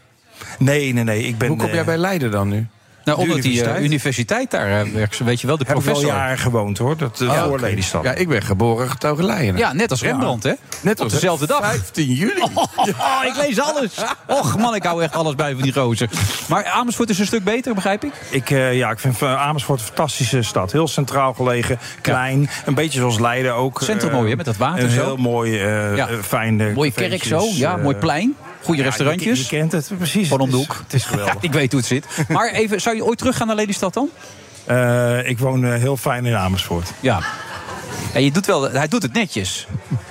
S23: Nee, nee, nee. Ik ben, eh,
S8: Hoe kom jij bij Leiden dan nu?
S7: Nou,
S8: De
S7: omdat die eh,
S8: universiteit?
S7: universiteit daar eh, werkt. Weet je wel, de
S8: Heb ik wel
S7: professor.
S8: jaren gewoond hoor,
S23: eh,
S8: dat
S23: Oh,
S7: Ja.
S8: ja, voor
S7: Oké.
S8: Lelystad. Ja, ik ben geboren getogen Leijenaar.
S7: Ja, net als Rembrandt, hè?
S8: Net
S7: Op
S8: als
S7: dezelfde dag.
S8: 15 juli.
S7: [laughs] Oh, ik lees alles. [laughs] Och man, ik hou echt alles bij van die gozer. Maar Amersfoort is een stuk beter, begrijp ik?
S23: Ik, eh, ja, ik vind eh, Amersfoort een fantastische stad. Heel centraal gelegen, klein. Een beetje zoals Leiden ook. eh,
S7: Centrum mooi, hè, met dat water
S23: Een
S7: zo.
S23: heel mooi, eh
S7: Ja.
S23: eh, fijn...
S7: Mooie kerk zo, ja, mooi plein. Goede restaurantjes.
S23: Je, je kent het, precies.
S7: Gewoon om de
S23: Het is-
S7: hoek.
S23: Het is geweldig.
S7: [laughs] ik weet hoe het zit. Maar even, zou je ooit teruggaan naar Lelystad dan?
S23: Eh, ik woon eh, heel fijn in Amersfoort.
S7: Ja. ja je doet wel, hij doet het netjes.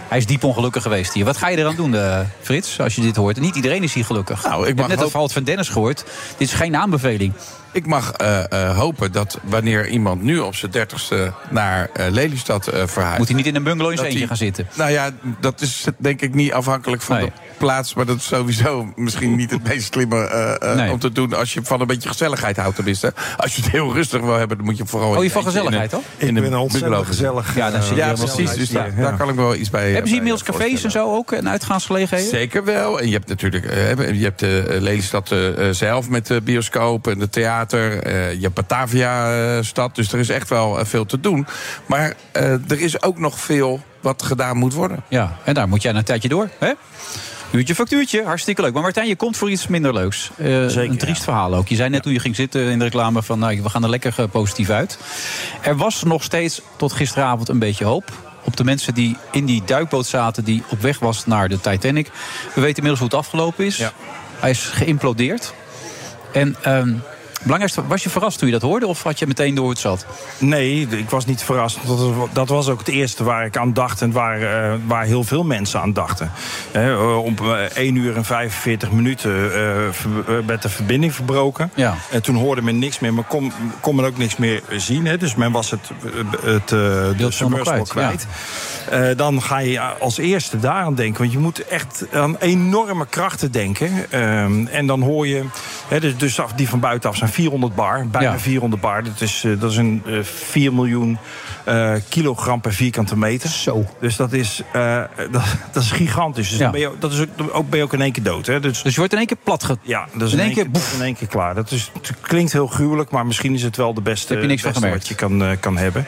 S7: Hij is diep ongelukkig geweest hier. Wat ga je eraan doen, eh, Frits, als je dit hoort? En niet iedereen is hier gelukkig. Nou, ik heb net het verhaal van Dennis gehoord. Dit is geen aanbeveling.
S8: Ik mag eh, eh, hopen dat wanneer iemand nu op zijn dertigste naar eh, Lelystad eh, verhuist...
S7: Moet hij niet in een bungalow in zijn
S8: dat
S7: eentje
S8: hij-
S7: gaan zitten?
S8: Nou ja, dat is denk ik niet afhankelijk van de plaats. Maar dat is sowieso misschien niet het meest slimme eh, eh,
S7: Nee.
S8: om te doen... als je van een beetje gezelligheid houdt tenminste. Als je het heel rustig wil hebben, dan moet je vooral...
S7: Oh, je
S8: in
S7: van
S8: eentje in
S7: gezelligheid,
S8: een-
S7: toch?
S8: in
S23: Ik
S8: een
S23: ben een ontzettend
S8: bungalow zitten.
S23: gezellig,
S8: Ja, dan
S23: eh,
S8: zie je ja,
S23: gezellig
S8: precies. Dus daar,
S23: hier, ja.
S8: daar kan ik me wel iets bij... eh,
S7: Hebben ze hier
S23: eh,
S8: bij
S7: inmiddels cafés en zo ook? En uitgaansgelegenheden?
S8: Zeker wel. En je hebt natuurlijk eh, je hebt, eh, Lelystad eh, eh, zelf met de bioscoop en de theater. eh, je hebt Batavia-stad. dus er is echt wel eh, veel te doen. Maar eh, er is ook nog veel wat gedaan moet worden.
S7: Ja, en daar moet jij een tijdje door. Hè? Uurtje factuurtje, hartstikke leuk. Maar Martijn, je komt voor iets minder leuks. Eh, een triest verhaal ook. Je zei net hoe je ging zitten in de reclame van... Nou, we gaan er lekker eh, positief uit. Er was nog steeds tot gisteravond een beetje hoop... op de mensen die in die duikboot zaten... die op weg was naar de Titanic. We weten inmiddels hoe het afgelopen is. Hij is geïmplodeerd. En ehm belangrijkste, was je verrast toen je dat hoorde... of had je meteen door hoe het zat?
S23: Nee, d- ik was niet verrast. Dat was, dat was ook het eerste waar ik aan dacht en waar, eh, waar heel veel mensen aan dachten. Hè, eh, om eh, 1 uur en 45 minuten eh, ver- eh, werd de verbinding verbroken.
S7: Ja.
S23: En toen hoorde men niks meer, maar kon, kon men ook niks meer zien. Hè. Dus men was het, eh, het eh, de submersible
S7: kwijt, ja.
S23: kwijt. Eh, dan ga je als eerste daaraan denken. Want je moet echt aan enorme krachten denken. Ehm, en dan hoor je. Hè, dus, dus af- die van buitenaf zijn 400 bar. Bijna 400 bar. Dat is, eh, dat is een eh, 4 miljoen eh, kilogram per vierkante meter. Zo. Dus dat is, eh, dat, [laughs] dat is gigantisch. Dus
S7: Ja.
S23: dan ben je, ook- dat is ook, dan ook, ben je ook in één keer dood. Hè? Dus,
S7: je wordt in één keer plat
S23: Ja, dat is
S7: in één
S23: in één
S7: keer
S23: keer, in één keer klaar. Dat is, het klinkt heel gruwelijk, maar misschien is het wel de beste,
S7: Heb je niks van
S23: beste
S7: gemerkt?
S23: wat je kan, eh, kan hebben.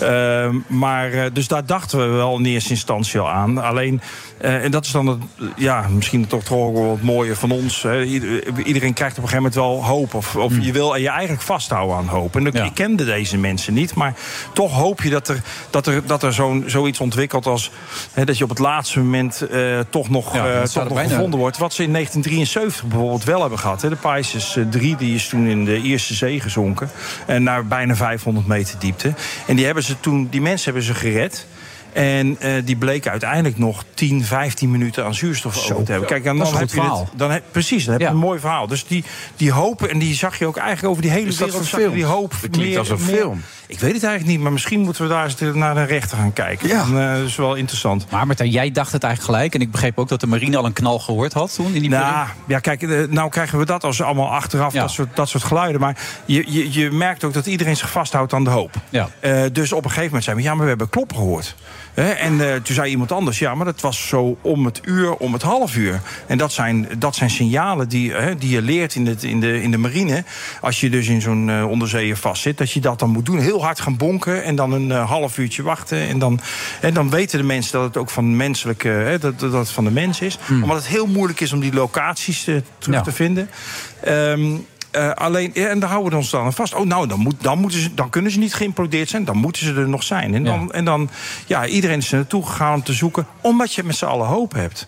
S23: Ehm, maar eh, dus daar dachten we wel in eerste instantie al aan. Alleen, eh, en dat is dan het, ja, misschien toch toch ook wel het mooie van ons. hè. Ieder- iedereen krijgt op een gegeven moment wel hoop. Of,
S7: Hmm.
S23: of je wil je eigenlijk vasthouden aan hoop. En ik, ik kende deze mensen niet. Maar toch hoop je dat er, dat er, dat er zo'n, zoiets ontwikkelt als hè, dat je op het laatste moment eh, toch nog,
S7: Ja,
S23: eh,
S7: dat staat
S23: toch
S7: er
S23: nog
S7: bijna.
S23: gevonden wordt. Wat ze in 1973 bijvoorbeeld wel hebben gehad. Hè. De Pisces eh, 3 die is toen in de Ierse Zee gezonken. En naar bijna 500 meter diepte. En die, hebben ze toen, die mensen hebben ze gered. En eh, die bleken uiteindelijk nog 10, 15 minuten aan zuurstof over te hebben. Kijk,
S7: Dat
S23: en dan
S7: is een
S23: heb
S7: goed
S23: je het-
S7: verhaal.
S23: dan heb, precies, dan heb je een mooi verhaal. Dus die, die hopen, en die zag je ook eigenlijk over die hele
S8: Is dat
S23: wereld.
S8: een
S23: zag je
S8: film?
S23: Die hoop
S8: Dat klinkt als een film.
S23: Ik weet het eigenlijk niet, maar misschien moeten we daar eens naar de rechter gaan kijken. Ja. dat is wel interessant.
S7: Maar Martijn, jij dacht het eigenlijk gelijk. En ik begreep ook dat de marine al een knal gehoord had toen in die
S23: Nou, ja, kijk, eh, nou krijgen we dat als allemaal achteraf, dat, soort, dat soort geluiden. Maar je, je, je merkt ook dat iedereen zich vasthoudt aan de hoop.
S7: Ja.
S23: Eh, dus op een gegeven moment zei we, ja, maar we hebben klop gehoord. Hè, en eh, toen zei iemand anders, ja, maar dat was zo om het uur, om het half uur. En dat zijn, dat zijn signalen die, hè, die je leert in, het, in, de, in de marine. Als je dus in zo'n eh, onderzeeër vastzit, dat je dat dan moet doen. Heel hard gaan bonken en dan een eh, half uurtje wachten. En dan, en dan weten de mensen dat het ook van, menselijke, hè, dat, dat het van de mens is. Omdat het heel moeilijk is om die locaties eh, terug
S7: Hmm. Ja.
S23: te vinden. Ehm, eh, alleen, ja, en daar houden we ons dan aan vast. Oh, nou, dan, moet, dan, moeten ze, dan kunnen ze niet geïmplodeerd zijn. Dan moeten ze er nog zijn. En dan, en dan ja, iedereen is er naartoe gegaan om te zoeken. Omdat je met z'n allen hoop hebt.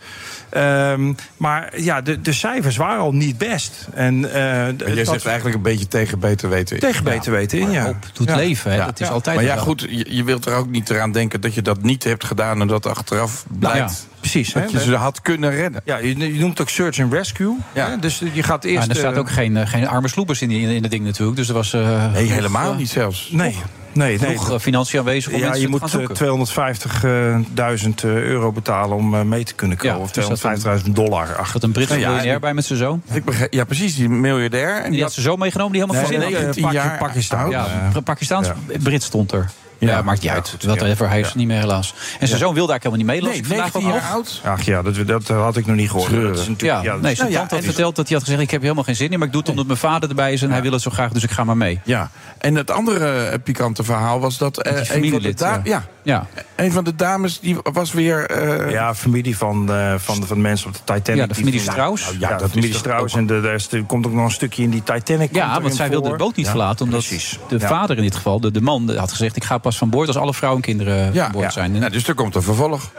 S23: Ehm, maar ja, de, de cijfers waren al niet best. En, eh,
S8: Maar jij zegt eigenlijk een beetje tegen beter weten in.
S23: Tegen beter weten in,
S8: maar
S23: ja.
S8: hoop
S23: Ja. Ja. Ja.
S8: Maar ja, goed, je, je wilt er ook niet eraan denken dat je dat niet hebt gedaan... en dat achteraf
S7: Nou
S8: blijkt
S23: precies.
S8: dat
S23: hè.
S8: je ze had kunnen redden.
S23: Ja, je, je noemt ook search and rescue. hè. Dus je gaat
S7: Ja,
S23: eerst...
S7: en er staat
S23: eh,
S7: ook geen, eh, geen arme sloepers in, die, in het ding natuurlijk. Dus er was... eh,
S23: Nee,
S7: nog,
S23: helemaal
S7: eh,
S23: niet zelfs. Nee, nee, nee.
S7: Genoeg eh, financiën aanwezig om
S23: Ja,
S7: mensen
S23: je
S7: te gaan
S23: moet
S7: zoeken.
S23: eh, 250.000 euro betalen om eh, mee te kunnen komen.
S7: Ja,
S23: of
S7: dus dat een-
S23: 250.000 dollar. Ach,
S7: dat een Britse
S23: Nou ja,
S7: miljonair
S23: en-
S7: bij met zijn zoon.
S8: Dus Ik begrijp, ja, precies, die miljardair. En
S7: die had ze zo meegenomen, die helemaal
S8: Nee,
S7: verzinnen.
S8: nee, 19 jaar
S7: Pakistan.
S8: oud.
S7: Ja, Pakistaans, Brits stond er. Ja, maakt niet uit. Whatever, hij is er niet meer helaas. En zijn
S23: Ja.
S7: zoon wilde eigenlijk helemaal niet meelopen.
S23: Nee, 19 jaar oud. Ach ja, dat, dat had ik nog niet gehoord. Dat is
S7: Ja,
S23: natuurlijk- dat
S7: nee,
S23: is-
S7: zijn
S23: Nou ja,
S7: tante had
S23: en-
S7: verteld dat hij had gezegd... ik heb hier helemaal geen zin in, maar ik doe het omdat mijn vader erbij is... en hij wil het zo graag, dus ik ga maar mee.
S8: Ja, en het andere eh, pikante verhaal was dat... eh, een, van de
S7: familielid,
S8: da-
S7: ja.
S8: ja. een van de dames die was weer... eh,
S23: Ja, familie van, eh, van, van mensen op de Titanic.
S8: Ja, de familie
S23: Die-
S8: Strauss.
S23: Nou ja,
S8: Ja, dat
S23: de
S8: is
S23: familie
S8: toch
S23: Strauss. En de- daar is- er komt ook nog een stukje in die Titanic. komt
S7: Ja,
S23: erin
S7: want zij wilde de
S23: voor.
S7: boot niet
S23: Ja,
S7: verlaten. Omdat
S23: precies.
S7: de
S23: Ja.
S7: vader in dit geval, de, de man, had gezegd... ik ga pas van boord als alle vrouwen en kinderen eh,
S23: Ja,
S7: van boord
S23: ja.
S7: zijn. En-
S8: Nou, dus er komt een vervolg.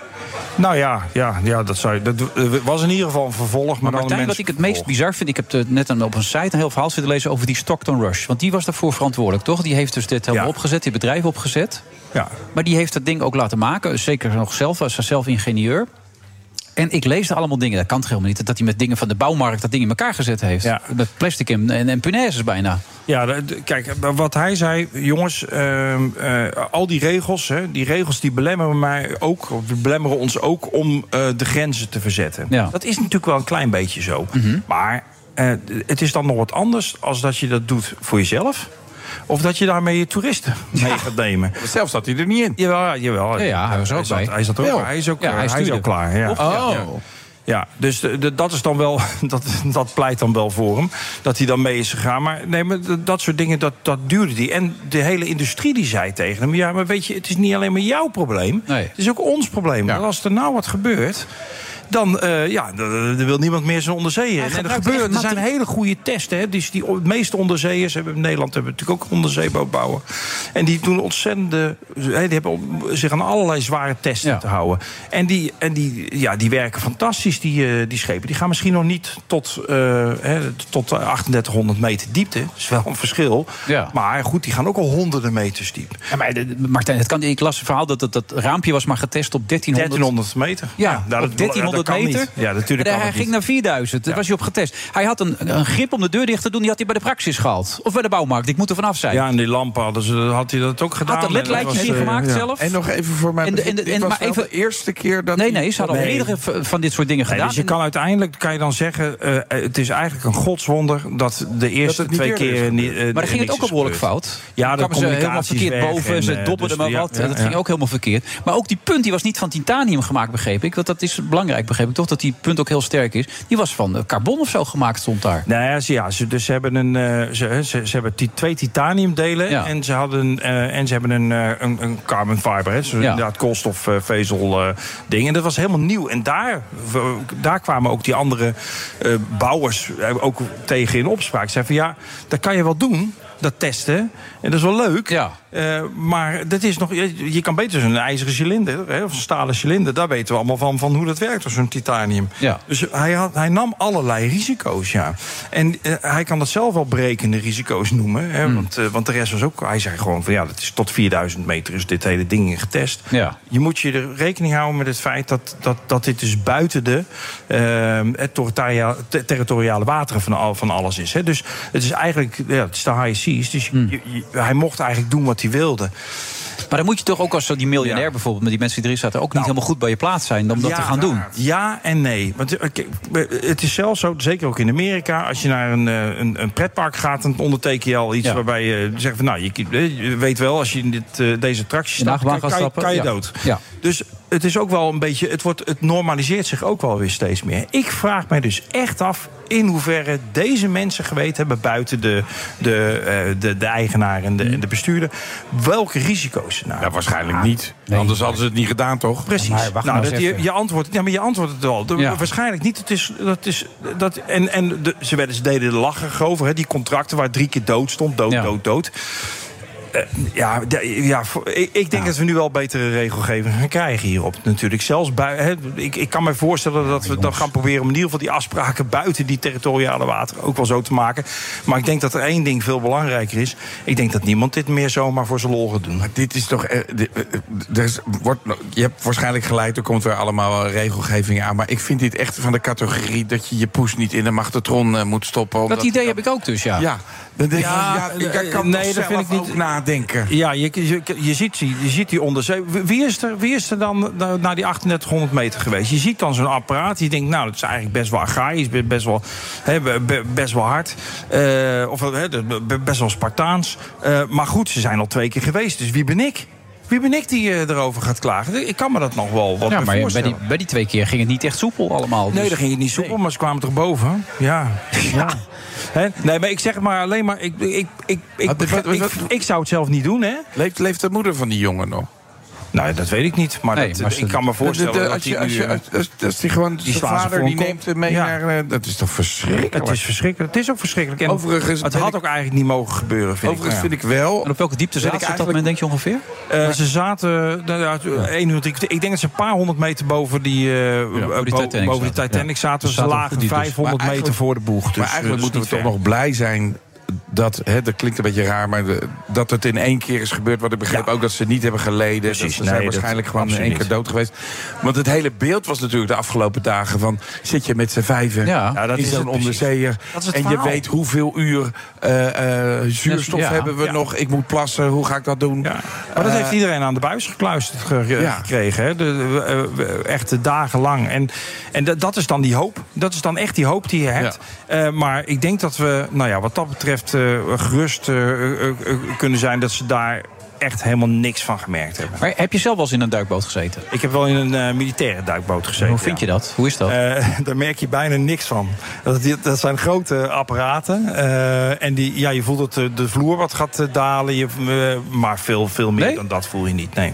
S23: Nou ja, ja, ja dat, zou, je- dat eh, was in ieder geval een vervolg. Maar,
S7: Maar Martijn, wat ik het meest bizar vind... ik heb eh, net een, op een site een heel verhaal zitten lezen over die Stockton Rush. Want die was daarvoor verantwoordelijk, toch? Die heeft dus dit helemaal opgezet, dit bedrijf opgezet.
S23: Ja.
S7: Maar die heeft dat ding ook laten maken. Zeker nog zelf, was hij zelf ingenieur. En ik leesde allemaal dingen, dat kan toch helemaal niet... dat hij met dingen van de bouwmarkt dat ding in elkaar gezet heeft. Met plastic en, en, en punaises bijna.
S23: Ja, de- de- kijk, wat hij zei, jongens, ehm, eh, al die regels, hè, die regels die belemmeren, mij ook, of die belemmeren ons ook om eh, de grenzen te verzetten.
S7: Ja.
S23: Dat is natuurlijk wel een klein beetje zo.
S8: Mhm.
S23: Maar eh, het is dan nog wat anders als dat je dat doet voor jezelf. Of dat je daarmee je toeristen mee gaat nemen.
S8: [laughs] Zelf zat hij er niet in.
S23: Jawel, jawel.
S8: Ja, ja, hij was er ook
S23: zat-
S8: bij.
S23: Hij zat er ook
S8: Ja.
S23: bij. Hij is ook,
S8: Ja,
S23: eh,
S8: hij
S23: hij is
S8: stuurde.
S23: ook klaar. Ja.
S8: Oh.
S23: Ja, ja. Ja, dus de- de- dat is dan wel. [laughs] Dat, dat pleit dan wel voor hem. Dat hij dan mee is gegaan. Maar nee, maar d- dat soort dingen, dat, dat duurde die. En de hele industrie die zei tegen hem: ja, maar weet je, het is niet alleen maar jouw probleem. Het is ook ons probleem. Want als er nou wat gebeurt. Dan, eh, ja, d- d- er wil niemand meer zijn onderzeeën. En er,
S7: gebruikt
S23: gebeuren,
S7: echt
S23: er zijn hele goede testen. Hè? Dus die, o- de meeste onderzeeërs hebben in Nederland hebben natuurlijk ook onderzeebootbouwen. En die doen ontzettende. hè, Die hebben om zich aan allerlei zware testen te houden. En die, en die, ja, die werken fantastisch, die, eh, die schepen. Die gaan misschien nog niet tot, eh, hè, tot 3800 meter diepte. Dat is wel een verschil. Maar goed, die gaan ook al honderden meters diep.
S7: Ja, maar de- Martijn, het kan, ik las het verhaal dat, dat dat raampje was maar getest op 1300,
S23: 1300 meter.
S7: Ja,
S23: nou,
S7: op
S23: dat-
S7: 1300
S23: dat kan
S7: meter.
S23: niet. Ja, natuurlijk
S7: En
S23: kan
S7: hij
S23: dat
S7: ging
S23: niet.
S7: naar 4000. Daar was hij op getest. Hij had een, een grip om de deur dicht te doen. Die had hij bij de praxis gehaald. Of bij de bouwmarkt. Ik moet er vanaf zijn.
S23: Ja, en die lampen hadden ze, had hij dat ook gedaan.
S7: Had dat ledlijntje
S23: was,
S7: niet
S23: eh,
S7: gemaakt
S23: ja.
S7: zelf?
S8: En nog even voor mij.
S7: En de- en de-
S8: dit
S7: en
S8: was
S7: maar
S8: wel
S7: even-
S8: de eerste keer dat.
S7: Nee, nee, ze hadden al
S23: Nee.
S7: meerdere v- van dit soort dingen
S23: Nee,
S7: gedaan.
S23: dus je kan uiteindelijk kan je dan zeggen, eh, het is eigenlijk een godswonder dat de eerste
S7: het niet
S23: twee
S7: eerder is
S23: keren niet.
S7: gebeurd.
S23: eh,
S7: Maar dan ging het
S23: niks
S7: ook al
S23: is
S7: behoorlijk
S23: gebeurd.
S7: fout.
S23: Ja,
S7: dan
S23: de
S7: kwamen ze helemaal
S23: communicatie
S7: verkeerd
S23: is weg
S7: boven.
S23: en,
S7: ze
S23: eh,
S7: dobberden
S23: dus
S7: maar
S23: ja,
S7: wat.
S23: ja,
S7: dat
S23: ja.
S7: ging ook helemaal verkeerd. Maar ook die punt die was niet van titanium gemaakt, begreep ik. Want dat is belangrijk, begreep ik toch? Dat die punt ook heel sterk is. Die was van eh, carbon of zo gemaakt, stond daar.
S23: Nou ja, ze, ja, ze, dus ze hebben, een, eh, ze, ze, ze hebben ti- twee titaniumdelen en, ze hadden, eh, en ze hebben een, eh, een, een carbon fiber. Hè, dus inderdaad koolstofvezel eh ding. En dat was helemaal nieuw. En daar, we- daar kwamen ook die andere eh, bouwers eh, ook tegen in opspraak. Ze zeiden van ja, dat kan je wel doen, dat testen. En dat is wel leuk. Eh, maar dat is nog, je, je kan beter zo'n ijzeren cilinder hè, of een stalen cilinder. Daar weten we allemaal van, van hoe dat werkt, of zo'n titanium.
S7: Ja.
S23: Dus hij, had, hij nam allerlei risico's, ja. En eh, hij kan dat zelf wel brekende risico's noemen. Hè, want, eh, want de rest was ook... Hij zei gewoon van ja, dat is tot 4000 meter is dit hele ding getest.
S7: Ja.
S23: Je moet je er rekening houden met het feit dat, dat, dat dit dus buiten de eh, het territoria- te- territoriale wateren van, al, van alles is. Hè. Dus het is eigenlijk ja, het is de high seas. Dus je- je- je- hij mocht eigenlijk doen wat hij wilde.
S7: Hmm. Maar dan moet je toch ook als zo die miljonair bijvoorbeeld... met die mensen die erin zaten, ook
S23: Nou.
S7: niet helemaal goed bij je plaats zijn... om dat te gaan doen.
S23: raar. Ja en nee. Want eh, kijk, het is zelfs zo, zeker ook in Amerika, als je naar een, eh, een, een pretpark gaat, dan onderteken je al iets waarbij je zegt van nou, je, je weet wel, als je in dit, eh, deze attractie
S7: In de
S23: stapt,
S7: achtbaan
S23: kan,
S7: gaan
S23: kan je-
S7: stappen,
S23: kan je
S7: ja.
S23: dood.
S7: Ja.
S23: Dus het is ook wel een beetje, het, wordt, het normaliseert zich ook wel weer steeds meer. Ik vraag mij dus echt af in hoeverre deze mensen geweten hebben buiten de, de, eh, de, de eigenaar en de, en de bestuurder, welke risico's ze namen.
S8: Ja, waarschijnlijk niet. Anders hadden ze het niet gedaan, toch?
S23: Precies. nou, dat je, je antwoord, ja, maar je antwoordt het al. De-
S8: Ja.
S23: Waarschijnlijk niet. Het is, dat is, dat, en en de, ze, werden, ze deden de lachen over, hè, die contracten waar drie keer dood stond. Dood, dood, dood. Eh, ja, de- ja, voor- ik, ik denk dat we nu wel betere regelgeving gaan krijgen hierop. Natuurlijk, zelfs bui- hè, ik, ik kan me voorstellen dat we dan gaan proberen om in ieder geval die afspraken buiten die territoriale wateren ook wel zo te maken. Maar ik denk dat er één ding veel belangrijker is. Ik denk dat niemand dit meer zomaar voor zijn lol gaat doen.
S8: Dit is toch. eh, di- eh, Er is, wordt, je hebt waarschijnlijk gelijk, er komt weer allemaal eh, regelgeving aan. Maar ik vind dit echt van de categorie dat je je poes niet in de magnetron eh, moet stoppen.
S7: Dat idee heb ik ook dus, ja.
S8: Ja, dan denk ik,
S23: Ja,
S8: ja, ik kan
S23: eh,
S8: toch
S23: nee, dat
S8: zelf
S23: vind ik niet-
S8: ook nadenken.
S23: Ja, je, je, je, ziet, die- je ziet die onderzee. Wie- Wie is er, wie is er dan na- naar die 3800 meter geweest? Je ziet dan zo'n apparaat. Je denkt, nou, dat is eigenlijk best wel archaïs. be- Best wel, hè, be- be- best wel hard. Eh, of hè, de- be- best wel Spartaans. Eh, maar goed, ze zijn al twee keer geweest. Dus wie ben ik? Wie ben ik die eh, erover gaat klagen? Ik kan me dat nog wel wat
S24: ja,
S23: bij
S24: maar bij
S23: voorstellen.
S24: die, bij die twee keer ging het niet echt soepel allemaal.
S23: Nee,
S24: dus-
S23: dan ging het niet soepel, maar ze kwamen toch boven? Ja. ja. Hè? Nee, maar ik zeg het maar alleen maar... Ik, ik, ik, ik, begrijp- ik, ik zou het zelf niet doen, hè?
S8: Leeft, leeft de moeder van die jongen nog?
S23: Nou, dat weet ik niet. Maar, dat,
S8: eh,
S23: ik kan me voorstellen
S8: De- de-
S23: dat
S8: als
S23: die
S8: je- als
S23: nu,
S8: je-
S23: eh,
S8: als- als- als die gewoon
S23: die
S8: zijn
S23: slaan ze
S8: vader
S23: voor
S8: die
S23: een kop.
S8: neemt hem mee
S23: Ja.
S8: naar... eh, dat is toch verschrikkelijk?
S23: Het is verschrikkelijk. Het is ook verschrikkelijk. En
S8: Overigens
S23: het
S8: ben
S23: had
S8: ik-
S23: ook eigenlijk niet mogen gebeuren, vind
S8: Overigens
S23: ik.
S8: vind ik wel...
S23: En op welke diepte
S8: zaten ze op dat moment,
S23: denk je ongeveer? Eh, ze zaten, nou ja, één minuut, ik, ik denk dat ze een paar honderd meter boven die, eh,
S8: boven die
S23: bo-
S8: Titanic
S23: boven die
S8: zaten.
S23: Titanic
S8: Ja.
S23: zaten.
S8: Ze
S23: Ze
S8: zaten
S23: lagen
S8: goed diep dus.
S23: 500
S8: Maar
S23: meter
S8: eigenlijk-
S23: voor de boeg. Dus,
S8: maar eigenlijk moeten we toch nog blij zijn dat, hè, dat klinkt een beetje raar, maar de- dat het in één keer is gebeurd. Want ik begreep ook dat ze niet hebben geleden. dat ze
S23: Nee,
S8: zijn
S23: dat-
S8: waarschijnlijk gewoon in
S23: absoluut
S8: één keer dood geweest. Want het hele beeld was natuurlijk de afgelopen dagen van... zit je met z'n vijven
S23: Ja.
S8: ja,
S23: Ja, dat
S8: in
S23: is het
S8: zo'n
S23: precies.
S8: onderzeeër...
S23: Dat is het
S8: en je
S23: verhaal.
S8: weet hoeveel uur eh, eh, zuurstof
S23: Ja.
S8: hebben we
S23: Ja.
S8: nog. Ik moet plassen, hoe ga ik dat doen?
S23: Maar dat
S8: Eh,
S23: heeft iedereen aan de buis gekluisterd ge- ge-
S8: Ja.
S23: gekregen. Hè? De, de- eh, eh, echt dagenlang. En, en dat, dat is dan die hoop. Dat is dan echt die hoop die je hebt. Eh, maar ik denk dat we, nou ja, wat dat betreft, eh, gerust eh, eh, eh, kunnen zijn dat ze daar echt helemaal niks van gemerkt hebben.
S24: Maar heb je zelf wel eens in een duikboot gezeten?
S23: Ik heb wel in een eh, militaire duikboot gezeten.
S24: Hoe vind je dat? Hoe is dat?
S23: Eh, daar merk je bijna niks van. Dat, dat zijn grote apparaten. eh, en die, ja, je voelt dat de, de vloer wat gaat eh, dalen. Je, eh, maar veel, veel meer dan dat voel je niet. Nee.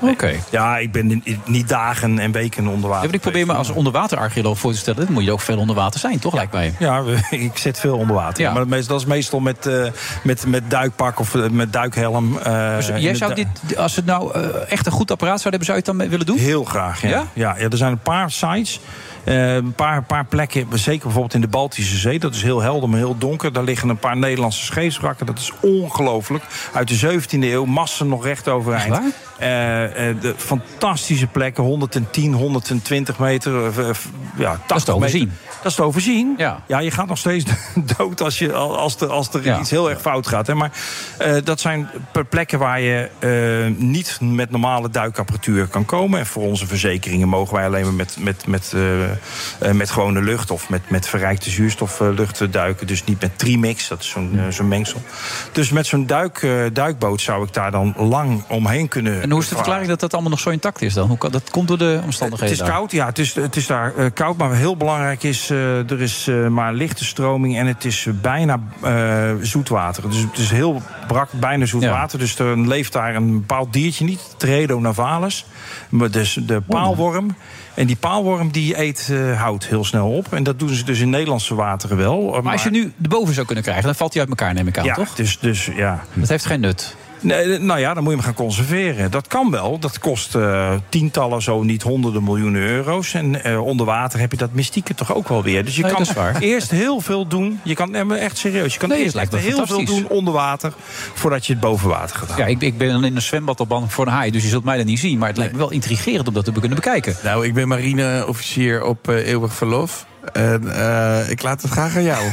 S24: Oké.
S23: Ja, ik ben in- niet dagen en weken onder
S24: Ja,
S23: water.
S24: maar ik probeer me als onderwaterarcheoloog voor te stellen. Dat moet je ook veel onder water zijn, toch? Lijkt mij.
S23: Ja, we- [laughs] ik zit veel onder water. Maar dat, meest- dat is meestal met, eh, met, met duikpak of eh, met duikhelm. eh,
S24: Dus
S23: in
S24: jij
S23: de
S24: zou
S23: du-
S24: dit, als het nou eh, echt een goed apparaat zou hebben, zou je het dan willen doen?
S23: Heel graag, ja.
S24: Ja?
S23: Ja? Ja, er zijn een paar sites. eh, een paar, paar plekken, zeker bijvoorbeeld in de Baltische Zee. Dat is heel helder, maar heel donker. Daar liggen een paar Nederlandse scheepswrakken. Dat is ongelooflijk. Uit de 17e eeuw, massen nog recht overeind. Eh, eh, de fantastische plekken, 110, 120 meter. eh, eh, ja, 80 dat is
S24: overzien.
S23: Dat is te overzien. Ja. je gaat nog steeds [laughs] dood als, je, als, de, als er
S24: Ja.
S23: iets heel erg fout gaat. Hè? Maar eh, dat zijn per- plekken waar je eh, niet met normale duikapparatuur kan komen. En voor onze verzekeringen mogen wij alleen maar met, met, met, eh, eh, met gewone lucht of met, met verrijkte zuurstoflucht eh, duiken. Dus niet met Trimix, dat is zo'n eh, zo'n mengsel. Dus met zo'n duik, eh, duikboot zou ik daar dan lang omheen kunnen.
S24: En hoe is de
S23: varen.
S24: verklaring dat dat allemaal nog zo intact is dan? Hoe kan, dat komt door de omstandigheden.
S23: Het
S24: daar.
S23: is koud, ja, het is, het is daar eh, koud. Maar heel belangrijk is, eh, er is eh, maar lichte stroming... en het is bijna eh, zoet water. Dus het is heel brak, bijna zoet water. Dus er leeft daar een bepaald diertje niet. Tredo navalis. Maar dus de paalworm. En die paalworm die eet eh, hout heel snel op. En dat doen ze dus in Nederlandse wateren wel. Maar,
S24: als je nu de boven zou kunnen krijgen, dan valt hij uit elkaar, neem ik aan,
S23: ja,
S24: toch?
S23: Dus, dus, ja.
S24: Dat heeft geen nut.
S23: Nee, nou ja, dan moet je hem gaan conserveren. Dat kan wel. Dat kost eh, tientallen, zo niet honderden miljoenen euro's. En eh, onder water heb je dat mystieke toch ook wel weer. Dus je
S24: Nee,
S23: kan
S24: dat is waar.
S23: eerst heel veel doen. Je kan nee, maar echt serieus. Je kan
S24: Nee, het
S23: eerst
S24: lijkt
S23: echt
S24: me
S23: heel veel
S24: fantastisch.
S23: doen onder water voordat je het boven water gaat.
S24: Ja, ik, ik ben dan in een zwembad op bang voor een haai, dus je zult mij dat niet zien. Maar het lijkt me wel intrigerend om dat te kunnen bekijken.
S8: Nou, ik ben marineofficier op eh, eeuwig verlof. En eh, ik laat het graag aan jou.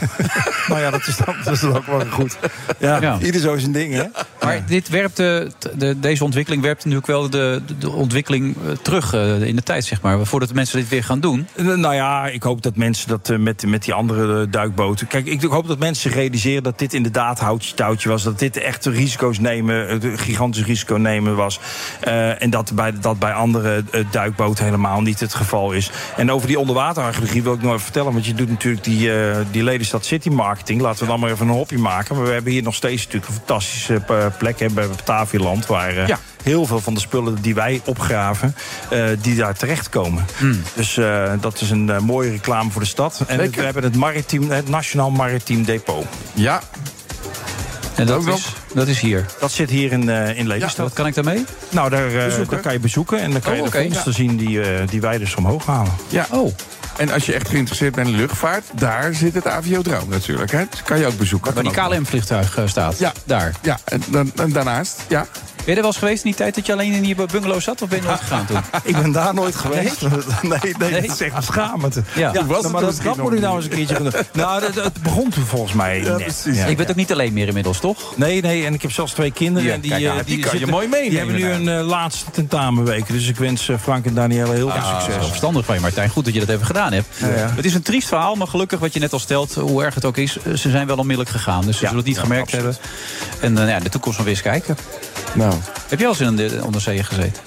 S23: nou ja, dat is dan, dat is dan ook wel goed. Ja,
S24: Ja.
S23: ieder zo zijn ding, hè?
S24: Maar dit werpt, eh, t- de, deze ontwikkeling werpt natuurlijk wel de, de- de ontwikkeling eh, terug eh, in de tijd, zeg maar. Voordat mensen dit weer gaan doen.
S23: Eh, Nou ja, ik hoop dat mensen dat eh, met, met die andere eh, duikboten. Kijk, ik hoop dat mensen realiseren dat dit inderdaad houtje touwtje was. Dat dit echt risico's nemen, eh, de gigantisch risico nemen was. Eh, en dat bij, dat bij andere eh, duikboten helemaal niet het geval is. En over die onderwaterarcheologie wil ik nog even vertellen. Want je doet natuurlijk die, eh, die Lelystad City Marketing. Laten we dan maar even een hopje maken. Maar we hebben hier nog steeds natuurlijk een fantastische eh, plek hè, bij Batavialand. Waar eh,
S24: Ja.
S23: heel veel van de spullen die wij opgraven, eh, die daar terechtkomen. Dus eh, dat is een eh, mooie reclame voor de stad. En
S8: Zeker.
S23: we hebben het, maritiem, het Nationaal Maritiem Depot.
S8: Ja.
S24: En dat
S23: Ook nog.
S24: is, dat is hier.
S23: Dat zit hier in, eh in Lelystad.
S24: Ja, wat kan ik daarmee?
S23: Nou, daar, eh,
S8: Bezoeken.
S23: daar kan je bezoeken en dan kan
S8: Oh,
S23: je de
S8: oké.
S23: vondsten
S8: Ja.
S23: zien die, eh, die wij dus omhoog halen.
S8: Ja.
S24: Oh.
S8: En als je echt geïnteresseerd bent in de luchtvaart, daar zit het AVO-droom natuurlijk. Hè? Dat kan je ook bezoeken.
S24: Waar die KLM-vliegtuig eh, staat. Ja. Daar.
S8: Ja, en, dan, en daarnaast, ja.
S24: Ben je er wel eens geweest in die tijd dat je alleen in die bungalow zat? Of ben je nooit gegaan toen?
S23: [laughs] Ik ben daar nooit geweest. [laughs] Nee, nee, dat is echt beschamend.
S24: Ja. Toen was het
S23: maar dat,
S24: misschien
S23: dat
S24: nog
S23: moet ik nou eens
S24: niet.
S23: een keertje gaan
S24: [laughs]
S23: doen. [laughs] Nou, dat- het begon toen volgens mij
S24: Ja,
S23: net.
S24: precies. Ik ben ook niet alleen meer inmiddels, toch?
S23: Nee, nee, en ik heb zelfs twee kinderen.
S24: Ja,
S23: en die,
S24: kijk aan,
S23: eh,
S24: die kan je
S23: zitten-
S24: mooi meenemen
S23: Die hebben nu een eh, laatste tentamenweek. Dus ik wens eh, Frank en Danielle heel
S24: Ja, dat
S23: veel
S24: is wel
S23: succes.
S24: verstandig van je, Martijn. Goed dat je dat even gedaan hebt.
S23: Ja, ja.
S24: Het is een triest verhaal, maar gelukkig wat je net al stelt... hoe erg het
S7: eh,
S24: ook is, ze zijn wel onmiddellijk gegaan. Dus ze zullen het niet gemerkt hebben. En eh, nou ja, in de toekomst maar weer eens kijken.
S8: Nou.
S7: Heb je al eens in een onderzee gezeten?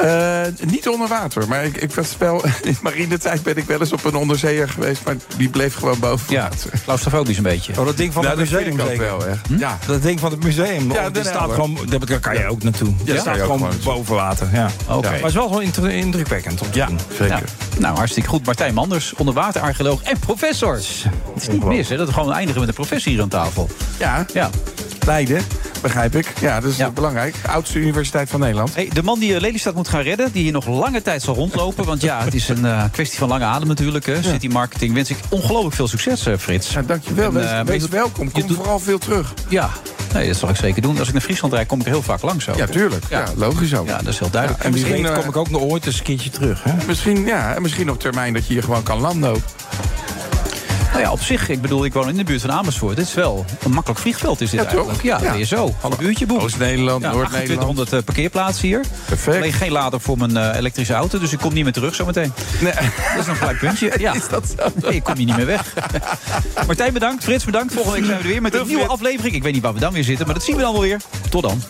S8: Eh, niet onder water, maar ik, ik was wel, [laughs] in marinetijd ben ik wel eens op een onderzeeër geweest, maar die bleef gewoon boven ja, water.
S7: Claustrofobisch een beetje.
S8: Oh,
S9: dat ding van
S8: Nou,
S9: het
S8: dat
S9: museum
S8: vind ik ook
S9: zeker?
S8: wel,
S24: Hm?
S8: echt.
S9: Ja. Dat ding van het museum.
S8: Ja,
S9: Ja,
S8: Den
S9: dat staat
S8: Helder.
S9: gewoon, daar daar kan je ook naartoe.
S8: Ja,
S9: Ja,
S8: daar
S9: staat
S8: kan je ook
S9: gewoon
S8: gewoon.
S9: boven water. Ja.
S7: Oké.
S9: Maar het is wel gewoon inter- indrukwekkend. Om te
S7: Ja,
S9: doen.
S7: Nou, nou, hartstikke goed. Martijn Manders, onderwaterarcheoloog en professor. Het is niet mis, hè? Dat we gewoon eindigen met een professor hier aan tafel.
S8: Ja.
S7: ja.
S8: Leiden, begrijp ik. Ja, dat is belangrijk. Oudste universiteit van Nederland.
S7: Hey, de man die eh, Lelystad moet gaan redden, die hier nog lange tijd zal rondlopen. Want ja, het is een eh, kwestie van lange adem natuurlijk. Hè. City Marketing wens ik ongelooflijk veel succes, eh, Frits. eh, Ja,
S8: dankjewel. Wees- wees welkom. Kom vooral veel terug.
S7: Ja, nee, dat zal ik zeker doen. Als ik naar Friesland rijd, kom ik er heel vaak langs. Ook.
S8: Ja, tuurlijk. Ja, logisch ook.
S7: Ja, dat is heel duidelijk.
S8: Ja, en misschien, eh,
S9: ook nog ooit eens een keertje terug.
S8: Misschien, ja, en misschien op termijn dat je hier gewoon kan landen ook.
S7: Nou ja, op zich, ik bedoel, ik woon in de buurt van Amersfoort. Dit is wel een makkelijk vliegveld, is dit
S8: Ja, toch?
S7: eigenlijk. Ja, dat
S8: Ja.
S7: ben je zo. Half uurtje boek.
S8: Oost-Nederland,
S7: Ja,
S8: Noord-Nederland.
S7: 2800 eh, parkeerplaatsen hier.
S8: Perfect.
S7: Alleen geen lader voor mijn eh, elektrische auto, dus ik kom niet meer terug zometeen.
S8: Nee.
S7: Dat is nog een gelijk puntje. [laughs] Ja. Is dat zo? Nee, ik kom hier niet meer weg. Martijn, bedankt. Frits, bedankt. Volgende week zijn we er weer met een nieuwe aflevering. Ik weet niet waar we dan weer zitten, maar dat zien we dan wel weer. Tot dan.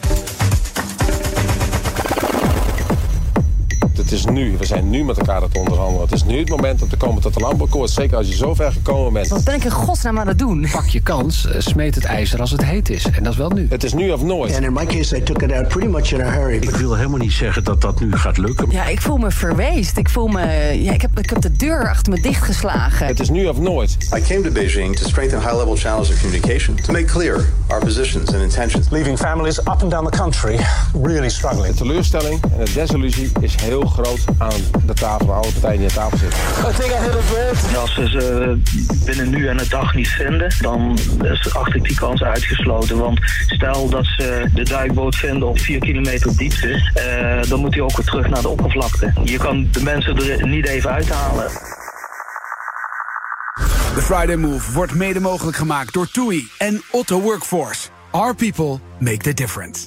S5: Het is nu. We zijn nu met elkaar aan het onderhandelen. Het is nu het moment om te komen tot een landbouwakkoord. Zeker als je zo ver gekomen bent.
S14: Wat ben ik in godsnaam aan het doen? Pak je kans, eh, smeet het ijzer als het heet is. En dat is wel nu.
S5: Het is nu of nooit.
S15: And in my case, I took it out pretty much in a hurry.
S4: Ik wil helemaal niet zeggen dat dat nu gaat lukken.
S6: Ja, ik voel me verweest. Ik voel me. Ja, ik, heb, ik heb de deur achter me dichtgeslagen.
S5: Het is nu of nooit.
S25: I came to Beijing to strengthen high level channels of communication, to make clear our positions and intentions.
S5: Leaving families up and down the country really struggling. De teleurstelling en de desillusie is heel groot aan de tafel, waar alle partijen die aan tafel zitten.
S26: I think I hit a
S27: Als ze ze eh, binnen nu en een dag niet vinden, dan is- acht ik die kans uitgesloten. Want stel dat ze de duikboot vinden op 4 kilometer diepte, eh, dan moet die ook weer terug naar de oppervlakte. Je kan de mensen er niet even uithalen.
S2: De Friday Move wordt mede mogelijk gemaakt door TUI en Otto Workforce. Our people make the difference.